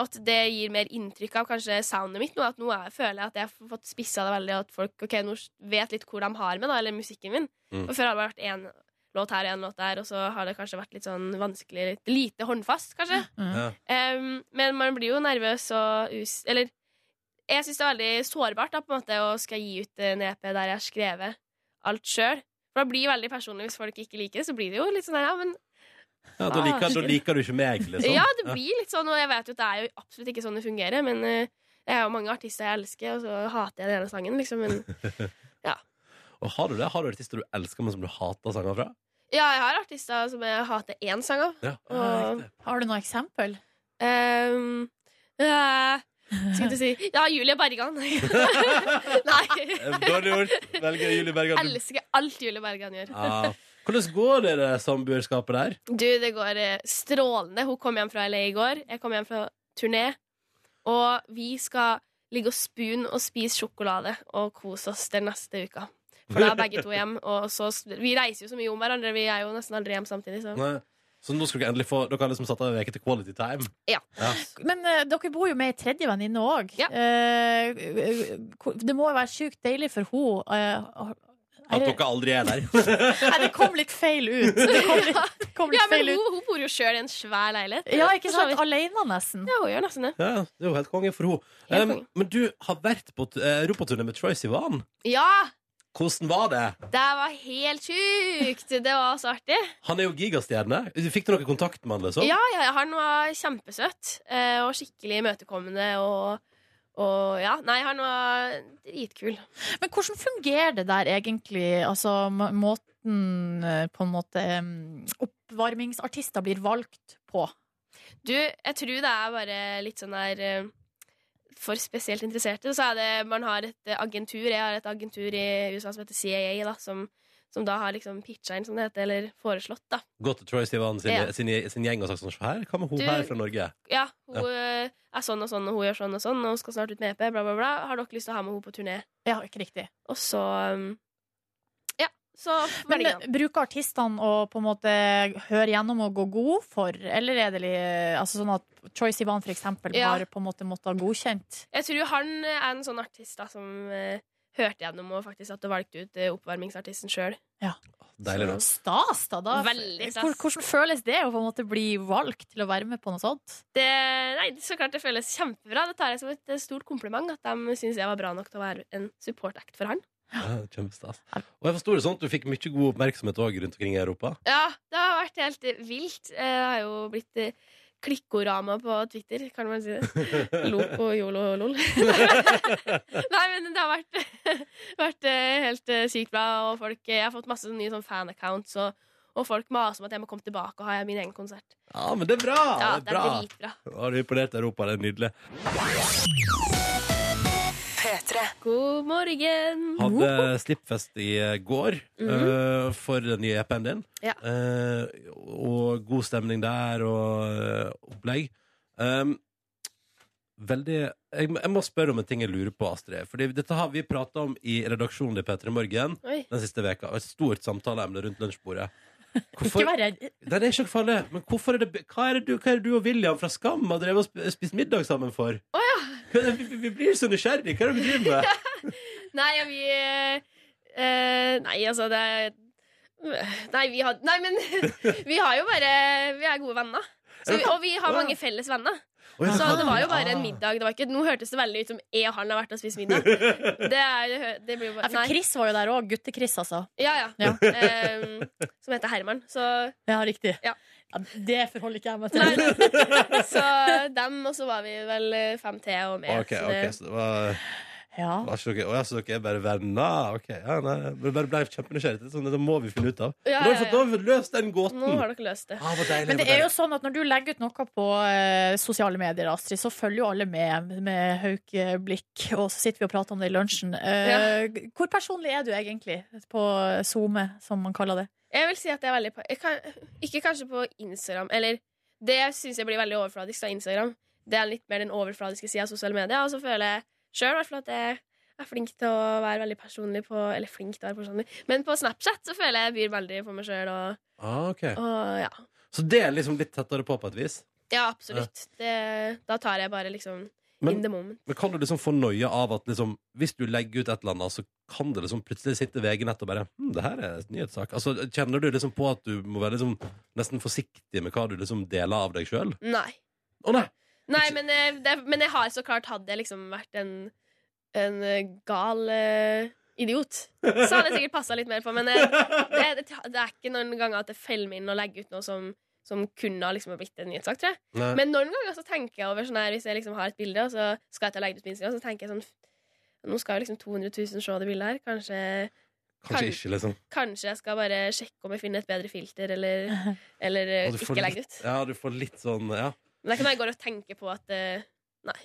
Speaker 7: at det gir mer inntrykk av kanskje soundet mitt nå. At nå er, føler jeg at jeg har fått spissa det veldig, og at folk ok, nå vet litt hvor de har meg, da, eller musikken min.
Speaker 2: Mm.
Speaker 7: For før har det bare vært én låt her og én låt der, og så har det kanskje vært litt sånn vanskelig, litt lite håndfast, kanskje.
Speaker 1: Mm.
Speaker 2: Ja.
Speaker 7: Em, men man blir jo nervøs og us... Eller jeg syns det er veldig sårbart da, på en måte, å skal gi ut en EP der jeg har skrevet alt sjøl. For det blir det veldig personlig hvis folk ikke liker det. Så blir det jo litt sånn her, ja, men
Speaker 2: Ja, da,
Speaker 7: Ah,
Speaker 2: liker, da
Speaker 7: skikkelig.
Speaker 2: liker du ikke meg, liksom.
Speaker 7: Ja, det blir litt sånn, og jeg vet jo at det er jo absolutt ikke sånn det fungerer, men eh, jeg har jo mange artister jeg elsker, og så hater jeg den ene sangen, liksom, men
Speaker 2: Og har du det? Har du artister du elsker, men som du hater sanger fra?
Speaker 7: Ja, jeg har artister som jeg hater én sang av.
Speaker 2: Ja.
Speaker 7: Og-
Speaker 2: riktig.
Speaker 1: Har du noe eksempel?
Speaker 7: Um, eh, Skulle til å si Ja, Julie Bergan. Nei.
Speaker 2: Eh, Dårlig gjort. Velger Julie Bergan. Du-
Speaker 7: Elsker alt Julie Bergan gjør.
Speaker 2: Ja. Hvordan går det i det samboerskapet der?
Speaker 7: Du, det går eh, strålende. Hun kom hjem fra LA i går. Jeg kom hjem fra turné. Og vi skal ligge og spoon og spise sjokolade og kose oss den neste uka. For da er begge to hjem. Og så, vi reiser jo så mye om hverandre. Vi er jo nesten aldri hjem samtidig. Så.
Speaker 2: Nei. Så nå skal dere endelig få Dere har liksom satt av en uke til quality time?
Speaker 7: Ja.
Speaker 1: Men eh, dere bor jo med ei tredje venninne òg.
Speaker 7: Ja.
Speaker 1: det må jo være sjukt deilig for eh, henne.
Speaker 2: At dere aldri er der?
Speaker 1: Nei, det kom litt feil ut. Det kom litt, det kom litt
Speaker 7: Ja, men
Speaker 1: feil
Speaker 7: hun,
Speaker 1: ut.
Speaker 7: hun bor jo sjøl i en svær leilighet.
Speaker 1: Ja, ikke
Speaker 7: For så
Speaker 1: sant?
Speaker 7: vidt.
Speaker 1: Alene, nesten.
Speaker 7: Ja, hun gjør nesten det.
Speaker 2: Ja, det er jo helt konge for
Speaker 7: Helt
Speaker 2: henne.
Speaker 7: konge.
Speaker 2: men du har vært på t- eh, europaturné med Troy Sivan.
Speaker 7: Ja!
Speaker 2: Hvordan var det?
Speaker 7: Det var helt sjukt! Det var så artig.
Speaker 2: Han er jo gigastjerne. Fikk du noe kontakt med han? liksom?
Speaker 7: Ja, ja, ja, han var kjempesøt eh, og skikkelig imøtekommende og og ja, Nei, han var dritkul.
Speaker 1: Men hvordan fungerer det der egentlig? Altså må- måten eh, på en måte eh, opp oppvarmingsartister blir valgt på?
Speaker 7: Du, jeg tror det er bare litt sånn der eh, For spesielt interesserte. Så er det Man har et eh, agentur. Jeg har et agentur i USA som heter CIA, da, som, som da har liksom pitcha inn, som det heter, eller foreslått, da.
Speaker 2: Gå til Troy Sivan sin,
Speaker 7: Ja.
Speaker 2: sin, sin gjeng og sagt sånn «Se Her, hva med hun
Speaker 7: Du-
Speaker 2: her fra Norge?
Speaker 7: Ja, hun eh, er sånn og sånn, og hun gjør sånn og sånn, og hun skal snart ut med EP, bla, bla, bla. Har dere lyst til å ha med henne på turné?
Speaker 1: Ja, ikke riktig.
Speaker 7: Og så um, Ja, så
Speaker 1: Men eh,
Speaker 7: velger han.
Speaker 1: bruker artistene å på en måte høre gjennom og gå god for, eller er det li, altså sånn at Troye Sivan for eksempel
Speaker 7: Ja.
Speaker 1: har på en måte måttet ha godkjent?
Speaker 7: Jeg tror han er en sånn artist da som eh, hørte gjennom og faktisk at du valgte ut eh, oppvarmingsartisten sjøl.
Speaker 2: Deilig, da.
Speaker 1: Stas, da! da.
Speaker 7: Veldig stas.
Speaker 1: Hvor- Hvordan føles det å på en måte bli valgt til å være med på noe sånt?
Speaker 7: Det, nei, så klart det føles kjempebra. Det tar jeg som et eh, stort kompliment at de syns jeg var bra nok til å være en support-act for han.
Speaker 2: Ja, Kjempestas. Og jeg forsto det sånn at du fikk mye god oppmerksomhet også rundt omkring i Europa.
Speaker 7: Ja, det har vært helt eh, vilt. Eh, Det har jo blitt eh, klikkorama på Twitter, kan man si det. Loco, yolo, lol. nei, men det har vært, vært eh, helt eh, sykt bra, og folk, eh, jeg har fått masse sånne nye sånn fan-accounts, og, og folk maser om at jeg må komme tilbake og ha min egen konsert.
Speaker 2: Ja, men det er bra!
Speaker 7: Ja,
Speaker 2: det er bra.
Speaker 7: dritbra.
Speaker 2: Har du imponert Europa? Det er nydelig.
Speaker 7: God morgen!
Speaker 2: Hadde slippfest i eh, går eh, for den nye EP-en din.
Speaker 7: Mhm. Ja.
Speaker 2: Eh, og god stemning der og eh, opplegg. Um, veldig jeg, må- jeg må spørre om en ting jeg lurer på, Astrid. Fordi dette har vi prata om i redaksjonen i P3 Morgen
Speaker 7: Oi.
Speaker 2: den siste veka. Og Et stort samtaleemne rundt lunsjbordet. Hvorfor,
Speaker 1: Ikke vær redd.
Speaker 2: Nei, det er ikke noe farlig, men hvorfor er det, hva, er det du, hva er det du og William fra Skam har drevet og sp- spist middag sammen for? Oh, ja. vi, vi blir så nysgjerrige. Hva er det vi driver med?
Speaker 7: Nei, ja, vi eh, Nei, altså, det er- Nei, vi har Nei, men vi har jo bare Vi er gode venner. Så vi, og vi har mange felles venner.
Speaker 2: Oi,
Speaker 7: Så det var jo bare en
Speaker 2: ah.
Speaker 7: middag. Det var ikke, nå hørtes det veldig ut som jeg og han har vært og spist middag. Det, er, det blir jo
Speaker 1: Ja,
Speaker 7: bare
Speaker 1: for
Speaker 7: Nei.
Speaker 1: Chris var jo der òg. Gutte-Chris, altså.
Speaker 7: Ja, ja. Em, som heter Herman. Så,
Speaker 1: Ja, riktig.
Speaker 7: Ja.
Speaker 1: Ja, det forholder ikke jeg meg til.
Speaker 7: nei, så dem, og så var vi vel eh, fem til og mer.
Speaker 2: Ok,
Speaker 7: så
Speaker 2: ok,
Speaker 7: det-
Speaker 2: så det var,
Speaker 1: Ja.
Speaker 2: var ikke dere Å ja, så dere er bare venner? Ah, Ok, ja, nei, men bare ble kjempenysgjerrig. Det, er sånn, det må vi finne ut av.
Speaker 7: Ja,
Speaker 2: Nå har vi
Speaker 7: ja,
Speaker 2: fått,
Speaker 7: ja.
Speaker 2: nå har vi fått løst den gåten!
Speaker 7: Nå har dere løst det.
Speaker 2: Ah, hvor deilig,
Speaker 1: Men det
Speaker 2: hvor
Speaker 1: er jo
Speaker 2: deilig.
Speaker 1: sånn at når du legger ut noe på eh, sosiale medier, Astrid, så følger jo alle med med haukeblikk, og så sitter vi og prater om det i lunsjen. Eh, Hvor personlig er du egentlig på SoMe, som man kaller det?
Speaker 7: Jeg vil si at det er veldig jeg kan, Ikke kanskje på Instagram Eller det synes jeg blir veldig overfladisk da, Instagram Det er litt mer den overfladiske siden av sosiale medier Og så føler jeg selv i hvert fall at jeg er flink til å være veldig personlig på, Eller flink til å være personlig Men på Snapchat så føler jeg jeg byr veldig på meg selv Og,
Speaker 2: Ah, ok.
Speaker 7: og ja.
Speaker 2: Så det er liksom litt tettere på på et vis?
Speaker 7: ja, absolutt det, Da tar jeg bare liksom
Speaker 2: Men-
Speaker 7: In the moment
Speaker 2: Men kan du liksom få noia av at liksom, hvis du legger ut et eller annet, så kan det liksom plutselig sitte VG-nett og bare hm, det her er en nyhetssak. Altså, kjenner du liksom på at du må være liksom nesten forsiktig med hva du liksom deler av deg sjøl?
Speaker 7: Nei
Speaker 2: Å nei!
Speaker 7: Nei, men, eh, det, men jeg har så klart Hadde jeg liksom vært en, en eh, gal eh, idiot, så hadde jeg sikkert passa litt mer på. Men eh, det, det, det er ikke noen ganger at jeg feller meg inn og legger ut noe som, som kunne ha liksom ha blitt en nyhetssak. tror jeg
Speaker 2: nei.
Speaker 7: Men noen ganger så tenker jeg over sånn her hvis jeg liksom har et bilde, og så skal jeg til å legge det ut på Instagram, så tenker jeg sånn Nå skal jo liksom 200 000 se det bildet her. Kanskje,
Speaker 2: Kanskje ikke, liksom.
Speaker 7: kanskje jeg skal bare sjekke om jeg finner et bedre filter, eller, eller eh,
Speaker 2: Og du får
Speaker 7: ikke legge det
Speaker 2: litt-
Speaker 7: ut.
Speaker 2: Ja, du får litt sånn Ja.
Speaker 7: Men det er ikke noe jeg går og tenker på at eh, Nei.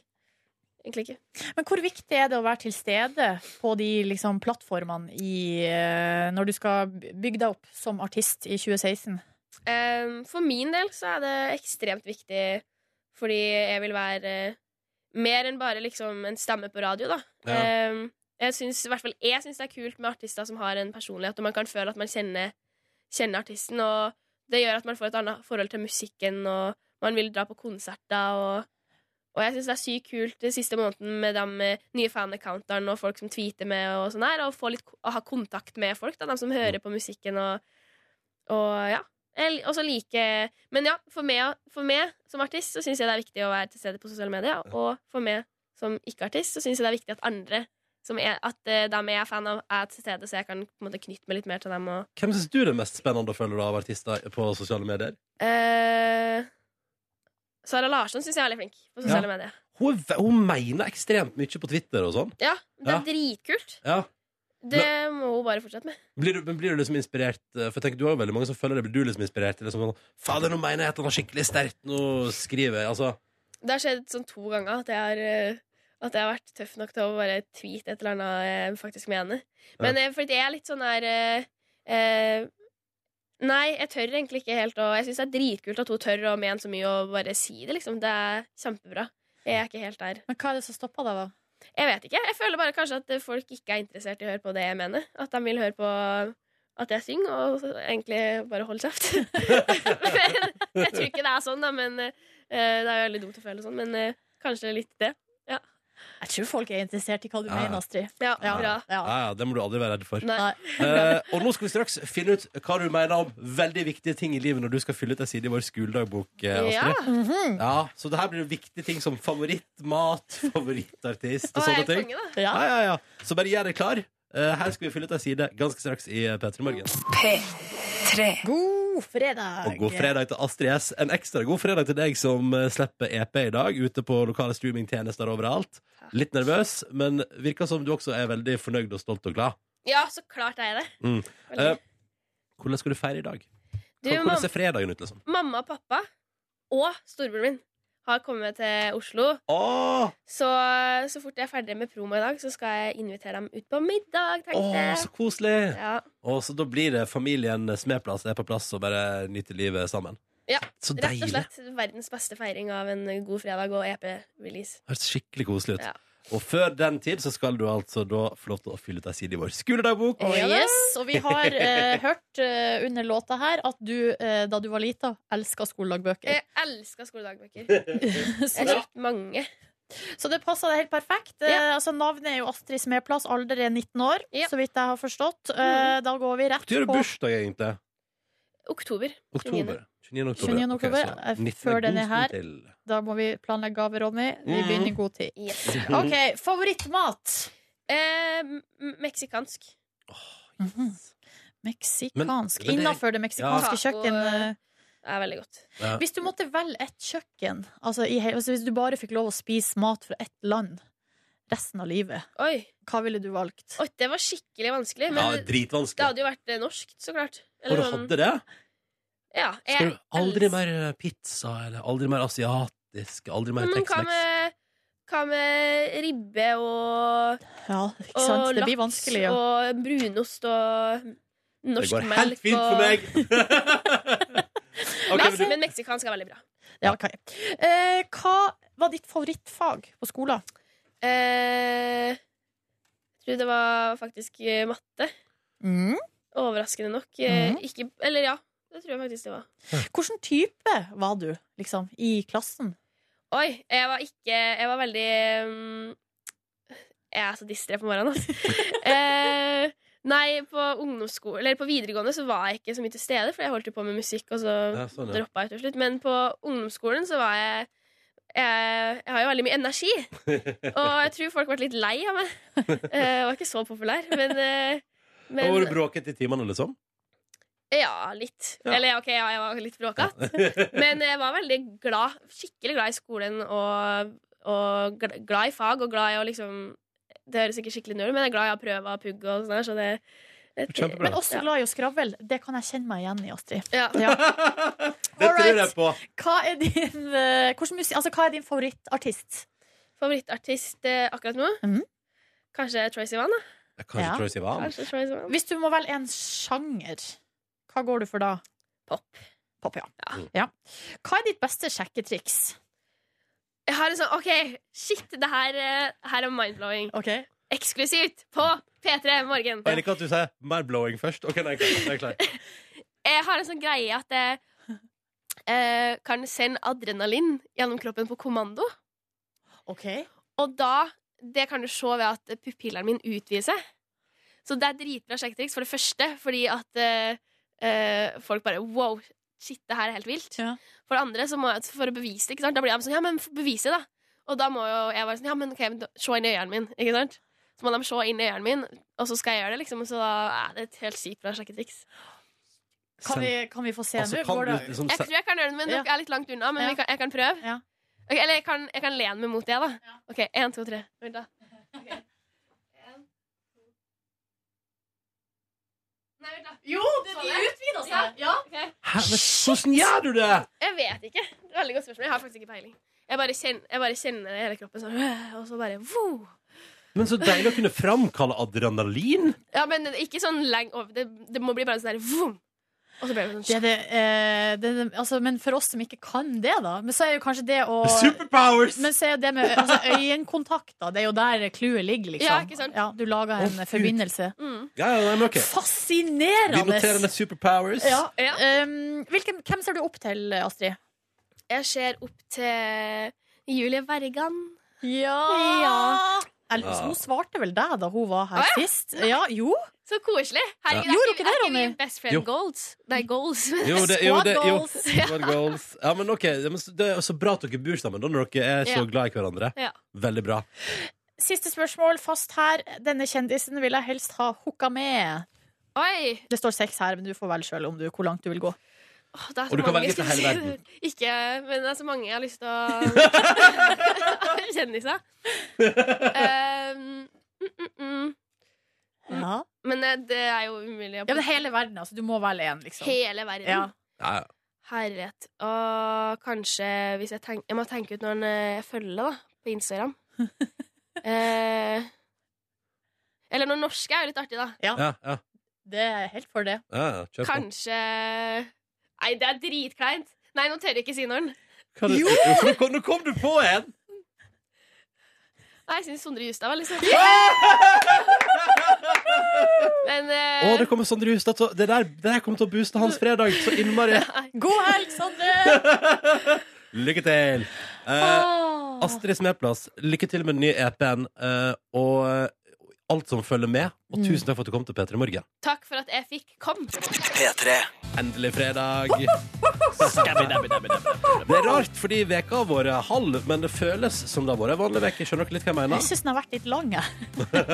Speaker 7: Egentlig ikke.
Speaker 1: Men hvor viktig er det å være til stede på de liksom, plattformene i, eh, når du skal bygge deg opp som artist i 2016?
Speaker 7: Ehm, for min del så er det ekstremt viktig, fordi jeg vil være eh, mer enn bare liksom en stemme på radio, da.
Speaker 2: Ja.
Speaker 7: Ehm, jeg syns, i hvert fall jeg syns det er kult med artister som har en personlighet, og man kan føle at man kjenner, kjenner artisten, og det gjør at man får et annet forhold til musikken, og man vil dra på konserter, og og jeg syns det er sykt kult den siste måneden med de eh, nye fan-accountene og folk som tweeter med, og sånn her, og få litt, ko- å ha kontakt med folk, da, de som hører på musikken, og, og ja. Jeg l- også liker Men ja, for meg, for meg som artist så syns jeg det er viktig å være til stede på sosiale medier. Og for meg som ikke-artist så syns jeg det er viktig at andre som er, at eh, dem jeg er fan av, er til stede, så jeg kan på en måte knytte meg litt mer til dem. Og,
Speaker 2: Hvem syns du er mest spennende å følge da av artister på sosiale medier?
Speaker 7: Eh, Sara Larsson syns jeg er veldig flink på sosiale medier.
Speaker 2: Hun, er ve- hun mener ekstremt mye på Twitter og sånn.
Speaker 7: Ja, Det
Speaker 2: Ja.
Speaker 7: er dritkult.
Speaker 2: Ja.
Speaker 7: Det må hun bare fortsette med.
Speaker 2: Blir du, men blir du liksom inspirert eh, For jeg tenker, du har jo veldig mange som følger deg. Blir du liksom inspirert til liksom sånn Fader, nå mener jeg at han var skikkelig sterkt. Nå skriver jeg Altså
Speaker 7: Det har skjedd sånn to ganger at jeg har, eh, at jeg har vært tøff nok til å bare tweete et eller annet jeg faktisk mener. Men eh, fordi jeg er litt sånn her eh, eh, Nei, jeg tør egentlig ikke helt å Jeg syns det er dritkult at hun tør å mene så mye og bare si det, liksom. Det er kjempebra. Jeg er ikke helt der.
Speaker 1: Men hva er det som stopper deg, da?
Speaker 7: Jeg vet ikke. Jeg føler bare kanskje at eh, folk ikke er interessert i å høre på det jeg mener. At de vil høre på at jeg synger, og så egentlig bare holde kjeft. Men jeg tror ikke det er sånn, da. Men eh, det er jo veldig dumt å føle sånn. Men eh, kanskje litt det.
Speaker 1: Jeg tror folk er interessert i hva du
Speaker 2: Ja.
Speaker 1: mener, Astrid.
Speaker 7: Ja,
Speaker 1: Ja.
Speaker 7: bra.
Speaker 2: Ja, ja, det må du aldri være redd for.
Speaker 7: Nei.
Speaker 1: Nei.
Speaker 2: Eh, og nå skal vi straks finne ut hva du mener om veldig viktige ting i livet når du skal fylle ut ei side i vår skoledagbok. eh,
Speaker 7: Ja. Mhm.
Speaker 2: Astrid. Ja, så det her blir jo viktige ting som favorittmat, favorittartist og
Speaker 7: Og jeg
Speaker 2: sånne
Speaker 7: er
Speaker 2: ting.
Speaker 7: konge, da.
Speaker 1: Ja.
Speaker 2: Ja, ja, ja. Så bare gjør deg klar. Eh, her skal vi fylle ut ei side ganske straks i eh, P3 Morgen.
Speaker 1: God fredag!
Speaker 2: Og god fredag til Astrid S. En ekstra god fredag til deg som eh, slipper EP i dag ute på lokale streamingtjenester overalt. Litt nervøs, men virker som du også er veldig fornøyd og stolt og glad.
Speaker 7: Ja, så klart er jeg det.
Speaker 2: Mm.
Speaker 7: Veldig.
Speaker 2: Eh, Hvordan skal du feire i dag?
Speaker 7: Du,
Speaker 2: Hvordan
Speaker 7: mam
Speaker 2: ser fredagen ut, liksom?
Speaker 7: mamma og pappa og storebroren min har kommet til Oslo.
Speaker 2: Åh,
Speaker 7: Så, så fort jeg er ferdig med promo i dag, så skal jeg invitere dem ut på middag, tenkte
Speaker 2: åh,
Speaker 7: jeg.
Speaker 2: så koselig!
Speaker 7: Ja.
Speaker 2: Og så da blir det familien Smedplass er på plass og bare nyter livet sammen.
Speaker 7: Ja,
Speaker 2: Så
Speaker 7: Rett og
Speaker 2: deilig!
Speaker 7: slett verdens beste feiring av en god fredag og E EP-release.
Speaker 2: Høres skikkelig koselig ut.
Speaker 7: Ja.
Speaker 2: Og før den tid så skal du altså da få lov til å fylle ut ei side i vår skoledagbok.
Speaker 1: Oh,
Speaker 7: Ja da.
Speaker 1: yes. Og vi har eh, hørt eh, under låta her at du, eh, da du var lita, elska skoledagbøker.
Speaker 7: Jeg elsker skoledagbøker. Jeg har kjøpt mange.
Speaker 1: Så det passa deg helt perfekt. Eh, altså, navnet er jo Astrid Smeplass, alder er 19 år,
Speaker 7: Ja. Mhm.
Speaker 1: så vidt jeg har forstått. Eh, da går vi rett
Speaker 2: Når er det
Speaker 1: på
Speaker 2: bursdag, egentlig?
Speaker 7: Oktober.
Speaker 2: Oktober. 29. oktober.
Speaker 1: 29.
Speaker 2: Ok,
Speaker 1: oktober.
Speaker 2: så
Speaker 1: Eh,
Speaker 2: 19.
Speaker 1: før den er
Speaker 2: god
Speaker 1: her.
Speaker 2: stund til.
Speaker 1: Da må vi planlegge gave, Ronny. Vi
Speaker 2: Mhm.
Speaker 1: begynner i god tid.
Speaker 7: Yes.
Speaker 1: OK, favorittmat.
Speaker 7: Eh, m- meksikansk.
Speaker 1: Mhm. Meksikansk.
Speaker 2: Men- men det-
Speaker 1: Innafor det meksikanske
Speaker 7: Ja.
Speaker 1: kjøkken. eh,
Speaker 7: Det er veldig godt.
Speaker 2: Ja.
Speaker 1: Hvis du måtte velge et kjøkken, altså, i, he- altså hvis du bare fikk lov å spise mat fra ett land resten av livet,
Speaker 7: Oi,
Speaker 1: hva ville du valgt?
Speaker 7: Oi det var skikkelig vanskelig.
Speaker 2: Ja,
Speaker 7: Men
Speaker 2: det er
Speaker 7: det
Speaker 2: dritvanskelig.
Speaker 7: hadde jo vært eh, norsk, så klart.
Speaker 2: Og du
Speaker 7: sånn-
Speaker 2: hadde det?
Speaker 7: ja, jeg
Speaker 2: Skal du aldri
Speaker 7: elsker-
Speaker 2: mer eh, pizza, eller aldri mer asiatisk, aldri mer
Speaker 7: Men Mm, hva
Speaker 2: Tex-Mex?
Speaker 7: med, hva med ribbe og,
Speaker 1: Ja, ikke
Speaker 7: og
Speaker 1: sant? Det blir
Speaker 7: laks
Speaker 1: vanskelig. Ja.
Speaker 7: og brunost og
Speaker 2: Det
Speaker 7: norsk
Speaker 2: går
Speaker 7: melk?
Speaker 2: helt fint for
Speaker 7: og-
Speaker 2: meg! Ok, men
Speaker 7: men,
Speaker 2: du,
Speaker 7: men meksikansk er veldig bra.
Speaker 1: Ja, ok. eh, hva var ditt favorittfag på skolen?
Speaker 7: Eh, jeg tror det var faktisk eh, matte.
Speaker 1: Mm.
Speaker 7: Overraskende nok. Eh,
Speaker 1: Mhm.
Speaker 7: Ikke Eller ja, det tror jeg faktisk det var.
Speaker 1: Hvilken type var du liksom, i klassen?
Speaker 7: Oi, jeg var ikke Jeg var veldig mm, Jeg er så distré på morgenen, altså. eh, nei, på ungdomsskole Eller på videregående så var jeg ikke så mye til stede, for jeg holdt jo på med musikk, og så
Speaker 2: Ja, sånn, ja.
Speaker 7: droppa jeg til slutt. Men på ungdomsskolen så var jeg jeg, jeg har jo veldig mye energi, og jeg tror folk ble litt lei av meg. Eh, Jeg var ikke så populær, men, eh,
Speaker 2: Da var
Speaker 7: men
Speaker 2: du bråket i timene, liksom?
Speaker 7: Ja, litt.
Speaker 2: Ja.
Speaker 7: Eller OK, ja, jeg var litt bråkete. Men jeg var veldig glad, skikkelig glad i skolen og, og gl- glad i fag og glad i å liksom Det høres ikke skikkelig nerd ut, men jeg er glad i å prøve og pugge og sånn her, så det et,
Speaker 2: Kjempebra.
Speaker 1: Men også glad i å skravle. Det kan jeg kjenne meg igjen i, Astrid.
Speaker 7: Ja.
Speaker 1: Ja.
Speaker 2: Det
Speaker 1: Alright.
Speaker 2: tror jeg på!
Speaker 1: Hva er din, eh, hvordan musi- altså, hva er din favorittartist?
Speaker 7: Favorittartist eh, akkurat nå?
Speaker 1: Mhm.
Speaker 7: Kanskje Troye Sivan, da?
Speaker 2: Jeg kan
Speaker 1: Ja.
Speaker 2: ikke tro jeg sier hva.
Speaker 7: Kanskje Troye Sivan.
Speaker 1: Hvis du må velge en sjanger, hva går du for da?
Speaker 7: Pop.
Speaker 1: Pop, ja.
Speaker 2: Mm.
Speaker 1: ja. Hva er ditt beste sjekketriks?
Speaker 7: Jeg har en sånn OK, shit, det her, eh, her er mind-blowing.
Speaker 1: Ok.
Speaker 7: Eksklusivt på P3 Morgen.
Speaker 2: Og jeg liker at du sier mer blowing først. Ok, nei, jeg er klar. Jeg er klar.
Speaker 7: Jeg har en sånn greie at jeg eh, kan sende adrenalin gjennom kroppen på kommando.
Speaker 1: Ok.
Speaker 7: Og da Det kan du se ved at pupillene mine utvider seg. Så det er dritbra sjekketriks, for det første fordi at eh, eh, folk bare Wow, shit, det her er helt vilt.
Speaker 1: Ja.
Speaker 7: For det andre, så må jeg, for å bevise det, ikke sant? da blir de sånn Ja, men bevis det, da. Og da må jo jeg være sånn Ja, men ok, men da- se inn i øynene mine, ikke sant? Så må de se inn i øynene mine, og så skal jeg gjøre det, liksom. Så da er det et helt sykt bra sjekketriks.
Speaker 1: Kan vi, kan vi få se
Speaker 2: Altså,
Speaker 1: nå?
Speaker 2: kan
Speaker 1: Går
Speaker 2: du
Speaker 1: det-
Speaker 2: liksom
Speaker 7: Jeg tror jeg kan gjøre det, men
Speaker 1: Ja.
Speaker 7: dere er litt langt unna. Men
Speaker 1: Ja.
Speaker 7: vi kan, jeg kan prøve.
Speaker 1: Ja.
Speaker 7: Ok, eller jeg kan, jeg kan lene meg mot det, da. OK, én, to, tre. Vent, da. Nei, vent, da.
Speaker 1: Jo, det
Speaker 7: Sånn,
Speaker 1: de
Speaker 7: ja.
Speaker 1: utvider seg! Ja.
Speaker 7: Ok.
Speaker 2: Hæ, men hvordan gjør du det?!
Speaker 7: Jeg vet ikke. Det er et Veldig godt spørsmål. Jeg har faktisk ikke peiling. Jeg bare kjenner, jeg bare kjenner det i hele kroppen sånn, øh, og så bare wow.
Speaker 2: Men så deilig å kunne framkalle adrenalin.
Speaker 7: Ja, men ikke sånn lenge over. Det, det må bli bare sånn der vroom. Og så blir det
Speaker 1: Det
Speaker 7: sånn
Speaker 1: er det, eh, det, er det, altså, men for oss som ikke kan det, da Men så er jo kanskje det å
Speaker 2: Superpowers!
Speaker 1: Men så er det med altså, øyekontakter. Det er jo der clouet ligger, liksom.
Speaker 7: Ja, ikke sant?
Speaker 1: du lager en
Speaker 2: Å, Gud.
Speaker 1: forbindelse.
Speaker 7: mm.
Speaker 2: Ja, ja, nei, men ok. Vi noterer
Speaker 1: Fascinerende!
Speaker 2: ned superpowers.
Speaker 1: Ja.
Speaker 7: Ja.
Speaker 1: Um, hvilken, hvem ser du opp til, Astrid?
Speaker 7: Jeg ser opp til Julie Bergan.
Speaker 1: Ja, Eller,
Speaker 2: Ja.
Speaker 1: Hun svarte vel deg da hun var her sist? Ja, jo.
Speaker 7: Så koselig! Herregud,
Speaker 1: Ja.
Speaker 7: er
Speaker 1: Gjorde
Speaker 7: ikke-
Speaker 1: dere det,
Speaker 7: er ikke vi
Speaker 1: Ronny?
Speaker 7: Best friend
Speaker 2: Jo.
Speaker 7: goals. Nei, goals.
Speaker 2: Jo, det, jo, det, jo.
Speaker 1: Squad goals.
Speaker 2: Squad goals. Ja, men ok, det, men så- det er så bra at dere bor sammen da, når dere er så
Speaker 7: Ja.
Speaker 2: glad i hverandre.
Speaker 7: Ja.
Speaker 2: Veldig bra.
Speaker 1: Siste spørsmål fast her. Denne kjendisen vil jeg helst ha hooka med.
Speaker 7: Oi!
Speaker 1: Det står seks her, men du får velge sjøl hvor langt du vil gå.
Speaker 7: Åh, det er så
Speaker 2: Og du kan
Speaker 7: mange,
Speaker 2: velge
Speaker 7: skulle
Speaker 2: fra hele
Speaker 7: jeg si.
Speaker 2: verden.
Speaker 7: Ikke, men det er så mange jeg har lyst til å Kjendiser. Um, mm, mm, mm.
Speaker 1: Ja.
Speaker 7: Men eh, det er jo umulig. å-
Speaker 1: men hele verden, altså. Du må velge én, liksom.
Speaker 7: Hele verden.
Speaker 1: Ja.
Speaker 2: Ja, ja.
Speaker 7: Herlighet. Og kanskje hvis jeg tenker Jeg må tenke ut noen eh, jeg følger, da, på Instagram. eh, eller noen norske er jo litt artig, da.
Speaker 2: ja, ja,
Speaker 1: Det er helt for det.
Speaker 2: ja, ja. Kjør på.
Speaker 7: Kanskje Nei, det er dritkleint. Nei, nå tør jeg ikke si noen.
Speaker 2: Kan du-
Speaker 1: Jo!
Speaker 2: Nå kom, nå kom du på en!
Speaker 7: Nei, jeg syns Sondre Justad var litt sånn Men
Speaker 2: Å,
Speaker 7: eh,
Speaker 2: det kommer Sondre Hustad. så- Det der, det der kommer til å booste hans fredag så innmari.
Speaker 1: God helg, Sondre!
Speaker 2: Lykke til! Eh, Astrid Smeplass, lykke til med den nye EP-en eh, og eh, alt som følger med. Og
Speaker 1: Mm.
Speaker 2: tusen takk for at du kom til P3 Morgen.
Speaker 7: takk for at jeg fikk komme.
Speaker 4: P3.
Speaker 2: Endelig fredag! Det er rart, fordi veka har vært halv, men det føles som det har vært en vanlig veke. Skjønner dere litt hva jeg
Speaker 1: Jeg
Speaker 2: mener?
Speaker 1: syns den har vært litt lang, jeg.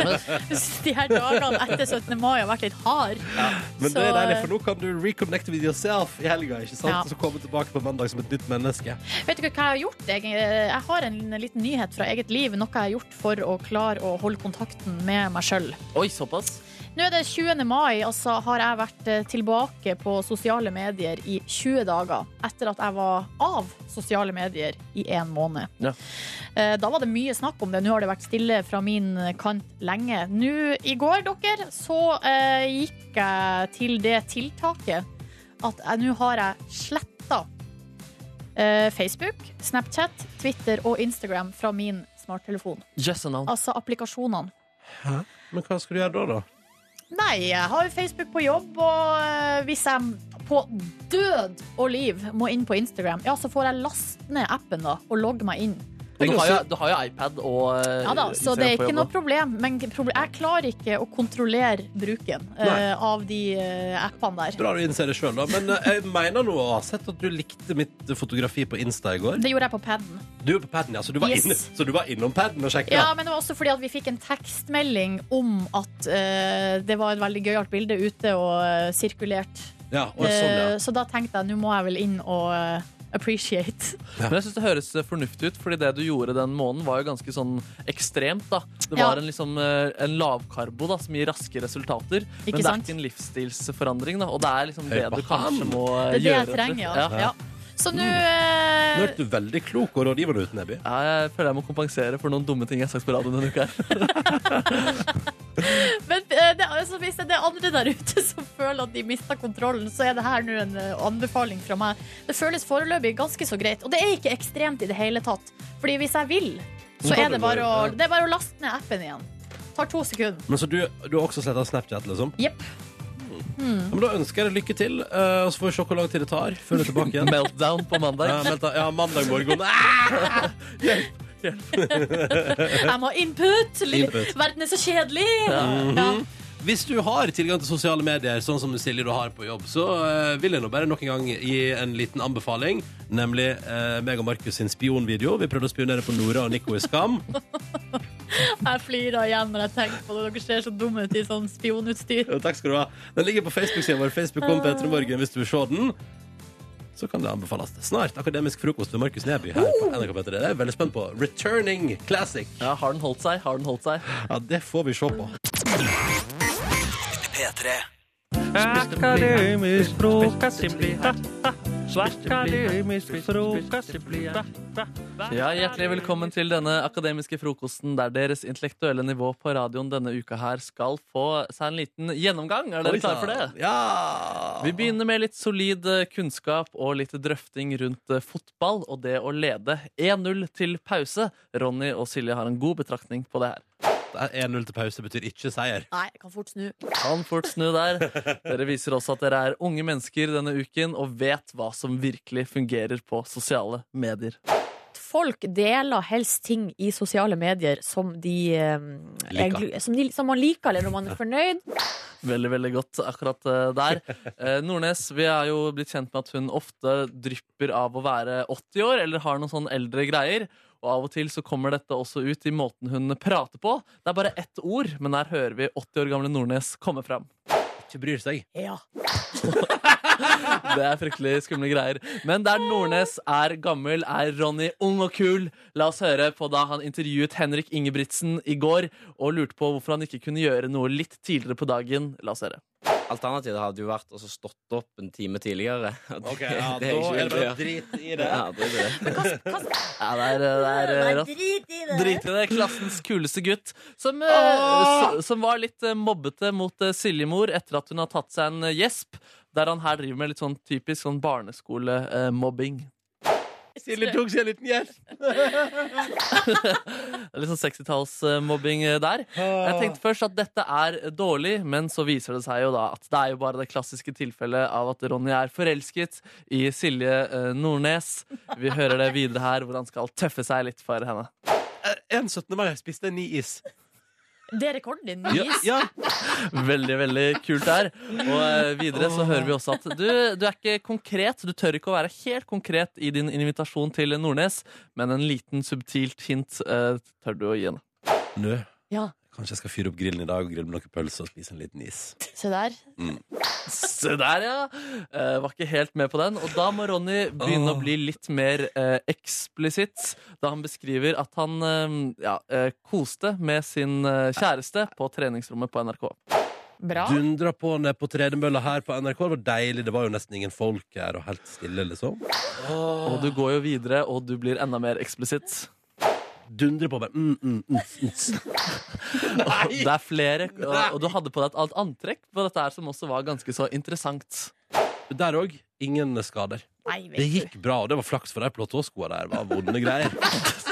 Speaker 1: Jeg synes De her dagene etter 17. mai har vært litt hard.
Speaker 2: Men det
Speaker 1: Så-
Speaker 2: er deilig, for nå kan du reconnecte with yourself i helga, ikke sant?
Speaker 1: Ja.
Speaker 2: Og så komme tilbake på mandag som et nytt menneske.
Speaker 1: Vet dere hva jeg har gjort? Jeg, eh, jeg har en liten nyhet fra eget liv. Noe jeg har gjort for å klare å holde kontakten med meg sjøl.
Speaker 3: Oi, såpass?
Speaker 1: Nå er det 20. mai, og så har jeg vært eh, tilbake på sosiale medier i 20 dager. Etter at jeg var av sosiale medier i en måned.
Speaker 3: Ja.
Speaker 1: Eh, Da var det mye snakk om det. Nå har det vært stille fra min kant lenge. Nå i går, dere, så eh, gikk jeg til det tiltaket at jeg- nå har jeg sletta Facebook, Snapchat, Twitter og Instagram fra min smarttelefon.
Speaker 3: Jøss og navn.
Speaker 1: Altså applikasjonene.
Speaker 2: Men hva skal du gjøre da, da?
Speaker 1: Nei, jeg har jo Facebook på jobb, og eh, hvis jeg på død og liv må inn på Instagram, ja, så får jeg laste ned appen da, og logge meg inn.
Speaker 3: Og Du, har jo- du har jo iPad og eh,
Speaker 1: Ja da, Så
Speaker 3: Instagram
Speaker 1: det er ikke
Speaker 3: på jobb,
Speaker 1: noe
Speaker 3: da.
Speaker 1: problem, men proble- jeg klarer ikke å kontrollere bruken eh,
Speaker 2: Nei.
Speaker 1: av de eh, appene der.
Speaker 2: Bra du innser det sjøl, da. Men eh, jeg mener nå å ha sett at du likte mitt fotografi på Insta i går.
Speaker 1: Det gjorde jeg på paden.
Speaker 2: Du er på paden, ja, så du var,
Speaker 1: Yes.
Speaker 2: inne, så du var innom paden og sjekka?
Speaker 1: Ja, men det var også fordi at vi fikk en tekstmelding om at eh, det var et veldig gøyalt bilde ute og eh, sirkulert.
Speaker 2: Ja, og sånn, ja.
Speaker 1: Eh, så da tenkte jeg nå må jeg vel inn og eh, appreciate.
Speaker 3: Men jeg synes det høres eh, fornuftig ut, fordi det du gjorde den måneden, var jo ganske sånn ekstremt. da Det
Speaker 1: Ja.
Speaker 3: var en, liksom, eh, en lavkarbo da som gir raske resultater,
Speaker 1: Ikke
Speaker 3: men det er
Speaker 1: sant?
Speaker 3: ikke en livsstilsforandring. da Og det er liksom det
Speaker 2: Hør på
Speaker 3: du kanskje
Speaker 2: han.
Speaker 3: må eh,
Speaker 1: Det er det
Speaker 3: gjøre.
Speaker 1: jeg trenger, ja.
Speaker 3: Ja.
Speaker 1: ja. Så nå
Speaker 2: Nå
Speaker 1: eh,
Speaker 2: hørte du veldig klok og rådgivende ut, Neby.
Speaker 3: Ja, jeg føler jeg må kompensere for noen dumme ting jeg har sagt på radioen denne uka. her.
Speaker 1: Men eh, det, altså, hvis det er andre der ute som føler at de mista kontrollen, så er det her nå en eh, anbefaling fra meg. Det føles foreløpig ganske så greit. Og det er ikke ekstremt i det hele tatt. Fordi hvis jeg vil, så
Speaker 2: kan
Speaker 1: er
Speaker 2: du
Speaker 1: det bare å,
Speaker 2: bare- ja.
Speaker 1: det er bare å laste ned appen igjen. Tar to sekunder.
Speaker 2: Men så du, du har også sletta Snapchat, liksom? Hmm.
Speaker 1: Jepp.
Speaker 2: Ja, men da ønsker jeg deg lykke til, eh, og så får vi se hvor lang tid det tar før du er tilbake igjen.
Speaker 3: Meltdown på mandag.
Speaker 2: Ja, vent da. ja, mandag morgen. Ah!
Speaker 1: Jeg må ha input! Lille-
Speaker 2: Input.
Speaker 1: Verden er så kjedelig! Ja.
Speaker 2: Hvis du har tilgang til sosiale medier, sånn som Silje du har på jobb, så eh, vil jeg nå bare nok en gang gi en liten anbefaling, nemlig eh, meg og Markus sin spionvideo. Vi prøvde å spionere på Nora og Nico i Skam.
Speaker 1: Jeg flirer igjen når jeg tenker på det. Dere ser så dumme ut i sånn spionutstyr.
Speaker 2: Ja, takk skal du ha. Den ligger på Facebook-siden vår. Facebook.com Petra Morgen hvis du vil se den. Så kan det anbefales. Snart akademisk frokost ved Markus Neby her på NRK P3. Det er jeg veldig spent på. Returning classic.
Speaker 3: Ja, har den holdt seg? Har den holdt seg?
Speaker 2: Ja, det får vi se på.
Speaker 4: P3.
Speaker 8: Akademisk frokost det blir Akademisk frokost det blir
Speaker 3: Ja, Hjertelig velkommen til denne akademiske frokosten der deres intellektuelle nivå på radioen denne uka her skal få seg en liten gjennomgang. Er dere klare for det?
Speaker 2: Ja!
Speaker 3: Vi begynner med litt solid eh, kunnskap og litt drøfting rundt eh, fotball og det å lede 1-0 til pause. Ronny og Silje har en god betraktning på det her.
Speaker 2: Det er 1-0 til pause betyr ikke seier.
Speaker 1: Nei, jeg kan fort snu.
Speaker 3: Kan fort snu der. Dere viser også at dere er unge mennesker denne uken og vet hva som virkelig fungerer på sosiale medier.
Speaker 9: Folk deler helst ting i sosiale medier som de, eh,
Speaker 2: Liker.
Speaker 9: egentlig- som, de som man liker, eller når man er fornøyd.
Speaker 3: Veldig, veldig godt akkurat eh, der. Eh, Nordnes, vi er jo blitt kjent med at hun ofte drypper av å være 80 år, eller har noen sånn eldre greier. Og av og til så kommer dette også ut i måten hun prater på. Det er bare ett ord, men der hører vi 80 år gamle Nordnes komme fram.
Speaker 2: Ikke bryr seg.
Speaker 1: Ja.
Speaker 3: Det er fryktelig skumle greier. Men der Nordnes er gammel, er Ronny ung og kul. La oss høre på da han intervjuet Henrik Ingebrigtsen i går og lurte på hvorfor han ikke kunne gjøre noe litt tidligere på dagen. La oss høre.
Speaker 10: Alternativet hadde jo vært å stått opp en time tidligere. Og
Speaker 2: Ok, ja,
Speaker 10: det er ikke
Speaker 2: Da er det
Speaker 10: mulig å
Speaker 2: bare å
Speaker 10: gjøre.
Speaker 2: drite i det.
Speaker 10: Ja, det er det.
Speaker 3: Ja, det er, det er eh, rått.
Speaker 9: Drit i
Speaker 3: Drit i det. Klassens kuleste gutt. Som, eh, s- som var litt eh, mobbete mot eh, Siljemor etter at hun har tatt seg en eh, gjesp. Der han her driver med litt sånn typisk sånn barneskolemobbing.
Speaker 2: Silje tok seg en liten gjest.
Speaker 3: Litt sånn 60-tallsmobbing eh, der. Jeg tenkte først at dette er dårlig, men så viser det seg jo da at det er jo bare det klassiske tilfellet av at Ronny er forelsket i Silje eh, Nordnes. Vi hører det videre her, hvor han skal tøffe seg litt for henne.
Speaker 2: Eh, En 17. mai spiste jeg ni is.
Speaker 1: Det er rekorden din.
Speaker 2: Ja,
Speaker 1: Yes.
Speaker 2: ja.
Speaker 3: Veldig, veldig kult der. Og eh, videre så hører vi også at du, du er ikke konkret. Du tør ikke å være helt konkret i din invitasjon til Nordnes, men en liten subtilt hint eh, tør du å gi henne.
Speaker 2: Nå.
Speaker 9: Ja.
Speaker 2: Kanskje jeg skal fyre opp grillen i dag og grille med noen pølser og spise en liten is.
Speaker 9: Se der.
Speaker 3: Se der, ja! Eh, var ikke helt med på den. Og da må Ronny begynne å bli litt mer eh, eksplisitt da han beskriver at han eh, ja, eh, koste med sin eh, kjæreste på treningsrommet på NRK.
Speaker 9: Bra.
Speaker 2: Dundra på ned på tredemølla her på NRK. Det var deilig. Det var jo nesten ingen folk her, og helt stille, liksom.
Speaker 3: Og du går jo videre, og du blir enda mer eksplisitt.
Speaker 2: Dundre på bare mm, mm, mm, mm.
Speaker 3: Det er flere, og, og du hadde på deg et annet antrekk på dette her som også var ganske så interessant.
Speaker 2: Der òg. Ingen skader.
Speaker 1: Nei, vet
Speaker 2: Det
Speaker 1: du.
Speaker 2: gikk bra, og det var flaks for de platåskoa der. var vonde greier.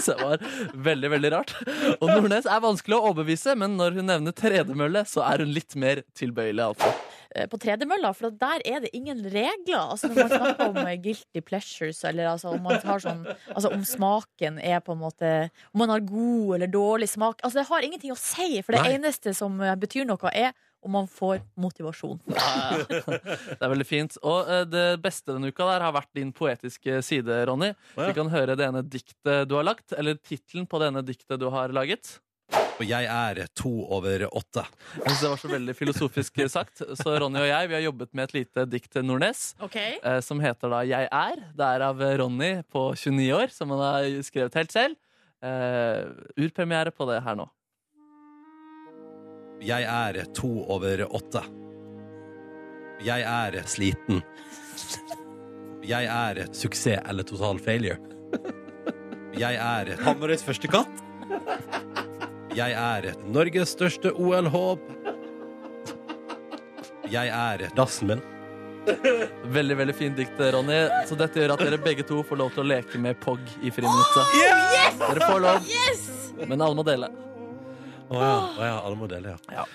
Speaker 3: Så det var veldig, veldig rart. Og Nordnes er vanskelig å overbevise, men når hun nevner tredemølle, så er hun litt mer tilbøyelig, altså.
Speaker 9: Eh, På tredemølla, for der er det ingen regler. Altså Når man snakker om eh, guilty pleasures, eller altså om man tar sånn Altså om smaken er på en måte Om man har god eller dårlig smak. Altså Det har ingenting å si, for det
Speaker 2: Nei.
Speaker 9: eneste som eh, betyr noe, er om man får motivasjon.
Speaker 3: Det er veldig fint. Og eh, det beste denne uka der har vært din poetiske side, Ronny.
Speaker 2: Å, ja.
Speaker 3: Vi kan høre det ene diktet du har lagt, eller tittelen på det ene diktet du har laget.
Speaker 2: Og jeg er to over åtte.
Speaker 3: Jeg synes det var så veldig filosofisk sagt. Så Ronny og jeg vi har jobbet med et lite dikt til Nordnes.
Speaker 1: OK.
Speaker 3: eh, som heter da Jeg er. Det er av eh, Ronny på 29 år, som han har skrevet helt selv. Eh, urpremiere på det her nå.
Speaker 2: Jeg er to over åtte. Jeg er sliten. Jeg er suksess eller total failure. Jeg er Hamarøys første katt. Jeg er Norges største OL-håp. Jeg er dassen min.
Speaker 3: Veldig veldig fint dikt, eh, Ronny. Så dette gjør at dere begge to får lov til å leke med POG i friminuttet. Dere får lov, men alle må dele.
Speaker 2: Å ja. Å, ja. Alle må dele, ja.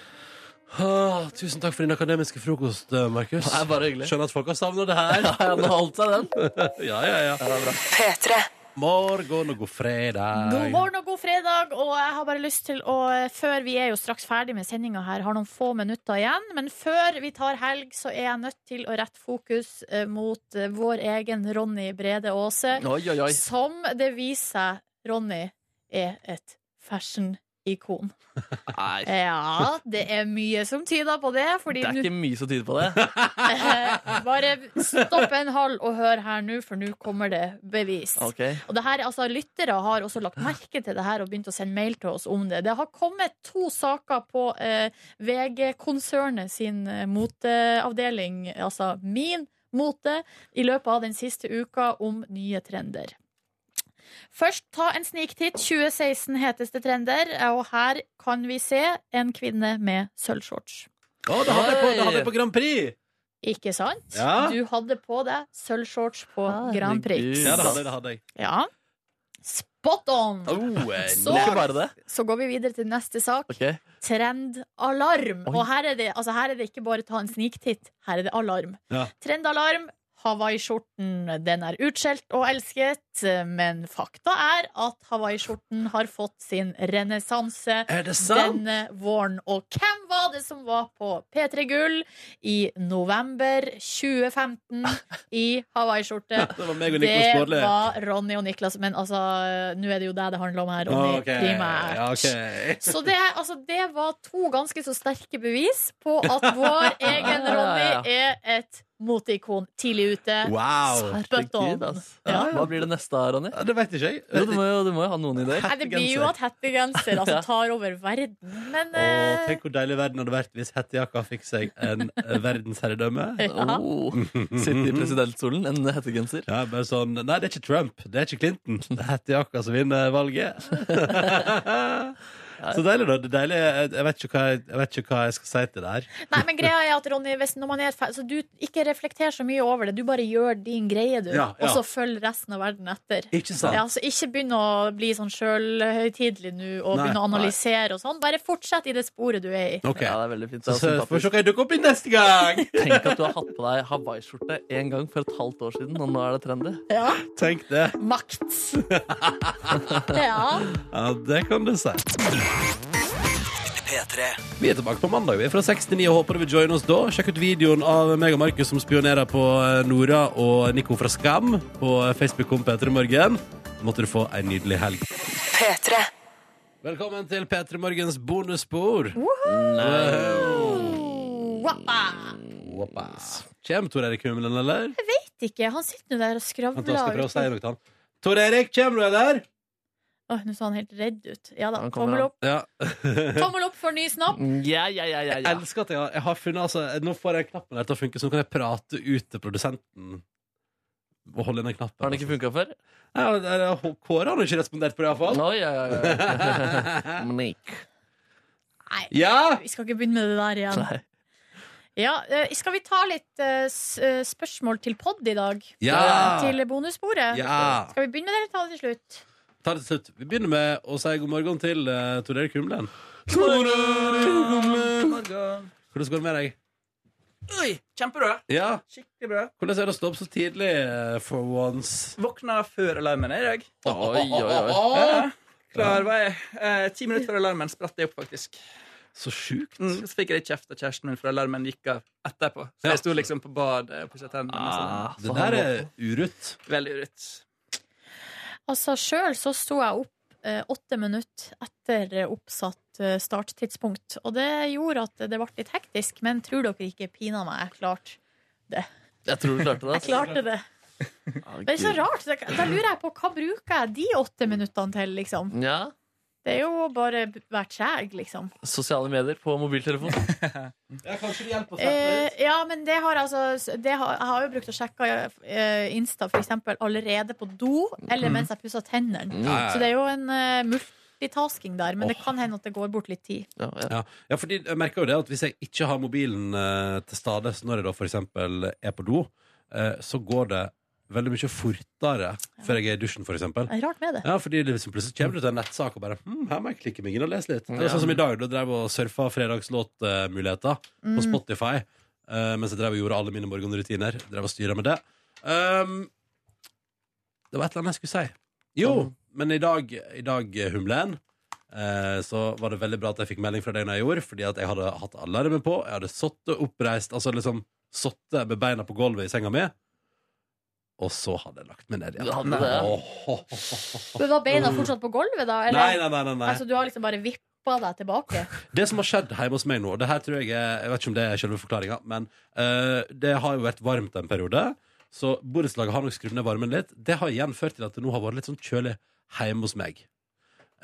Speaker 2: Ah, tusen takk for din akademiske frokost, eh, Markus.
Speaker 3: Det er bare hyggelig.
Speaker 2: Skjønner at folk har savna det her.
Speaker 3: Ja, nå holdt seg den.
Speaker 2: ja, ja, ja. Morgen og god fredag.
Speaker 1: God morgen og god fredag. Og jeg har bare lyst til å Før vi er jo straks ferdig med sendinga her, har noen få minutter igjen. Men før vi tar helg, så er jeg nødt til å rette fokus eh, mot eh, vår egen Ronny Brede Aase.
Speaker 3: Oi, oi, oi.
Speaker 1: Som det viser seg, Ronny, er et fashion ikon.
Speaker 3: Nei.
Speaker 1: Ja, det er mye som tyder på det. Fordi
Speaker 3: Det er
Speaker 1: nå-
Speaker 3: ikke mye som tyder på det.
Speaker 1: Eh, Bare stopp en hal og hør her nå, for nå kommer det bevis.
Speaker 3: Ok.
Speaker 1: Og det her, altså Lyttere har også lagt merke til det her og begynt å sende mail til oss om det. Det har kommet to saker på eh, VG-konsernet sin eh, moteavdeling, altså min mote, i løpet av den siste uka om nye trender. Først ta en sniktitt. 2016 heteste trender, og her kan vi se en kvinne med sølvshorts.
Speaker 2: Å, det hadde jeg på, det hadde jeg på Grand Prix!
Speaker 1: Ikke sant?
Speaker 2: Ja.
Speaker 1: Du hadde på deg sølvshorts på Grand Prix.
Speaker 2: Ja, det hadde jeg. Det hadde jeg.
Speaker 1: Ja. Spot on! eh.
Speaker 3: Så ikke bare det.
Speaker 1: så går vi videre til neste sak.
Speaker 3: Ok.
Speaker 1: Trendalarm. Og her er, det, altså her er det ikke bare ta en sniktitt, her er det alarm.
Speaker 2: Ja.
Speaker 1: Trendalarm. Hawaiiskjorten den er utskjelt og elsket, men fakta er at hawaiiskjorten har fått sin renessanse
Speaker 2: Er det
Speaker 3: Sånn.
Speaker 2: sant?
Speaker 1: denne våren. Og hvem var det som var på P3 Gull i november 2015 i hawaiiskjorte?
Speaker 2: Det var meg og Niklas Baarli.
Speaker 1: Det var Ronny og Niklas, men altså, nå er det jo deg det handler om her, Ronny.
Speaker 2: Ah, Ok,
Speaker 1: Primært.
Speaker 2: ja, ok.
Speaker 1: Så det, er- altså, det var to ganske så sterke bevis på at vår egen Ronny er et moteikon. Tidlig ute.
Speaker 2: Wow!
Speaker 1: Spot on.
Speaker 3: Herregud, ass. Hva blir det neste, Ronny?
Speaker 2: Ja, det vet ikke jeg.
Speaker 3: Jo, du, må jo, du må jo ha noen ideer.
Speaker 1: Nei, det blir jo at hettegenser altså, tar over verden, men
Speaker 2: Å,
Speaker 1: eh,
Speaker 2: tenk hvor deilig verden hadde vært hvis hettejakka fikk seg en eh, verdensherredømme.
Speaker 1: ja.
Speaker 3: Oh, sitte i presidentstolen, en hettegenser.
Speaker 2: Ja, bare sånn Nei, det er ikke Trump. Det er ikke Clinton. Det er hettejakka som vinner valget. Så deilig, da. Det er deilig. Jeg- Jeg vet, ikke hva jeg, jeg vet ikke hva jeg skal si til det her.
Speaker 1: Nei, men greia er at Ronny, hvis når man er fer- så du ikke reflekterer så mye over det. Du bare gjør din greie, du.
Speaker 2: Ja, ja.
Speaker 1: Og så følger resten av verden etter.
Speaker 2: Ikke sant?
Speaker 1: Ja, så ikke begynn å bli sånn sjølhøytidelig nå og
Speaker 2: Nei,
Speaker 1: begynne å
Speaker 2: nei.
Speaker 1: analysere og sånn. Bare fortsett i det sporet du er i.
Speaker 2: OK.
Speaker 3: Ja, det er veldig fint. Det
Speaker 2: Så får
Speaker 3: er
Speaker 2: vi se
Speaker 3: sympatisk.
Speaker 2: hva jeg dukker opp i neste gang!
Speaker 3: Tenk at du har hatt på deg hawaiiskjorte en gang for et halvt år siden, og nå er det trendy.
Speaker 1: Ja.
Speaker 2: Tenk det.
Speaker 1: Makt. Ja.
Speaker 2: Ja, det kan du si. Vi er tilbake på mandag. Vi er fra 6 til 9 og håper du vil joine oss da. Sjekk ut videoen av meg og Markus som spionerer på eh, Nora og Nico fra Skam på eh, Facebook-kom Peter i morgen. Måtte du få ei nydelig helg. Velkommen til P3 Morgens bonusspor.
Speaker 1: Wappa.
Speaker 2: Kjem Tor Erik Humlen, eller? Vent,
Speaker 1: Vet ikke. Han sitter nå der og
Speaker 2: da skal jeg
Speaker 1: skravler.
Speaker 2: prøve å si noe til han. Tor Erik, kjem du, eller?
Speaker 1: Åh, nå så han helt redd ut. Ja da.
Speaker 3: Han kommer,
Speaker 1: Tommel
Speaker 3: han.
Speaker 1: opp.
Speaker 2: Ja.
Speaker 1: Tommel opp for ny snapp.
Speaker 3: Ja, ja, ja, ja,
Speaker 2: Jeg
Speaker 3: ja.
Speaker 2: elsker at jeg har, jeg har funnet altså, Nå får jeg knappen her til å funke, så nå kan jeg prate ut til produsenten. Og holde inn den knappen.
Speaker 3: Har den ikke funka før?
Speaker 2: Ja, det er- Kåre har jo ikke respondert på det, iallfall.
Speaker 3: Å, ja, ja, ja. Monique.
Speaker 1: Nei,
Speaker 2: Ja!
Speaker 1: vi skal ikke begynne med det der igjen.
Speaker 3: Nei.
Speaker 1: Ja, eh, skal vi ta litt eh, s- eh, spørsmål til podd i dag?
Speaker 2: Ja!
Speaker 1: Til bonussporet?
Speaker 2: Ja.
Speaker 1: Skal vi begynne med det, eller ta det til slutt?
Speaker 2: Ta det til slutt. Vi begynner med å si god morgen til uh, Tor Erik Humlen.
Speaker 5: Morgen.
Speaker 2: Hvordan går det med deg?
Speaker 5: Oi, kjempebra.
Speaker 2: Ja,
Speaker 5: Skikkelig bra.
Speaker 2: Hvordan er det å stå opp så tidlig eh, for once?
Speaker 5: Våkna før alarmen i dag.
Speaker 3: Oi, oi, oi.
Speaker 5: Ja, klar var jeg. Eh, ti minutter før alarmen spratt jeg opp, faktisk.
Speaker 2: Så sjukt.
Speaker 5: Mm, så fikk jeg litt kjeft av kjæresten min, for alarmen gikk av etterpå. Så jeg sto liksom på badet og pusset tennene. og
Speaker 3: Ah,
Speaker 2: Det der er urutt.
Speaker 5: sånn. Veldig urutt.
Speaker 1: Altså, sjøl så sto jeg opp eh, åtte minutter etter eh, oppsatt eh, starttidspunkt. Og det gjorde at det ble litt hektisk, men tror dere ikke pina meg jeg klarte
Speaker 3: Jeg tror du klarte det.
Speaker 1: Jeg klarte det.
Speaker 3: ass.
Speaker 1: Det er så rart. Det- Da lurer jeg på hva bruker jeg de åtte minuttene til, liksom.
Speaker 3: Ja.
Speaker 1: Det er jo bare b- vært skjæg, liksom.
Speaker 3: Sosiale medier på mobiltelefon.
Speaker 2: Ja, kanskje det hjelper
Speaker 1: Eh, ja, men det har altså det har, Jeg har jo brukt å sjekke eh, Insta for eksempel allerede på do eller mens jeg pusser tennene.
Speaker 2: Mm. Ja, ja,
Speaker 1: Så det er jo en eh, multitasking der, men det
Speaker 2: Åh.
Speaker 1: kan hende at det går bort litt tid.
Speaker 3: Ja, ja.
Speaker 2: Ja, ja fordi jeg merker jo det at hvis jeg ikke har mobilen eh, til stede så når jeg da for eksempel er på do, eh, så går det veldig mye fortere før jeg er i dusjen, for eksempel.
Speaker 1: Det er rart med det.
Speaker 2: Ja, fordi liksom plutselig kommer du til en nettsak og bare hm, her må jeg klikke meg inn og lese litt. Det er sånn som i dag, da drev jeg og surfa fredagslåtmuligheter
Speaker 3: Mm.
Speaker 2: på Spotify, eh, mens jeg drev og gjorde alle mine morgenrutiner. Drev og styra med det. Um, det var et eller annet jeg skulle si. Jo, men i dag, i dag Humlen, eh, så var det veldig bra at jeg fikk melding fra deg når jeg gjorde, fordi at jeg hadde hatt alarmen på, jeg hadde sittet oppreist, altså liksom sittet med beina på gulvet i senga mi, og så hadde jeg lagt meg ned
Speaker 3: Du
Speaker 2: igjen.
Speaker 3: hadde det.
Speaker 2: Åh,
Speaker 1: Men Var beina fortsatt på gulvet, da? Eller?
Speaker 2: Nei, nei, nei, nei, nei.
Speaker 1: Altså, du har liksom bare vippa
Speaker 9: nappa deg tilbake.
Speaker 2: Det som har skjedd hjemme hos meg nå det her tror Jeg er, jeg vet ikke om det er selve forklaringa, men eh, det har jo vært varmt en periode. Så borettslaget har nok skrudd ned varmen litt. Det har igjen ført til at det nå har vært litt sånn kjølig hjemme hos meg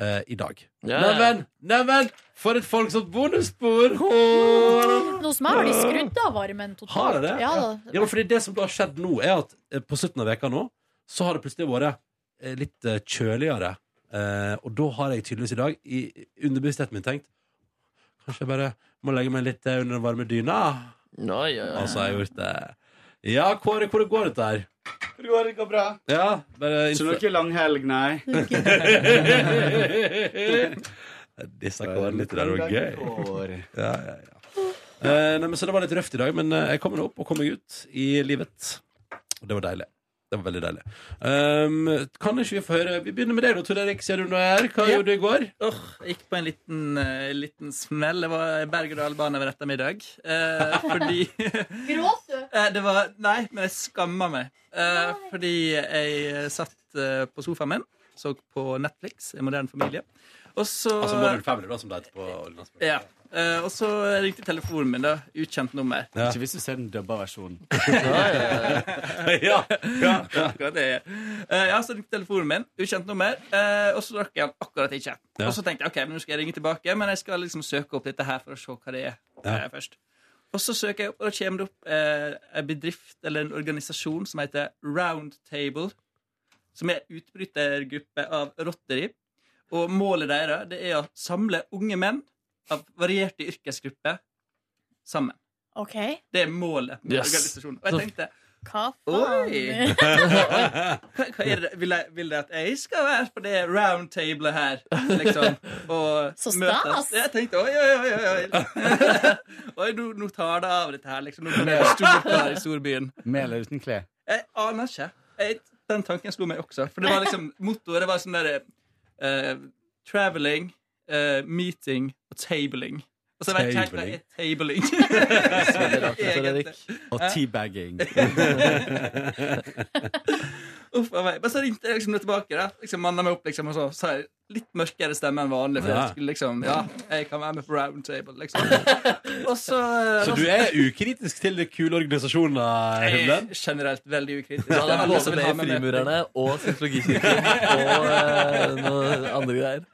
Speaker 2: eh, i dag. Neimen, neimen! For et folk som bonusspor! Åh!
Speaker 1: Nå som jeg har de skrudd av varmen totalt.
Speaker 2: Har jeg det?
Speaker 1: Ja, da.
Speaker 2: Ja, men fordi det som da har skjedd nå, er at eh, på slutten av veka nå, så har det plutselig vært eh, litt eh, kjøligere. Eh, og da har jeg tydeligvis i dag i underbevisstheten min tenkt Kanskje jeg bare må legge meg litt eh, under den varme dyna? Og så har jeg gjort det. Ja, Kåre, hvordan går dette her?
Speaker 11: Det går, det går bra.
Speaker 2: Ja, bare
Speaker 11: Så det er ikke lang helg, nei?
Speaker 2: Disse kårene litt der var
Speaker 11: Kår.
Speaker 2: gøy. Ja, ja, ja. Eh, nei, men så det var litt røft i dag, men eh, jeg kom meg opp og kom meg ut i livet. Og det var deilig. Det var veldig deilig. Um, kan ikke vi få høre Vi begynner med deg, da, Tor Erik. Ser du noe her? Hva
Speaker 5: Ja.
Speaker 2: gjorde du i går?
Speaker 5: Åh, jeg gikk på en liten, eh, liten smell. Jeg var i berg-og-dal-bane over ettermiddag. Eh, fordi
Speaker 9: Gråt du?
Speaker 5: Eh, det var Nei, men jeg skamma meg. Eh, fordi jeg satt eh, på sofaen min, så på Netflix, En moderne familie. Og så
Speaker 2: Altså Modern Family, da, som det heter på Orleans.
Speaker 5: Ja. Eh, og så ringte telefonen min, da. Ukjent nummer.
Speaker 11: Ikke hvis du ser den dubba versjonen.
Speaker 2: ja,
Speaker 5: ja, akkurat det. Eh, ja, så ringte telefonen min, ukjent nummer, eh, og så drakk jeg den akkurat ikke.
Speaker 2: Ja.
Speaker 5: Og så tenkte jeg ok, men nå skal jeg ringe tilbake, men jeg skal liksom søke opp dette her for å se hva det er eh, først. Og så søker jeg opp, og da kommer det opp eh, en bedrift eller en organisasjon som heter Roundtable, som er en utbrytergruppe av rotteri. Og målet deres det er å samle unge menn av varierte yrkesgrupper sammen.
Speaker 1: OK.
Speaker 5: Det er målet med
Speaker 1: Yes.
Speaker 5: organisasjonen. Og jeg tenkte
Speaker 1: Hva
Speaker 5: Oi!
Speaker 1: faen?
Speaker 5: hva, hva er det? Vil, jeg, vil det at jeg skal være på det roundtablet her? Liksom, og
Speaker 1: Så
Speaker 5: møtes?
Speaker 1: stas.
Speaker 5: Jeg tenkte oi, oi, oi. Oi, oi. oi nå, nå tar det av, dette her. Liksom. Nå kan jeg stå opp her i storbyen.
Speaker 11: Med eller uten klær?
Speaker 5: Jeg aner ikke. Jeg, den tanken slo meg også. For det var liksom mottoet. Det var sånn derre eh, Traveling, eh, meeting og tabling. Og så vet jeg ikke helt hva er tabling.
Speaker 11: Og
Speaker 5: Hæ?
Speaker 11: teabagging.
Speaker 5: Uff, jeg vet. Men så ringte jeg liksom det tilbake. da liksom, Manna meg opp liksom, og så sa jeg litt mørkere stemme enn vanlig. For
Speaker 2: Ja.
Speaker 5: jeg skulle liksom Ja, jeg kan være med på roundtable, liksom. og så
Speaker 2: Så du er ukritisk til de kule organisasjoner,
Speaker 5: Jeg er
Speaker 2: Humlen?
Speaker 5: generelt veldig ukritisk.
Speaker 3: Du hadde
Speaker 5: Alle
Speaker 3: både
Speaker 5: som vil
Speaker 3: med
Speaker 5: ha meg med.
Speaker 3: Frimurerne og Scientologikirken og eh, noen andre greier.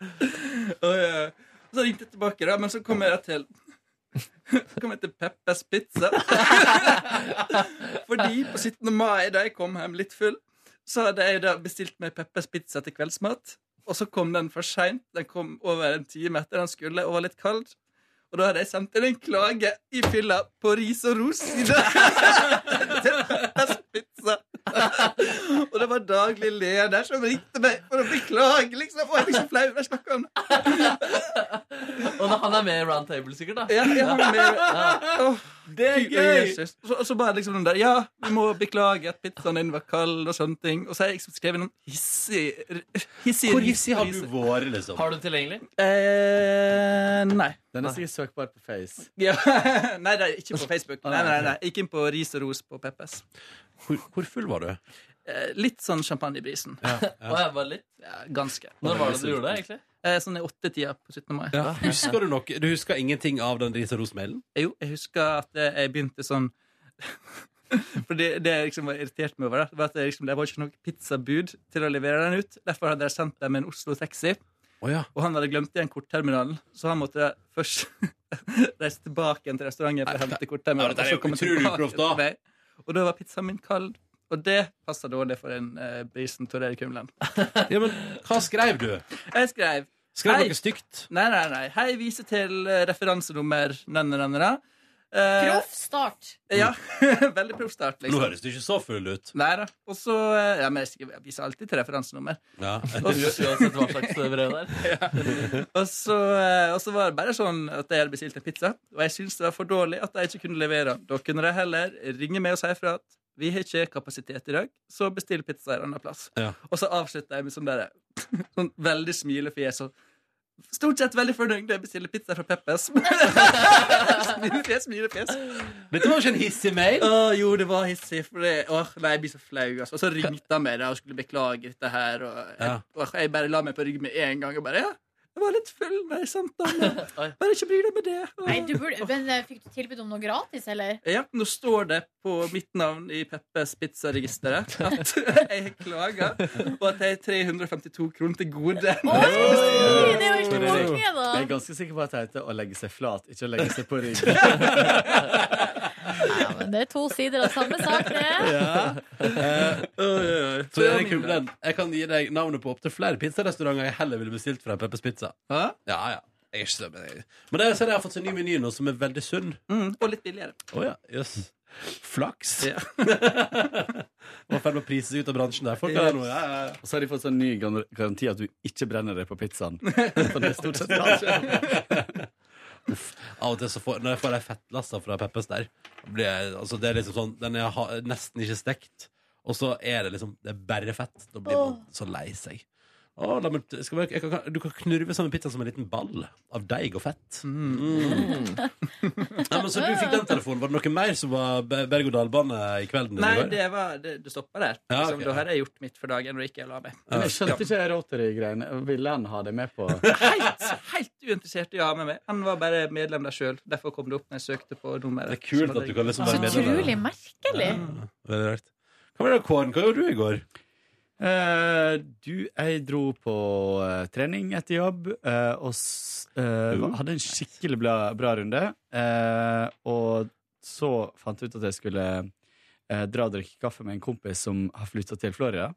Speaker 5: Og, eh, så ringte jeg tilbake, da, men så kom jeg da til Så kom jeg til Peppers Pizza. Fordi på 17. mai, da jeg kom hjem litt full, så hadde jeg da bestilt meg Peppers Pizza til kveldsmat. Og så kom den for seint. Den kom over en time etter den skulle, og var litt kald. Og da hadde jeg sendt inn en klage i fylla på ris og ros i dag. Til Peppers Pizza. Og det var daglig leder som ringte meg for å beklage, liksom. Og jeg blir så flau når jeg snakker om det.
Speaker 3: Og da, han er med i Round Table, sikkert? da
Speaker 5: Ja, jeg har med Åh,
Speaker 3: Det er
Speaker 5: Gud og
Speaker 3: gøy!
Speaker 5: Jesus. Og så, og så bare liksom den der Ja, vi må beklage at pizzaen din var kald og sånne ting. Og så har jeg liksom skrevet noen hissig hissig-
Speaker 2: Hvor hissig har du vært, liksom?
Speaker 3: Har du tilgjengelig?
Speaker 5: Eh, nei.
Speaker 11: Den er sikkert søkbar på Face.
Speaker 5: Ja. Nei, det er ikke på Facebook. Nei, nei, nei. Jeg gikk inn på Ris og ros på Peppes.
Speaker 2: Hvor, hvor full var du?
Speaker 5: Eh, litt sånn champagne i brisen.
Speaker 3: Og jeg var litt
Speaker 5: Ja, ganske.
Speaker 3: Når var det du gjorde det, egentlig?
Speaker 5: Eh, sånn i åttetida på 17. mai.
Speaker 2: Ja. Husker du noe? Du husker ingenting av den Risa Ros-mailen?
Speaker 5: Jo, jeg husker at eh, jeg begynte sånn For det, det jeg liksom var irritert meg over, da, var at det, liksom, det var ikke noe pizzabud til å levere den ut. Derfor hadde jeg sendt dem en Oslo Taxi,
Speaker 2: Å ja.
Speaker 5: og han hadde glemt igjen kortterminalen. Så han måtte da først reise tilbake igjen til restauranten for å hente kortterminalen.
Speaker 2: Ja, dette er
Speaker 5: og så komme
Speaker 2: utrolig
Speaker 5: tilbake
Speaker 2: uproft,
Speaker 5: til
Speaker 2: da.
Speaker 5: meg. Og da var pizzaen min kald. Og det passa dårlig for en eh, brisen Tor Erik Humlen.
Speaker 2: ja, men hva skrev du?
Speaker 5: Jeg skrev
Speaker 2: Skrev
Speaker 5: Hei.
Speaker 2: du noe stygt?
Speaker 5: Nei, nei, nei. Hei, vise til eh, referansenummer nanna-nanna.
Speaker 1: Proff start.
Speaker 5: Eh, Ja. Veldig proff start, liksom.
Speaker 2: Nå høres du ikke så full ut.
Speaker 5: Nei da. Og så eh, ja, men jeg skriver- jeg viser alltid til referansenummer.
Speaker 2: Ja.
Speaker 3: Uansett hva slags eh, brev det er.
Speaker 5: Og så, eh, og så var det bare sånn at jeg hadde bestilt en pizza, og jeg syntes det var for dårlig at jeg ikke kunne levere. Da kunne de heller ringe meg og si ifra at vi har ikke kapasitet i dag, så bestill pizza en annen plass.
Speaker 2: Ja.
Speaker 5: Og så avslutta jeg med sånn der, sånn veldig smilefjes og Stort sett veldig fornøyd når jeg bestiller pizza fra Peppes. smilefjes, smilefjes.
Speaker 2: Dette var ikke en hissig mail.
Speaker 5: Å, jo, det var hissig. For det, åh, nei, jeg blir så flau. Altså. Og så ringte han meg da, og skulle beklage dette her. Og jeg,
Speaker 2: Ja.
Speaker 5: åh, jeg bare la meg på ryggen med en gang. Og bare, ja, Jeg var litt full, nei, sant da. men Bare ikke bry deg med det.
Speaker 1: Nei, du burde, men eh, fikk du tilbud om noe gratis, eller?
Speaker 5: Ja, nå står det på mitt navn i Peppes Pizza-registeret at jeg har klaga, og at jeg har 352 kroner til gode.
Speaker 1: Oi, det er jo ikke mange, da.
Speaker 11: Jeg er ganske sikker på at det heter å legge seg flat, ikke å legge seg på rygg.
Speaker 1: Ja, men det er to sider av samme sak, det.
Speaker 2: Ja. Eh, oi, oi, oi. Så Erik Humlen, jeg kan gi deg navnet på opptil flere pizzarestauranter jeg heller ville bestilt fra Peppers Pizza. Ja, ja. Jeg er ikke så men jeg- Men det, ser jeg har fått seg ny meny nå som er veldig sunn.
Speaker 5: og litt billigere.
Speaker 2: Å ja. Jøss. Flaks. Var i ferd med å prise seg ut av bransjen der. Folk har det nå, ja, ja.
Speaker 11: Og så har de fått sånn ny gar- garanti at du ikke brenner deg på pizzaen. For det er stort sett bra.
Speaker 2: Av og til så får, når jeg får de fettlassa fra Peppes der blir jeg, altså Det er liksom sånn Den er ha, nesten ikke stekt Og så er det liksom Det er bare fett Da blir man
Speaker 12: Åh.
Speaker 2: så lei seg Åh, la meg, skal vi, jeg kan, Du kan knurve sammen pizzaen som en liten ball Av deig og fett mm. Nei, men Så du fikk den telefonen Var det noe mer som var be- berg-og-dal-bane i kvelden?
Speaker 5: Nei,
Speaker 2: eller?
Speaker 5: det, var, det, det stoppa der.
Speaker 2: Ja,
Speaker 5: Liksom,
Speaker 2: ok,
Speaker 5: Da har jeg gjort mitt for dagen. Og ikke jeg la meg.
Speaker 11: Men jeg skjønte ikke de rotary-greiene. Ville han ha det med på
Speaker 5: Helt, helt uinteressert i å ha med meg. Han var bare medlem der sjøl. Derfor kom det opp når jeg søkte på nummeret.
Speaker 2: Det er kult at du kan liksom være
Speaker 1: Så
Speaker 2: medlem der.
Speaker 1: utrolig merkelig.
Speaker 2: Veldig rart Hva var det, Kåren? Hva gjorde du i går?
Speaker 11: Eh, du, jeg dro på eh, trening etter jobb eh, og s- eh, hadde en skikkelig bra, bra runde. Eh, og så fant jeg ut at jeg skulle eh, dra og drikke kaffe med en kompis som har flytta til Florida.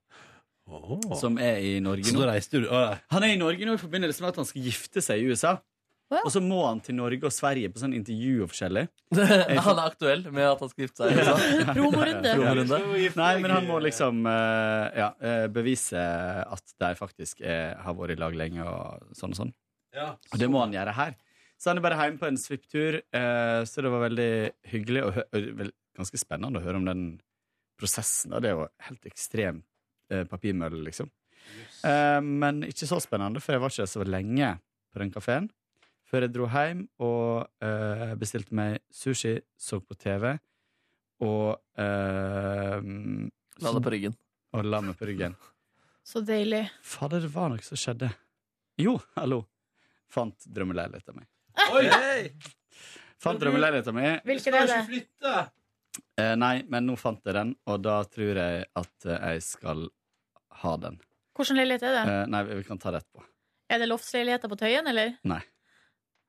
Speaker 11: Som er i Norge
Speaker 2: Så
Speaker 11: nå.
Speaker 2: da reiste du
Speaker 11: Han er i Norge nå i forbindelse med at han skal gifte seg i USA. Og så må han til Norge og Sverige på sånn intervju og forskjellig.
Speaker 3: Han er aktuell med at han skal gifte seg. altså. Ikke sant? Promorunde.
Speaker 11: Nei, men han må liksom eh, ja, eh, bevise at de faktisk er, har vært i lag lenge og sånn og sånn.
Speaker 2: Ja.
Speaker 11: Og det må han gjøre her. Så han er bare hjemme på en svipptur, eh, så det var veldig hyggelig og hø og vel- ganske spennende å høre om den prosessen. Da. Det er jo helt ekstrem eh, papirmølle, liksom. Eh, men ikke så spennende, for jeg var ikke så lenge på den kafeen. Før jeg dro hjem og eh, bestilte meg sushi, så på TV og eh,
Speaker 3: La deg på ryggen.
Speaker 11: Og la meg på ryggen.
Speaker 1: Så deilig.
Speaker 11: Fader, det var noe som skjedde. Jo, hallo. Fant drømmeleiligheten min. Fant drømmeleiligheten min.
Speaker 1: Hvilken er det?
Speaker 11: Eh, nei, men nå fant jeg den, og da tror jeg at eh, jeg skal ha den.
Speaker 1: Hvilken leilighet er det?
Speaker 11: Eh, nei, vi kan ta det etterpå.
Speaker 1: Er det loftsleiligheter på Tøyen, eller?
Speaker 11: Nei.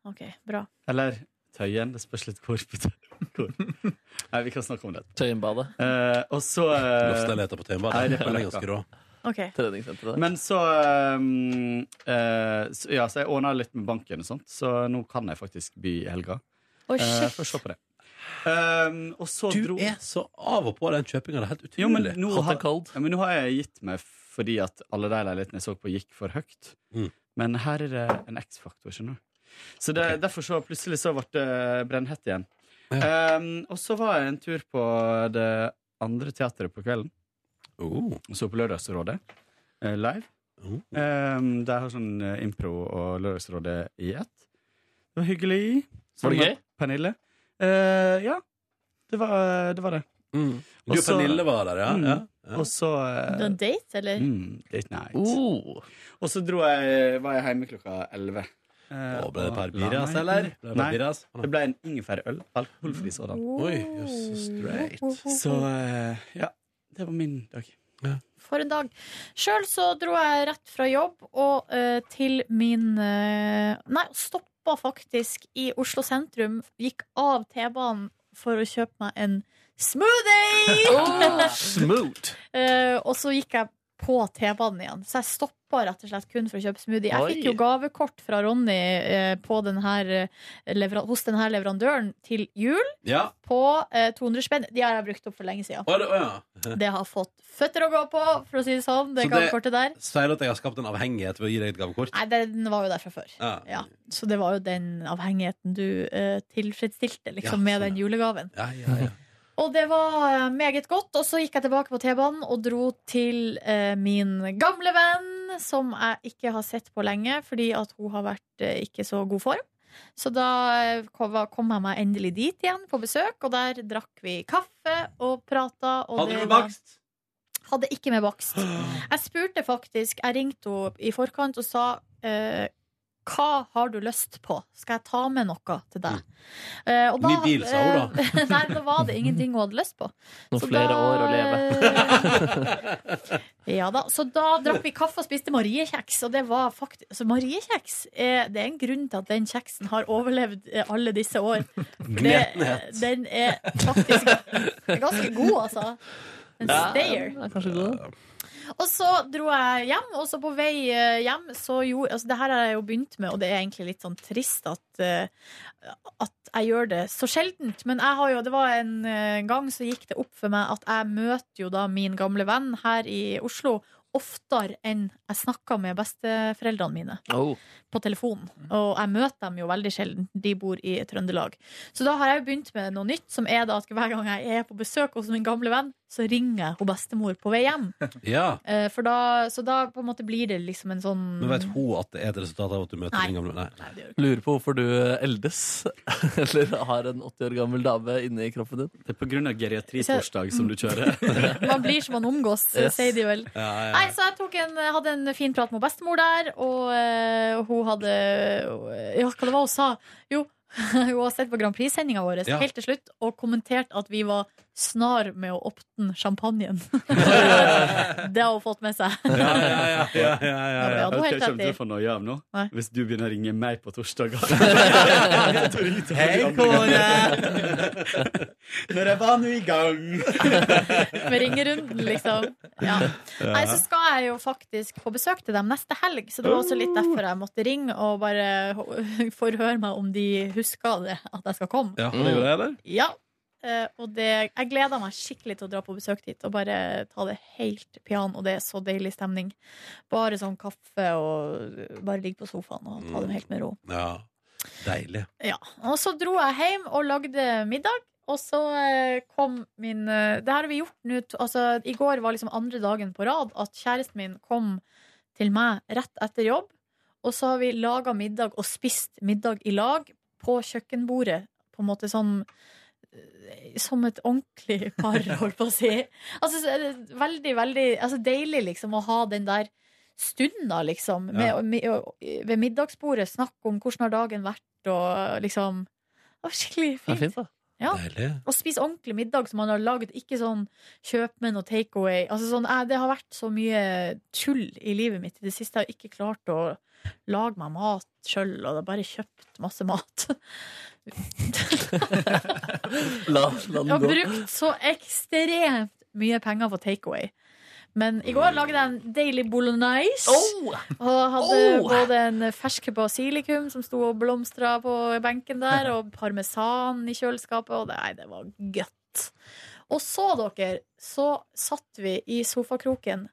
Speaker 1: OK, bra.
Speaker 11: Eller Tøyen. Det spørs litt hvor. på Tøyen- hvor. Nei, vi kan snakke om det.
Speaker 3: Tøyenbadet.
Speaker 11: Eh, og så eh,
Speaker 2: Loftsleiligheter på Tøyenbadet.
Speaker 11: Nei, det er på
Speaker 2: Den er
Speaker 11: Løkka.
Speaker 2: ganske rå.
Speaker 1: OK.
Speaker 2: Eh,
Speaker 3: Treningssenteret.
Speaker 11: Men så, um, eh, så Ja, så jeg ordna litt med banken og sånt, så nå kan jeg faktisk by i helga.
Speaker 2: Oi,
Speaker 11: Eh,
Speaker 2: shit.
Speaker 11: Får se på det. Um, og så
Speaker 2: Du
Speaker 11: dro
Speaker 2: er så av og på den kjøpinga. Det er helt utrolig.
Speaker 11: jo, men nå,
Speaker 2: Hatt
Speaker 11: har,
Speaker 2: en kald-
Speaker 11: ja, men nå har jeg gitt meg fordi at alle de leilighetene jeg så på, gikk for høyt. Men her er det en X-faktor, skjønner du. Så det, derfor så plutselig så ble det brennhett igjen. Um, og så var jeg en tur på det andre teatret på kvelden.
Speaker 2: Oh,
Speaker 11: Og så på Lørdagsrådet eh, live. Um, de har sånn eh, impro og Lørdagsrådet i ett. Det var hyggelig.
Speaker 3: Var det
Speaker 11: Sammen
Speaker 3: gøy?
Speaker 11: med Pernille. Eh, ja. Det var eh, det. Var det.
Speaker 3: Mm.
Speaker 2: Du og Pernille var der, ja.
Speaker 11: Mm.
Speaker 2: Ja, ja.
Speaker 11: Og så eh,
Speaker 1: Det er en date, eller?
Speaker 11: Mm, date night.
Speaker 3: Oh.
Speaker 1: Oh.
Speaker 11: Og så dro jeg, var jeg hjemme klokka elleve. Eh,
Speaker 2: Å, ble det et par
Speaker 11: og la
Speaker 2: birras,
Speaker 11: meg-
Speaker 2: eller? Ble det et par
Speaker 11: Nei,
Speaker 2: birras?
Speaker 11: det ble en ingefærøl. Alkoholfri sådan.
Speaker 1: Oh.
Speaker 2: Oi, jøss, så straight.
Speaker 11: Så eh, ja, det var min dag.
Speaker 1: For en dag. Sjøl så dro jeg rett fra jobb og eh, til min eh, Nei, stoppa faktisk i Oslo sentrum. Gikk av T-banen for å kjøpe meg en smoothie!
Speaker 3: Smooth.
Speaker 1: Eh, og så gikk jeg på T-banen igjen. Så jeg stoppa rett og slett kun for å kjøpe smoothie. Jeg
Speaker 9: Oi.
Speaker 1: fikk jo gavekort fra Ronny eh, på den her, eh, leveran hos denne leverandøren til jul
Speaker 2: Ja.
Speaker 1: på eh, 200 spenn. De har jeg brukt opp for lenge siden.
Speaker 2: Å, det, å, ja.
Speaker 1: Det har fått føtter å gå på, for å si det sånn. Det
Speaker 2: Så det-
Speaker 1: gavekortet der.
Speaker 2: Sier du at jeg har skapt en avhengighet ved å gi deg et gavekort?
Speaker 1: Nei, den var jo der fra før.
Speaker 2: Ja.
Speaker 1: Ja. Så det var jo den avhengigheten du eh, tilfredsstilte
Speaker 2: Ja,
Speaker 1: liksom, med den julegaven.
Speaker 2: Ja, ja, ja.
Speaker 1: Og det var eh, meget godt. Og så gikk jeg tilbake på T-banen og dro til eh, min gamle venn, som jeg ikke har sett på lenge, fordi at hun har vært eh, ikke så god form. Så da eh, kom kom jeg meg endelig dit igjen på besøk, og der drakk vi kaffe og prata. og
Speaker 2: Hadde
Speaker 1: det
Speaker 2: du
Speaker 1: var-
Speaker 2: bakst?
Speaker 1: Hadde ikke med bakst. Jeg spurte faktisk, jeg ringte henne i forkant og sa eh, hva har du lyst på? Skal jeg ta med noe til deg? Eh, og
Speaker 2: Ny bil, sa hun da.
Speaker 1: eh, Nei, da var det ingenting hun hadde lyst på.
Speaker 3: Noen flere år å
Speaker 1: leve. ja da. Så da drakk vi kaffe og spiste mariekjeks, og det var faktisk Så mariekjeks, eh, det er en grunn til at den kjeksen har overlevd eh, alle disse år. For eh,
Speaker 2: Gnetenhet.
Speaker 1: den er faktisk ganske god, altså. En stayer.
Speaker 3: Ja, kanskje god.
Speaker 1: Og så dro jeg hjem, og så på vei eh, hjem så jo, altså Det her har jeg jo begynt med, og det er egentlig litt sånn trist at, eh, at jeg gjør det så sjeldent. Men jeg har jo, det var en eh, gang så gikk det opp for meg at jeg møter jo da min gamle venn her i Oslo oftere enn jeg snakker med besteforeldrene mine
Speaker 3: Oh.
Speaker 1: på telefon. Og jeg møter dem jo veldig sjelden. De bor i Trøndelag. Så da har jeg jo begynt med noe nytt, som er da at hver gang jeg er på besøk hos min gamle venn, så ringer jeg hun bestemor på vei hjem.
Speaker 2: Ja.
Speaker 1: Eh, For da, så da på en måte blir det liksom en sånn
Speaker 2: Men vet hun at det er et resultat av at du møter
Speaker 1: Nei.
Speaker 2: din gamle Nei.
Speaker 3: Lurer på hvorfor du eh, eldes, eller har en 80 år gammel dame inni kroppen din.
Speaker 11: Det er pga.
Speaker 1: geriatritorsdag
Speaker 11: som du kjører.
Speaker 1: Man blir som man omgås,
Speaker 3: Yes.
Speaker 1: sier de vel.
Speaker 11: Ja, ja, ja.
Speaker 1: Nei, så jeg tok en, hadde en fin prat med bestemor der, og eh, hun hadde Ja, hva det var hun sa? Jo, hun har sett på Grand Prix-sendinga vår
Speaker 9: Ja.
Speaker 1: helt til slutt og kommentert at vi var snar med å åpne champagnen. det har hun fått med seg.
Speaker 11: Ja, ja, ja, ja, ja, ja,
Speaker 1: Ja, men ja, du har
Speaker 11: Ok,
Speaker 1: helt rett
Speaker 11: kommer
Speaker 1: i.
Speaker 11: til å få noia av nå
Speaker 1: Nei.
Speaker 11: hvis du begynner å ringe meg på torsdager.
Speaker 2: Hei,
Speaker 11: Kåre! Når jeg var nå i gang.
Speaker 1: Med ringerunden, liksom. Ja. Nei, så skal jeg jo faktisk på besøk til dem neste helg, så det var også
Speaker 11: Oh.
Speaker 1: litt derfor jeg måtte ringe og bare forhøre meg om de husker det, at jeg skal komme.
Speaker 2: Ja, det gjorde jeg, eller?
Speaker 1: Ja. Eh, og det, jeg gleder meg skikkelig til å dra på besøk dit og bare ta det helt pian, og det er så deilig stemning. Bare sånn kaffe og bare ligge på sofaen og ta det helt med ro.
Speaker 2: Ja. Deilig.
Speaker 1: Ja, og så dro jeg hjem og lagde middag. Og så eh, kom min eh, Det her har vi gjort nå t- altså, I går var liksom andre dagen på rad at kjæresten min kom til meg rett etter jobb. Og så har vi laga middag og spist middag i lag på kjøkkenbordet. På en måte sånn eh, Som et ordentlig par, holdt på å si. Altså, så er det veldig, veldig altså, deilig liksom å ha den der stunder, liksom.
Speaker 2: Ja.
Speaker 1: Med, med, ved middagsbordet snakke om hvordan har dagen vært, og liksom Det var skikkelig fint. Ja.
Speaker 2: Deilig.
Speaker 1: Og spise ordentlig middag som man har lagd, ikke sånn kjøp med noe takeaway. Altså sånn, eh, det har vært så mye tull i livet mitt i det siste. Jeg har ikke klart å lage meg mat sjøl, og jeg har bare kjøpt masse mat.
Speaker 3: La, la
Speaker 1: Jeg har
Speaker 3: den gå.
Speaker 1: brukt så ekstremt mye penger på takeaway. Men i går lagde jeg en deilig bolognese. Og hadde
Speaker 9: Oh!
Speaker 1: både en fersk basilikum som sto og blomstra på benken der, og parmesan i kjøleskapet, og nei, det var godt. Og så, dere, så satt vi i sofakroken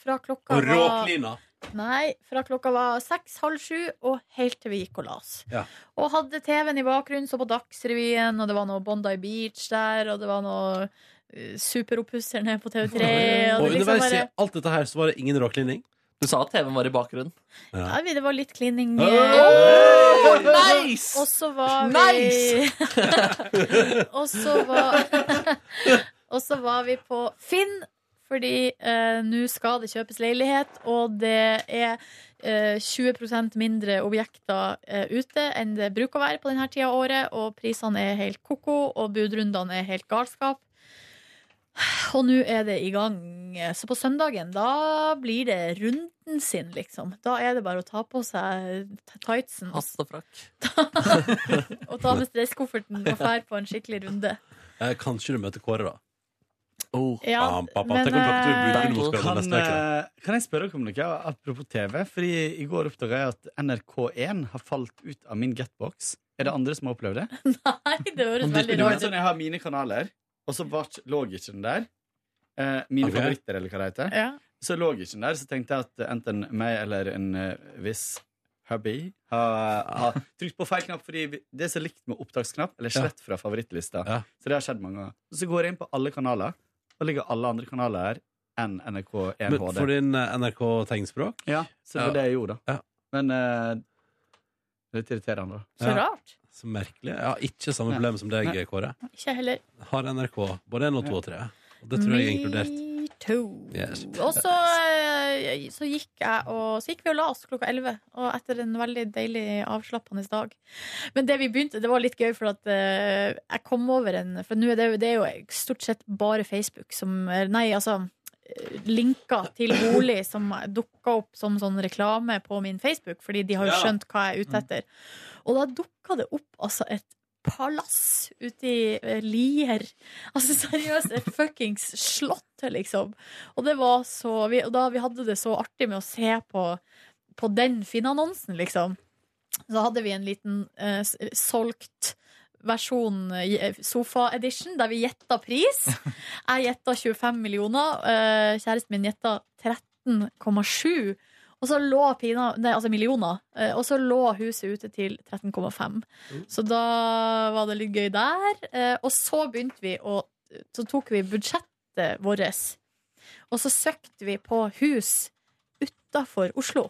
Speaker 1: fra klokka
Speaker 2: Og råklina.
Speaker 1: var Nei, fra klokka var seks-halv sju og helt til vi gikk og la oss.
Speaker 2: Ja.
Speaker 1: Og hadde TV-en i bakgrunnen, så på Dagsrevyen, og det var noe Bondi Beach der, og det var noe eh, Superoppusser nede på TV3. Og,
Speaker 2: Og
Speaker 1: det liksom
Speaker 2: underveis i
Speaker 1: bare,
Speaker 2: alt dette her så var det ingen råklining.
Speaker 3: Du sa at TV-en var i bakgrunnen.
Speaker 1: ja, vi- det var litt klining.
Speaker 2: Hey!
Speaker 1: eh, og-
Speaker 3: Nice!
Speaker 1: Og så var vi
Speaker 3: Nice!
Speaker 1: Og så var Og så var vi på Finn, fordi eh, nå skal det kjøpes leilighet, og det er eh, 20 mindre objekter eh, ute enn det bruker å være på denne tida av året, og prisene er helt koko, og budrundene er helt galskap. Og nå er det i gang. Så på søndagen, da blir det runden sin, liksom. Da er det bare å ta på seg t- tightsen og,
Speaker 3: Hatt og frakk.
Speaker 1: og ta med stresskofferten og fære på en skikkelig runde.
Speaker 2: Eh, Kanskje du møter Kåre, da.
Speaker 3: Oh.
Speaker 1: Ja,
Speaker 2: ah, pappa,
Speaker 1: men,
Speaker 2: tenk om klokketur
Speaker 1: eh,
Speaker 2: bruker noe spennende
Speaker 11: Kan,
Speaker 2: neste uke.
Speaker 11: eh, kan jeg spørre dere om noe apropos TV? Fordi i går oppdaga jeg at NRK1 har falt ut av min getbox. Er det andre som har opplevd det?
Speaker 1: Nei, det høres
Speaker 11: Men
Speaker 1: veldig
Speaker 11: du vet
Speaker 1: rart ut.
Speaker 11: sånn, jeg har mine kanaler, og så var ikke- lå ikke den der. Eh, mine
Speaker 2: Ok.
Speaker 11: favoritter, eller hva det heter.
Speaker 1: Ja.
Speaker 11: Så lå ikke den der, så tenkte jeg at enten meg eller en eh, viss hubby har har trykt på feil knapp, fordi vi- det er så likt med opptaksknapp, eller slett fra favorittlista. Så det har skjedd mange ganger. Så går jeg inn på alle kanaler, og ligger alle andre kanaler her enn NRK1
Speaker 2: Men
Speaker 11: HD.
Speaker 2: for din eh, NRK tegnspråk
Speaker 11: Ja, så det var
Speaker 2: Ja.
Speaker 11: det jeg gjorde, da.
Speaker 2: Ja.
Speaker 11: Men eh, litt irriterende, da.
Speaker 1: Så rart.
Speaker 2: Så merkelig. Jeg har ikke samme problem som deg,
Speaker 11: Nei.
Speaker 2: Kåre.
Speaker 1: Ikke jeg heller.
Speaker 2: Har NRK både 1 og 2 og 3. Og det tror jeg er inkludert.
Speaker 1: Me too.
Speaker 2: Yes.
Speaker 1: Og så eh, så gikk, jeg og, så gikk vi og la oss klokka 11, og etter en veldig deilig avslappende dag. Men det vi begynte, det var litt gøy, for at eh, jeg kom over en For nå er det, jo- det er jo stort sett bare Facebook som Nei, altså eh, linker til bolig som dukka opp som sånn reklame på min Facebook, fordi de har jo
Speaker 13: Ja.
Speaker 1: skjønt hva jeg er ute etter. Og da dukka det opp altså et palass ute i eh, Lier. Altså seriøst, et fuckings slott, liksom. Og det var så vi, og da, vi hadde det så artig med å se på, på den Finn-annonsen, liksom. Så hadde vi en liten eh, s- solgt versjon eh, sofa-edition, der vi gjetta pris. Jeg gjetta 25 millioner, eh, kjæresten min gjetta 13,7. Og så lå pina, nei, altså millioner, eh, og så lå huset ute til 13,5. Så da var det litt gøy der. Eh, Og så begynte vi å Så tok vi budsjettet vårt, og så søkte vi på hus utafor Oslo.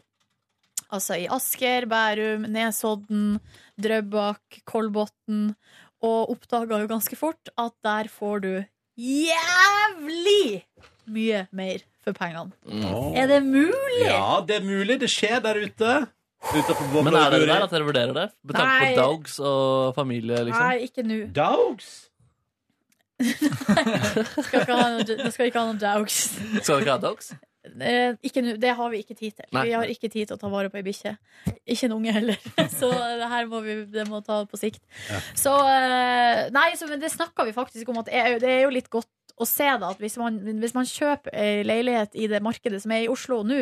Speaker 1: Altså i Asker, Bærum, Nesodden, Drøbak, Kolbotn. Og oppdaga jo ganske fort at der får du jævlig mye mer for pengene.
Speaker 2: Åh.
Speaker 1: Er det mulig?
Speaker 2: Ja, det er mulig. Det skjer der ute. Utenfor Vågå
Speaker 3: Men er dere
Speaker 2: Buri.
Speaker 3: der at dere vurderer det? Med tanke
Speaker 1: Nei.
Speaker 3: på dogs og familie, liksom?
Speaker 1: Nei, ikke nå.
Speaker 2: Dogs?
Speaker 1: Skal ikke ha noe, da skal vi ikke ha noen dogs.
Speaker 3: Skal dere ikke ha dogs?
Speaker 1: Eh, ikke nå. Det har vi ikke tid til.
Speaker 3: Nei.
Speaker 1: Vi har ikke tid til å ta vare på ei bikkje. Ikke en unge heller. Så det her må vi det må ta på sikt. Så eh, Nei, så, men det snakka vi faktisk om at det er, jo- det er jo litt godt å se da, at hvis man, hvis man kjøper ei leilighet i det markedet som er i Oslo nå,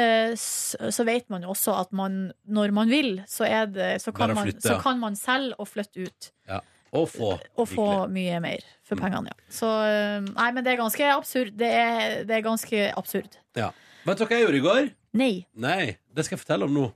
Speaker 1: eh, s- så vet man jo også at man, når man vil, så, er det, så,
Speaker 2: Bare
Speaker 1: kan,
Speaker 2: å
Speaker 1: man,
Speaker 2: flytte, ja.
Speaker 1: så kan man selge og flytte ut.
Speaker 2: Ja. Og få.
Speaker 1: Og få mye mer for pengene, ja. Så eh, Nei, men det er ganske absurd. Det er, det er ganske absurd.
Speaker 2: Ja. Vet dere hva jeg gjorde i går?
Speaker 1: Nei.
Speaker 2: Nei, det skal jeg fortelle om nå.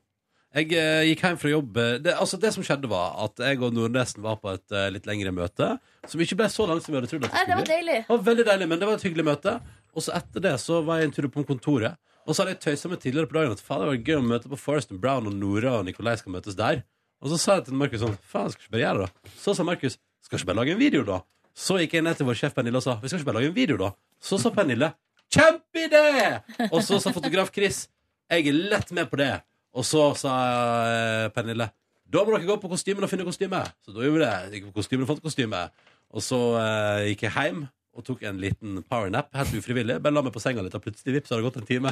Speaker 2: Jeg eh, gikk hjem fra jobb. eh, Det, altså, det som skjedde, var at jeg og Nordnesen var på et eh, litt lengre møte. Som ikke ble så langt som vi hadde trodd. at
Speaker 1: Nei, det var
Speaker 2: skulle bli.
Speaker 1: deilig.
Speaker 2: Det var veldig deilig, men det var et hyggelig møte. Og så etter det så var jeg en tur på kontoret. Og så hadde jeg tøysa med tidligere på dagen at faen, det var gøy å møte på Forest and Brown, og Nora og Nikolai skal møtes der. Og så sa jeg til Markus sånn Faen, skal ikke bare gjøre det, da? Så sa Markus Skal ikke bare lage en video, da? Så gikk jeg ned til vår sjef Pernille og sa Vi skal ikke bare lage en video, da? Så sa Pernille Kjempeidé! Og så sa fotograf Chris Jeg er lett med på det. Og så sa eh, Pernille Da må dere gå på kostymen og finne kostyme. Så da gjorde vi det. Jeg Gikk på kostymen og fant kostyme. Og så eh, gikk jeg hjem og tok en liten powernap helt ufrivillig. Bare la meg på senga litt, og plutselig vips, så har det gått en time.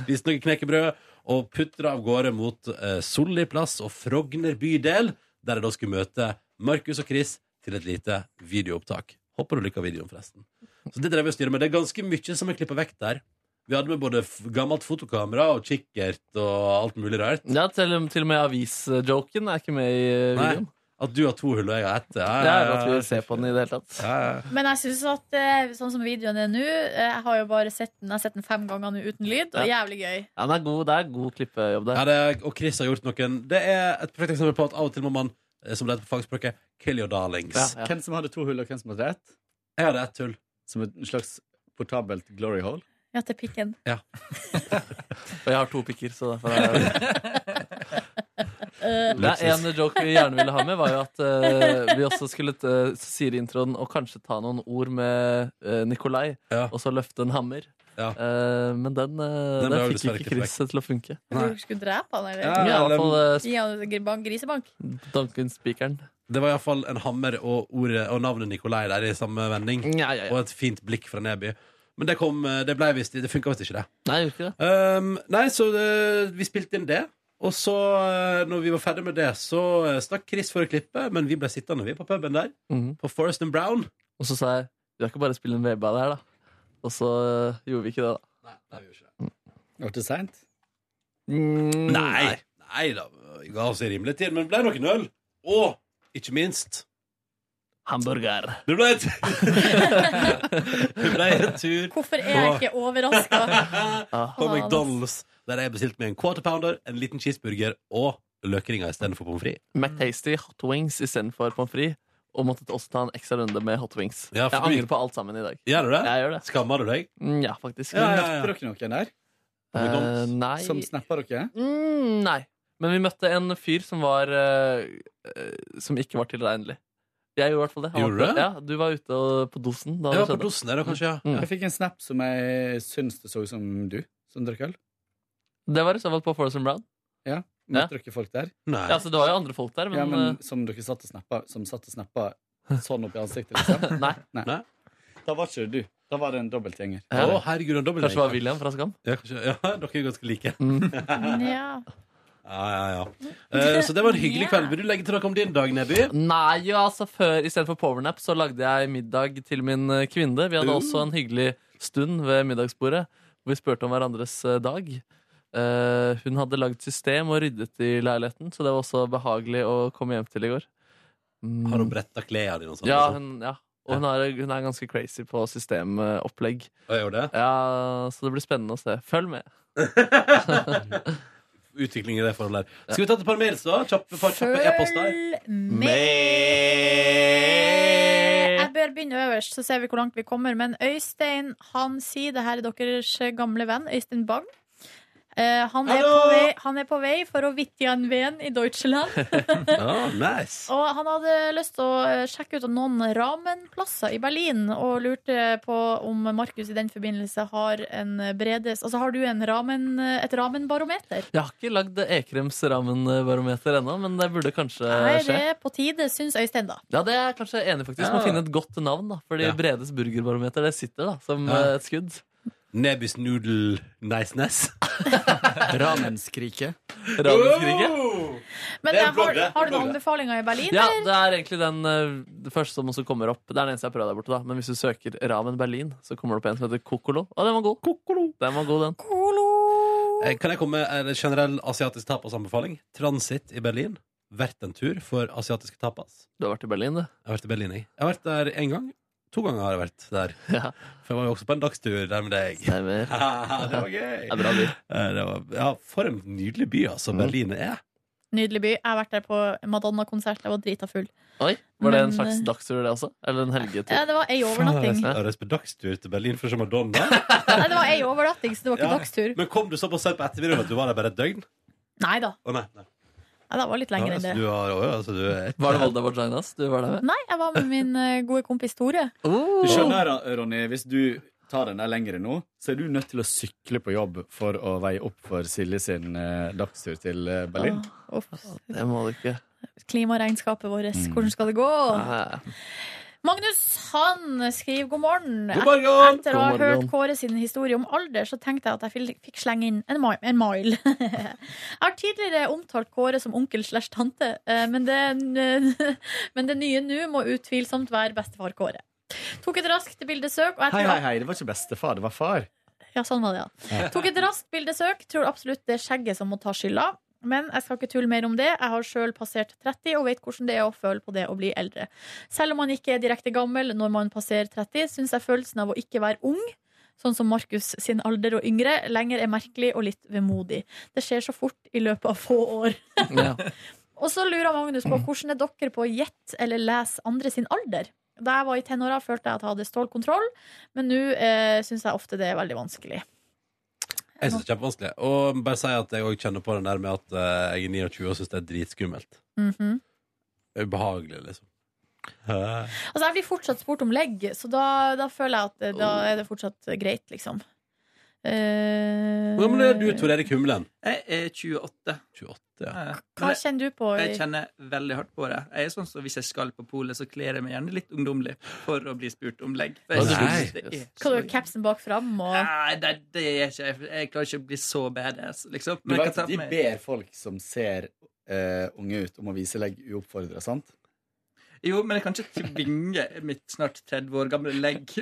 Speaker 2: Spiste noe knekkebrød og putra av gårde mot eh, Solli plass og Frogner bydel, der jeg da skulle møte Markus og Chris til et lite videoopptak. Håper du liker videoen, forresten. Så det drev jeg og styrer med. Det er ganske mye som er klippa vekk der. Vi hadde med både f- gammelt fotokamera og kikkert og alt mulig rart.
Speaker 3: Ja, til, til og med avisjoken er ikke med i eh,
Speaker 2: Nei,
Speaker 3: videoen.
Speaker 2: At du har to hull og jeg har ett. Ja,
Speaker 3: Det er at vi ser på den i det hele tatt.
Speaker 1: Men jeg synes at eh, sånn som videoen er nå eh, Jeg har jo bare sett den, jeg har sett den fem ganger nå uten lyd, og
Speaker 2: Ja.
Speaker 1: jævlig gøy.
Speaker 3: Ja, den er god, det er god klippejobb der.
Speaker 2: Ja, det er, og Chris har gjort noen Det er et perfekt eksempel på at av og til må man, eh, som det heter på fagspråket, kill your darlings.
Speaker 11: Hvem som hadde to hull, og hvem som hadde ett?
Speaker 2: Jeg hadde ett hull.
Speaker 11: Som et slags portabelt glory hole?
Speaker 1: Ja, til pikken.
Speaker 3: Og jeg har to pikker, så derfor er det er En joke vi gjerne ville ha med, var jo at eh, vi også skulle uh, sier i introen og kanskje ta noen ord med eh, Nikolai, og så løfte en hammer. Eh, men den, eh,
Speaker 2: Den ble
Speaker 3: den
Speaker 2: jo
Speaker 3: fikk
Speaker 2: dessverre
Speaker 3: ikke
Speaker 2: ikke
Speaker 3: Chris til å funke.
Speaker 1: Du skulle drepe han, eller?
Speaker 3: Ja, Ja, eller- i alle fall, eh,
Speaker 1: Gi han en gr- grisebank.
Speaker 3: Duncan-spikeren.
Speaker 2: Det var iallfall en hammer og, ordet, og navnet Nikolai der i samme vending. Og et fint blikk fra Neby. Men det, kom, eh, det, ble visst- det funka visst ikke, det.
Speaker 3: Nei, gjorde ikke det.
Speaker 2: Um, nei, så eh, vi spilte inn det. Og så, eh, når vi var ferdig med det, så eh, stakk Chris for å klippe, men vi ble sittende, vi, på puben der.
Speaker 3: Mhm.
Speaker 2: På Forest and Brown.
Speaker 3: Og så sa jeg du har ikke bare spille en VB av det her, da. Og så eh, gjorde vi ikke det, da.
Speaker 11: Ble det seint?
Speaker 3: Mm,
Speaker 2: nei. Nei da, vi ga oss i rimelig tid, men det ble noen øl. Og ikke minst
Speaker 3: Hamburger.
Speaker 2: Det ble et Det ble en tur
Speaker 1: Hvorfor er jeg ikke overraska?
Speaker 2: på McDonald's, der jeg bestilte meg en quarter pounder, en liten cheeseburger og løkringer istedenfor pommes frites.
Speaker 3: McTasty hot wings istedenfor pommes frites. Og måtte også ta en ekstra runde med hot wings.
Speaker 2: Ja, for
Speaker 3: jeg
Speaker 2: du-
Speaker 3: angrer på alt sammen i dag.
Speaker 2: Gjør du det?
Speaker 3: Jeg gjør det.
Speaker 2: Skammer du deg?
Speaker 3: Mm, Ja, faktisk.
Speaker 11: Ja, ja, ja. Møtte dere noen der?
Speaker 3: Eh, nei.
Speaker 11: Som snappa dere?
Speaker 3: Mm, nei. Men vi møtte en fyr som var eh, eh, Som ikke var tilregnelig. Jeg gjorde i hvert fall det. Han
Speaker 11: Gjorde du det?
Speaker 3: Ja, du var ute og, på dosen. Da
Speaker 11: Jeg
Speaker 3: det
Speaker 11: var på
Speaker 3: skjedde.
Speaker 11: dosen der, da, kanskje,
Speaker 2: ja.
Speaker 3: Mm.
Speaker 11: Jeg fikk en snap som jeg syns det så ut som du, som drakk øl.
Speaker 3: Det var i så fall på Forest Brown.
Speaker 11: Ja, Møtte dere folk der?
Speaker 3: Mm. Ja, så det var jo andre folk der, men,
Speaker 11: Ja, men
Speaker 3: eh,
Speaker 11: som dere satt og snappa, som satt og snappa sånn opp i ansiktet, liksom?
Speaker 3: eh, Nei.
Speaker 11: Da var ikke det du. Da var det en dobbeltgjenger.
Speaker 3: Ja. Å, herregud, en dobbeltgjenger. Kanskje det var William fra Skam?
Speaker 2: Ja, kanskje, ja dere er ganske like.
Speaker 1: Ja.
Speaker 2: ja, ja, ja. Eh, så det var en hyggelig kveld. Vil du legge til noe om din dag, Neby?
Speaker 3: Nei, jo, altså før Istedenfor powernap så lagde jeg middag til min eh, kvinne. Vi hadde
Speaker 2: Uh.
Speaker 3: også en hyggelig stund ved middagsbordet hvor vi spurte om hverandres eh, dag. Eh, hun hadde lagd system og ryddet i leiligheten, så det var også behagelig å komme hjem til i går. Mm,
Speaker 2: Har hun bretta klærne dine og sånn?
Speaker 3: Ja,
Speaker 2: liksom?
Speaker 3: hun, ja. Og hun er, hun er ganske crazy på systemopplegg. Ja, så det blir spennende å se. Følg med.
Speaker 2: Utvikling i det forholdet der. Skal vi ta et par mails, da? Kjappe, par, kjappe e-post der.
Speaker 1: Følg med! Jeg bør begynne øverst, så ser vi hvor langt vi kommer. Men Øystein han sier det her er deres eh, gamle venn Øystein Bang. Eh, han, er på vei, han er på vei for å vitje en ven i Deutschland.
Speaker 2: Ja, nice.
Speaker 1: Og han hadde lyst til å eh, sjekke ut noen ramenplasser i Berlin, og lurte på om Markus i den forbindelse har en bredes Altså, har du en ramen, et ramenbarometer?
Speaker 3: Jeg har ikke lagd Ekrems ramenbarometer ennå, men det burde
Speaker 2: Eh,
Speaker 3: kanskje
Speaker 1: Er
Speaker 3: skje.
Speaker 1: det på tide, syns Øystein, da.
Speaker 3: Ja, det er jeg kanskje enig i, faktisk. Må
Speaker 1: Ja.
Speaker 3: finne et godt navn, da. Fordi
Speaker 2: Ja.
Speaker 3: Bredes burgerbarometer, det sitter da, som
Speaker 2: Ja.
Speaker 3: eh, et skudd.
Speaker 2: Nebys noodle niceness.
Speaker 11: Ramenskriket.
Speaker 2: Oh!
Speaker 3: Ramenskriket.
Speaker 1: Men
Speaker 3: Det er
Speaker 1: jeg har, har du
Speaker 3: blogget. Det er
Speaker 1: noen
Speaker 3: blogget.
Speaker 1: anbefalinger i Berlin?
Speaker 3: Ja,
Speaker 1: eller?
Speaker 3: det er egentlig den eh, det første som også kommer opp. Det er den eneste jeg prøver der borte, da. Men hvis du søker Ramen Berlin, så kommer det opp en som heter Kokolo. Og den var god. Den var god, den.
Speaker 2: Eh, Kan jeg komme med en generell asiatisk tapasanbefaling? Transit i Berlin. Vært en tur for asiatiske tapas.
Speaker 3: Du har vært i Berlin, du?
Speaker 2: Jeg har vært i Berlin, jeg. Jeg har vært der én gang. To ganger har jeg vært der. For jeg var jo også på en dagstur der med deg. det var gøy.
Speaker 3: Det er bra by.
Speaker 2: Eh, Det var, ja, for en nydelig by, altså. Berlin er.
Speaker 1: Nydelig by. Jeg har vært der på Madonna-konsert. Jeg var drita full.
Speaker 3: Oi, Var det
Speaker 1: Men,
Speaker 3: en slags
Speaker 1: eh,
Speaker 3: dagstur, det også? Eller en helgetur?
Speaker 1: Ja, det var ei overnatting.
Speaker 2: Faen, altså. Jeg har reist på dagstur til Berlin for å se Madonna.
Speaker 1: Nei, det var ei overnatting, så det var ikke
Speaker 2: Ja.
Speaker 1: dagstur.
Speaker 2: Men kom du såpass seint på ettermiddagen at du var der bare et døgn?
Speaker 1: Nei da.
Speaker 2: Å, nei, nei.
Speaker 1: Ja, det var litt
Speaker 2: Ja,
Speaker 1: lenger enn
Speaker 2: altså,
Speaker 1: det.
Speaker 2: du har, å, ja, altså, du er et-
Speaker 3: Var det Volda Vaginas du var der med?
Speaker 1: Nei, jeg var med min eh, gode kompis Tore.
Speaker 2: Oh.
Speaker 11: Du skjønner, Ronny, hvis du tar den der lengre nå, så er du nødt til å sykle på jobb for å veie opp for Silje sin eh, dagstur til eh, Berlin.
Speaker 1: Åh, uff.
Speaker 3: Det må du ikke.
Speaker 1: Klimaregnskapet vårt,
Speaker 3: Mm.
Speaker 1: hvordan skal det gå?
Speaker 3: Ah.
Speaker 1: Magnus han skriver god morgen.
Speaker 3: God morgen!
Speaker 1: Etter å ha
Speaker 3: God morgen.
Speaker 1: hørt Kåre sin historie om alder, så tenkte jeg at jeg fil- fikk slenge inn en, mi- en mile. jeg har tidligere omtalt Kåre som onkel slash tante, eh, men det, men det nye nå må utvilsomt være bestefar Kåre. Tok et raskt bildesøk, og jeg
Speaker 11: Hei,
Speaker 1: tror
Speaker 11: hei, hei, det var ikke bestefar, det var far.
Speaker 1: Ja, sånn var det, ja.
Speaker 11: Ja.
Speaker 1: Tok et raskt bildesøk. Tror absolutt det er skjegget som må ta skylda. Men jeg skal ikke tulle mer om det. Jeg har sjøl passert 30 og vet hvordan det er å føle på det å bli eldre. Selv om man ikke er direkte gammel når man passerer 30, syns jeg følelsen av å ikke være ung, sånn som Markus sin alder og yngre, lenger er merkelig og litt vemodig. Det skjer så fort i løpet av få år. Og så lurer Magnus på hvordan er dere på å gjette eller lese andre sin alder? Da jeg var i tenåra, følte jeg at jeg hadde stålkontroll, men nå eh, syns jeg ofte det er veldig vanskelig.
Speaker 2: Jeg synes det er kjempevanskelig. Og bare si at jeg også kjenner på den der med at eh, jeg er 29 og syns det er dritskummelt.
Speaker 1: Mhm.
Speaker 2: Ubehagelig, liksom. Eh,
Speaker 1: Altså Jeg blir fortsatt spurt om legg, så da, da føler jeg at eh, da er det fortsatt greit, liksom. Eh,
Speaker 2: Hvor gammel er du, Tor Erik Humlen?
Speaker 5: Jeg er 28.
Speaker 2: 28,
Speaker 1: Eh, Hva kjenner du på? i-
Speaker 5: Jeg kjenner veldig hardt på det. Jeg er sånn som Hvis jeg skal på polet, så kler jeg meg gjerne litt ungdommelig for å bli spurt om legg. For jeg synes det er
Speaker 1: Skal du ha capsen bak fram? Og...
Speaker 5: Nei, det, det er ikke jeg. Jeg klarer ikke å bli så badass, liksom.
Speaker 11: Du
Speaker 5: Men jeg
Speaker 11: vet
Speaker 5: kan ta
Speaker 11: at de
Speaker 5: på meg-
Speaker 11: ber folk som ser eh, unge ut, om å vise legg uoppfordra, sant?
Speaker 5: Jo, men jeg kan ikke tvinge mitt snart 30 år gamle legg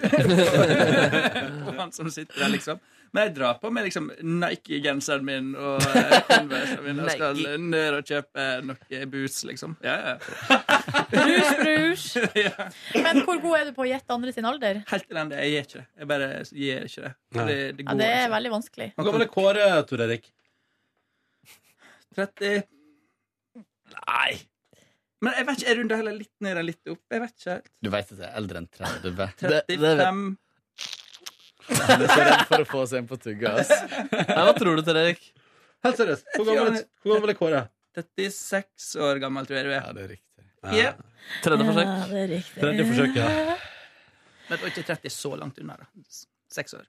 Speaker 5: på han som sitter der, liksom. Men jeg drar på med liksom Nike-genseren min og eh, Converse min og skal
Speaker 3: Nike.
Speaker 5: ned og kjøpe noe boots, liksom. Ja,
Speaker 1: Brus,
Speaker 5: ja.
Speaker 1: brus.
Speaker 5: ja.
Speaker 1: Men hvor god er du på å gjette andre sin alder?
Speaker 5: Helt elendig. Jeg gjør ikke det. Jeg bare gir ikke det.
Speaker 2: Nei.
Speaker 5: Det, det
Speaker 1: Ja,
Speaker 5: går
Speaker 1: det er
Speaker 5: ikke.
Speaker 1: veldig vanskelig.
Speaker 2: Hvor gammel er Kåre, Tor Erik?
Speaker 5: 30 Nei. Men jeg vet ikke, jeg runder heller litt ned og litt opp. Jeg vet ikke helt.
Speaker 11: Du veit at jeg er eldre enn 30.
Speaker 5: 35
Speaker 11: Han er så redd for å få seg en på tugga, ass.
Speaker 3: Nei, hva tror du til, Erik?
Speaker 2: Helt seriøst. Hvor gammel er- hvor gammel er Kåre?
Speaker 5: 36 år gammel, tror jeg du er. Ja,
Speaker 11: det er riktig.
Speaker 5: Ja.
Speaker 3: Tredje forsøk.
Speaker 9: Ja, det er riktig.
Speaker 2: Tredje forsøk, ja.
Speaker 5: Men det var ikke 30 så langt unna, da. Seks år.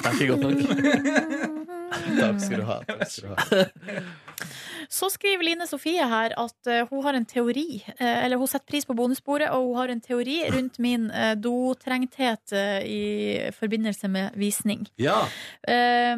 Speaker 3: Det er ikke godt nok.
Speaker 10: Takk skal du ha. Takk skal du ha.
Speaker 1: Så skriver Line Sofie her at eh, hun har en teori eh, Eller hun setter pris på bonussporet, og hun har en teori rundt min eh, dotrengthet eh, i forbindelse med visning.
Speaker 2: Ja.
Speaker 1: Eh,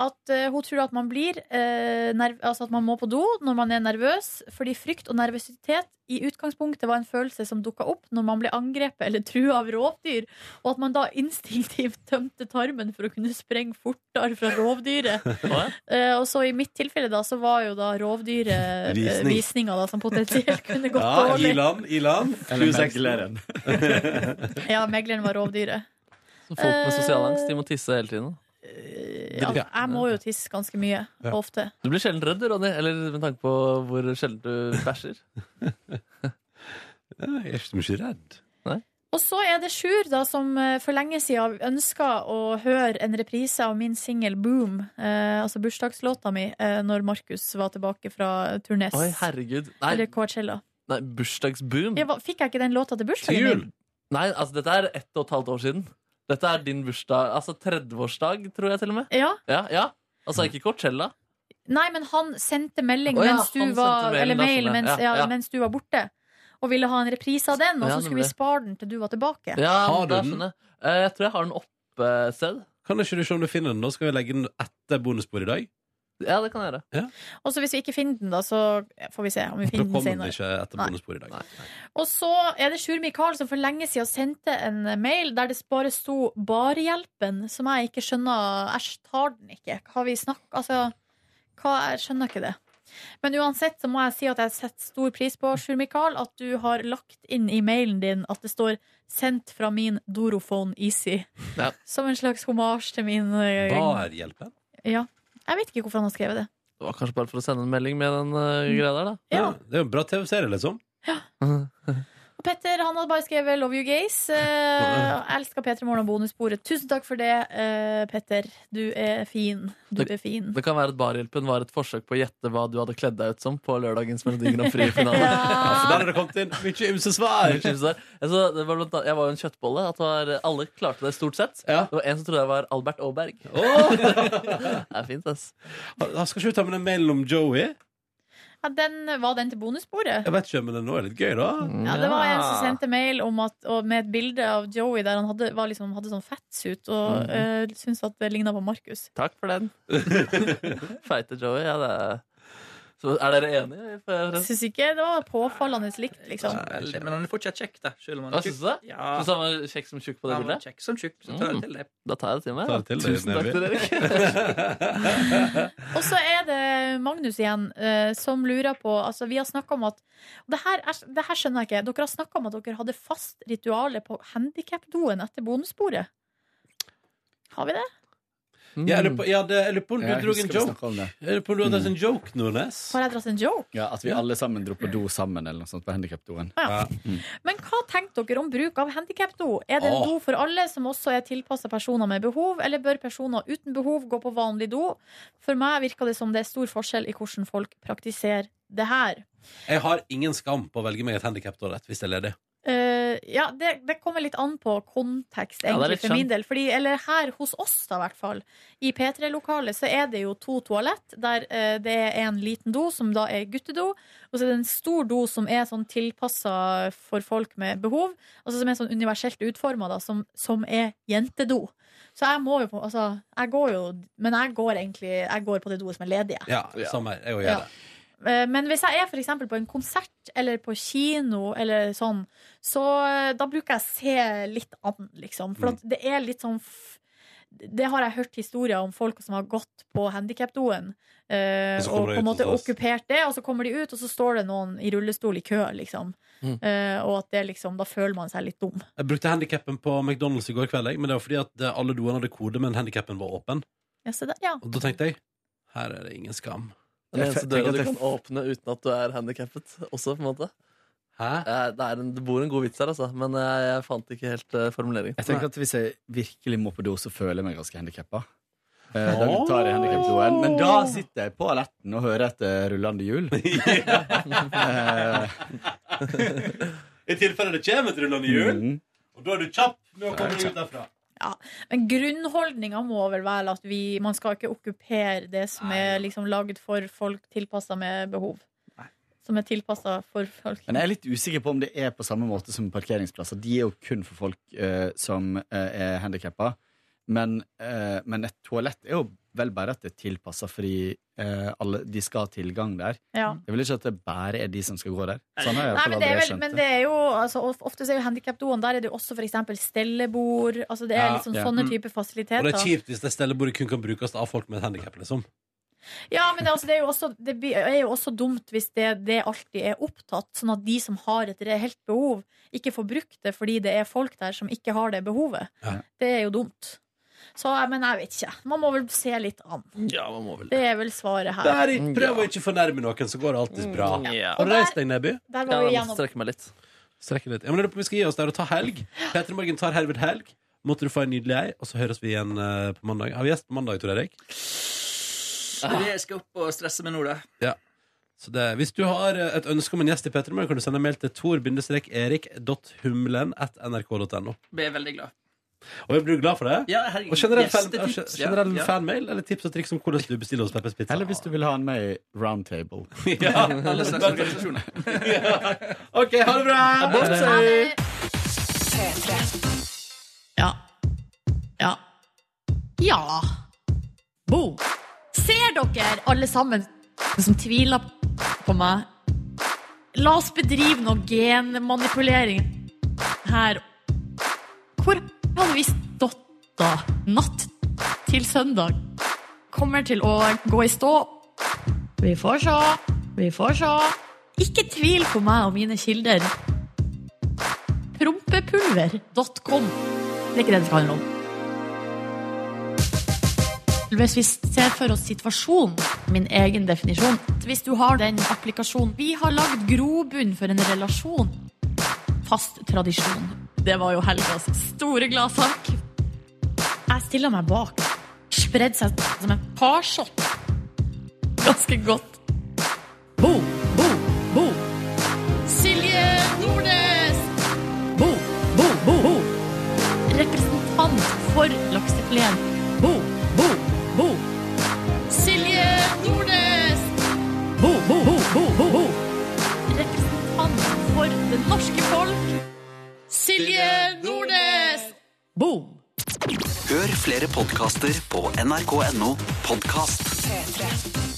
Speaker 1: at eh, hun tror at man blir eh, nerv Altså at man må på do når man er nervøs, fordi frykt og nervøsitet i utgangspunktet var en følelse som dukka opp når man ble angrepet eller trua av rovdyr, og at man da instinktivt tømte tarmen for å kunne sprenge fortere fra rovdyret. Eh, og så i mitt tilfelle da, så var jo da rovdyret
Speaker 2: Visning.
Speaker 1: eh, visninga da, som potensielt kunne gått
Speaker 2: Ja,
Speaker 1: dårlig.
Speaker 2: Ilan. Ilan.
Speaker 11: Eller
Speaker 2: 2016.
Speaker 11: megleren.
Speaker 1: Ja, megleren var rovdyret.
Speaker 3: Så folk med sosial angst de
Speaker 1: Eh,
Speaker 3: må tisse hele tiden.
Speaker 1: ja, Eh, altså, jeg må jo tisse ganske mye.
Speaker 3: Ja.
Speaker 1: Ofte.
Speaker 3: Du blir sjelden redd, du, Ronny. Eller med tanke på hvor sjelden du bæsjer.
Speaker 2: Jeg er ikke så mye redd.
Speaker 1: Og så er det Sjur, da, som eh, for lenge siden ønska å høre en reprise av min singel 'Boom', eh, altså bursdagslåta mi, eh, når Markus var tilbake fra turnes.
Speaker 3: Oi, Mm. herregud.
Speaker 1: Eller
Speaker 3: Nei,
Speaker 1: Coachella.
Speaker 3: nei bursdagsboom.
Speaker 1: Jeg, var- fikk jeg ikke den låta til bursdagen min?
Speaker 3: Nei, altså dette er ett og et halvt år siden. Dette er din bursdag. Altså 30-årsdag, tror jeg til og med.
Speaker 1: Ja.
Speaker 3: Ja, ja. Altså ikke Coachella.
Speaker 1: Nei, men han sendte melding
Speaker 3: Å ja,
Speaker 1: mens du
Speaker 3: han
Speaker 1: var
Speaker 3: sendte melding,
Speaker 1: Eller
Speaker 3: da,
Speaker 1: mail
Speaker 3: skjønner jeg.
Speaker 1: mens,
Speaker 3: Ja,
Speaker 1: ja,
Speaker 3: ja.
Speaker 1: mens du var borte. Og ville ha en reprise av den, og
Speaker 3: Ja,
Speaker 1: så skulle vi
Speaker 3: nemlig.
Speaker 1: spare den til du var tilbake.
Speaker 3: Ja,
Speaker 2: Har du
Speaker 3: da
Speaker 2: den?
Speaker 3: skjønner jeg. Eh, Jeg tror jeg har den oppe et sted.
Speaker 2: Kan ikke du se om du finner den? Da skal vi legge den etter bonusbordet i dag.
Speaker 3: Ja, det kan jeg gjøre.
Speaker 1: Og så hvis vi ikke finner den, da, så får vi se om vi
Speaker 2: Da
Speaker 1: finner den
Speaker 2: kommer den
Speaker 1: senere.
Speaker 2: ikke etter
Speaker 1: Nei.
Speaker 2: bonusbordet i dag.
Speaker 1: Og så er det Sjur Mikael som for lenge siden sendte en mail der det bare sto 'Barehjelpen', som jeg ikke skjønner Æsj, tar den ikke. Hva vi snakker Altså, hva, jeg skjønner ikke det. Men uansett så må jeg si at jeg setter stor pris på, Sjur Mikael, at du har lagt inn i mailen din at det står 'Sendt fra min Dorophone Easy'.
Speaker 3: Ja.
Speaker 1: Som en slags hommage til min eh,
Speaker 2: Barhjelpen?
Speaker 1: Ja. Jeg vet ikke hvorfor han har skrevet det.
Speaker 3: Det var kanskje bare for å sende en melding med den
Speaker 2: Mm.
Speaker 3: eh, greia der, da.
Speaker 1: Ja.
Speaker 2: Det er jo en bra TV-serie, liksom.
Speaker 1: Og Petter han hadde bare skrevet 'Love you, gays'. Eh, jeg elsker P3 Morgen og bonussporet. Tusen takk for det, eh, Petter. Du er fin. Du er fin.
Speaker 3: Det kan være at Barhjelpen var et forsøk på å gjette hva du hadde kledd deg ut som på lørdagens Melodi Grand Prix-finale.
Speaker 1: Ja. Ja, for
Speaker 2: der har det kommet inn mye ymse svar!
Speaker 3: Jeg, så, det var blant annet, jeg var jo en kjøttbolle. At det var, alle klarte det stort sett. Det var en som trodde jeg var Albert Aaberg. det er fint, ass.
Speaker 2: Ah, Skal ikke du ta med den mailen om Joey?
Speaker 1: Ja, den, var den til bonussporet?
Speaker 2: Jeg vet ikke, men den nå er litt gøy, da.
Speaker 1: Ja, det var en som sendte mail om at, og med et bilde av Joey der han hadde, var liksom, hadde sånn fettsuit og
Speaker 3: Mhm.
Speaker 1: eh, syntes at det ligna på Markus.
Speaker 3: Takk for den. Feite Joey. Ja, det er. Så er dere enige?
Speaker 1: Jeg Syns ikke det var påfallende likt, liksom.
Speaker 5: Veldig, men han er fortsatt kjekk, da. Selv om han
Speaker 3: Hva
Speaker 5: er
Speaker 3: syns
Speaker 5: tjukk.
Speaker 3: du?
Speaker 5: Ja.
Speaker 3: Syns du han var kjekk som tjukk på det
Speaker 5: Han var
Speaker 3: bildet?
Speaker 5: kjekk som tjukk, så tar jeg
Speaker 3: Mm.
Speaker 5: til det.
Speaker 3: Da tar jeg det til meg.
Speaker 2: Ta
Speaker 3: da.
Speaker 2: det til deg,
Speaker 3: Tusen takk
Speaker 2: Nevi.
Speaker 3: til dere.
Speaker 1: Og så er det Magnus igjen eh, som lurer på altså Vi har snakka om at og det her, er, det her skjønner jeg ikke. Dere har snakka om at dere hadde fast rituale på handikapdoen etter bonussporet. Har vi det?
Speaker 2: Ja, jeg lurer på- ja, det- jeg lurer på om du
Speaker 11: Jeg
Speaker 2: dro en
Speaker 11: husker vi
Speaker 2: joke.
Speaker 11: snakket om det.
Speaker 2: Jeg lurer på om du hadde en joke, Nordnes.
Speaker 1: Har jeg dratt en joke?
Speaker 11: Ja, At vi alle sammen dro på do sammen eller noe sånt på handikapdoen.
Speaker 1: Ja. Men hva tenkte dere om bruk av handikapdo? Er det en
Speaker 11: Åh.
Speaker 1: do for alle som også er tilpassa personer med behov, eller bør personer uten behov gå på vanlig do? For meg virker det som det er stor forskjell i hvordan folk praktiserer det her.
Speaker 2: Jeg har ingen skam på å velge meg et handikaptoalett hvis jeg er ledig.
Speaker 1: Eh, ja, det, det kommer litt an på kontekst,
Speaker 2: Ja, det
Speaker 1: egentlig,
Speaker 2: er litt
Speaker 1: for min
Speaker 2: skjønt.
Speaker 1: del. Fordi, eller her hos oss, da, i hvert fall. I P3-lokalet så er det jo to toalett, der eh, det er en liten do, som da er guttedo, og så er det en stor do som er sånn tilpassa for folk med behov, altså som er sånn universelt utforma, da, som, som er jentedo. Så jeg må jo på Altså, jeg går jo Men jeg går egentlig Jeg går på det doet som er ledig, jeg.
Speaker 2: Ja, samme her. Jeg òg
Speaker 1: Ja.
Speaker 2: gjør det.
Speaker 1: Eh, Men hvis jeg er for eksempel på en konsert eller på kino eller sånn, så eh, da bruker jeg se litt an, liksom. For
Speaker 12: Mm.
Speaker 1: at det er litt sånn f Det har jeg hørt historier om folk som har gått på handikapdoen eh,
Speaker 12: Og så
Speaker 1: og
Speaker 12: kommer de
Speaker 1: på en
Speaker 12: ut,
Speaker 1: måte
Speaker 12: og så-
Speaker 1: okkupert det, og så kommer de ut, og så står det noen i rullestol i kø, liksom.
Speaker 2: Mm.
Speaker 1: Eh, og at det liksom Da føler man seg litt dum.
Speaker 2: Jeg brukte handikappen på McDonald's i går kveld, jeg, men det var fordi at eh, alle doene hadde kode, men handikappen var åpen.
Speaker 1: Ja, se der, ja.
Speaker 2: Og da tenkte jeg her er det ingen skam.
Speaker 3: Den eneste
Speaker 2: Jeg tenker
Speaker 3: døra
Speaker 2: at
Speaker 3: du
Speaker 2: jeg-
Speaker 3: kan åpne uten at du er handikappet også, på en måte.
Speaker 2: Hæ?
Speaker 3: Det, er en, det bor en god vits der, altså, men jeg, jeg fant ikke helt eh, formuleringen.
Speaker 11: Jeg tenker at Hvis jeg virkelig må på do, så føler jeg meg ganske handikappa. Eh, da tar jeg handikapdoen. Men da sitter jeg på aletten og hører etter rullende hjul. Eh,
Speaker 2: I tilfelle det kommer et rullende hjul,
Speaker 11: Mhm.
Speaker 2: og da er du Mm. kjapp med å komme deg ut derfra.
Speaker 1: Men grunnholdninga må vel være at vi, man skal ikke okkupere det som er liksom lagd for folk tilpassa med behov. Som er tilpassa for folk.
Speaker 11: Men jeg er litt usikker på om det er på samme måte som parkeringsplasser. De er jo kun for folk eh, som eh, er handikappa. Men, eh, men et toalett er jo vel bare at det er tilpassa fordi eh, alle, de skal ha tilgang der.
Speaker 1: Ja.
Speaker 11: Jeg vil ikke at det bare er de som skal gå der. Sånn har jeg i
Speaker 1: Nei,
Speaker 11: hvert fall
Speaker 1: men det er,
Speaker 11: aldri
Speaker 1: vel,
Speaker 11: skjønt
Speaker 1: men det er jo altså, of- Ofte så er jo handikapdoen Der er det jo også for eksempel stellebord altså, Det er
Speaker 2: Ja,
Speaker 1: liksom
Speaker 2: ja.
Speaker 1: sånne
Speaker 2: Mm.
Speaker 1: type
Speaker 2: Og
Speaker 1: fasiliteter
Speaker 2: det er kjipt hvis det stellebordet kun kan brukes av folk med et handikap. Liksom.
Speaker 1: Ja, men det, er også- det, er jo også, det blir- er jo også dumt Hvis det, det alltid er opptatt Sånn at de som har et reelt behov Ikke får brukt det fordi det er folk der Som ikke har det behovet Det er jo dumt så, eh, men jeg vet ikke, man må vel se litt an
Speaker 2: Ja, man må vel
Speaker 1: Det er vel svaret her
Speaker 2: Bare prøv å ikke fornærme noen, så går det alltid bra.
Speaker 1: Mm. Ja.
Speaker 2: Har du reist deg, Neby?
Speaker 1: der var Ja, vi jeg må gjennom-
Speaker 2: strekke meg litt. litt. Ja, men jeg lurer på om vi skal gi oss der og ta helg. Petter Morgen tar herved helg. Måtte du få en nydelig ei, og så høres vi igjen eh, på mandag. Har vi gjest på mandag, Tor Erik?
Speaker 5: Jeg skal opp og stresse med nå, da.
Speaker 2: Ja. Så det, hvis du har eh, et ønske om en gjest i P3 Morgen, kan du sende en mail til tor-erik.humlen.nrk.no.
Speaker 5: Blir jeg veldig glad.
Speaker 2: Og jeg blir glad for det.
Speaker 5: Ja, herregud.
Speaker 2: og generell, fan, eh,
Speaker 5: Gjestetips, ja.
Speaker 2: generell
Speaker 5: Ja.
Speaker 2: fanmail eller tips og triks om hvordan du bestiller hos Peppers Pizza.
Speaker 11: Eller hvis du vil ha en med i roundtable.
Speaker 2: Ja.
Speaker 5: Alle slags organisasjoner.
Speaker 2: OK, ha det bra!
Speaker 1: Ja. Ja. Ja. Bo. Ser dere, alle sammen som tviler på meg? La oss bedrive noe genmanipulering her. Hvor hadde vi stått da? Natt til søndag. Kommer til å gå i stå. Vi får se. Vi får se. Ikke tvil på meg og mine kilder. Prompepulver.com. Det er ikke det det skal handle om. Hvis vi ser for oss situasjonen, min egen definisjon Hvis du har den applikasjonen Vi har lagd grobunn for en relasjon. Fast tradisjon. Det var jo helgas store gladsak. Jeg stiller meg bak. Spredde seg som en parsott. Ganske godt. Bo, bo, bo. Silje Nordnes! Bo, bo, bo, bo. Representant for laksefileten. Bo, bo, bo. Silje Nordnes! Bo, bo, bo, bo, bo, bo. Representant for det norske folk. Silje Nordnes! Boom!
Speaker 14: Hør flere podkaster på nrk.no podkast.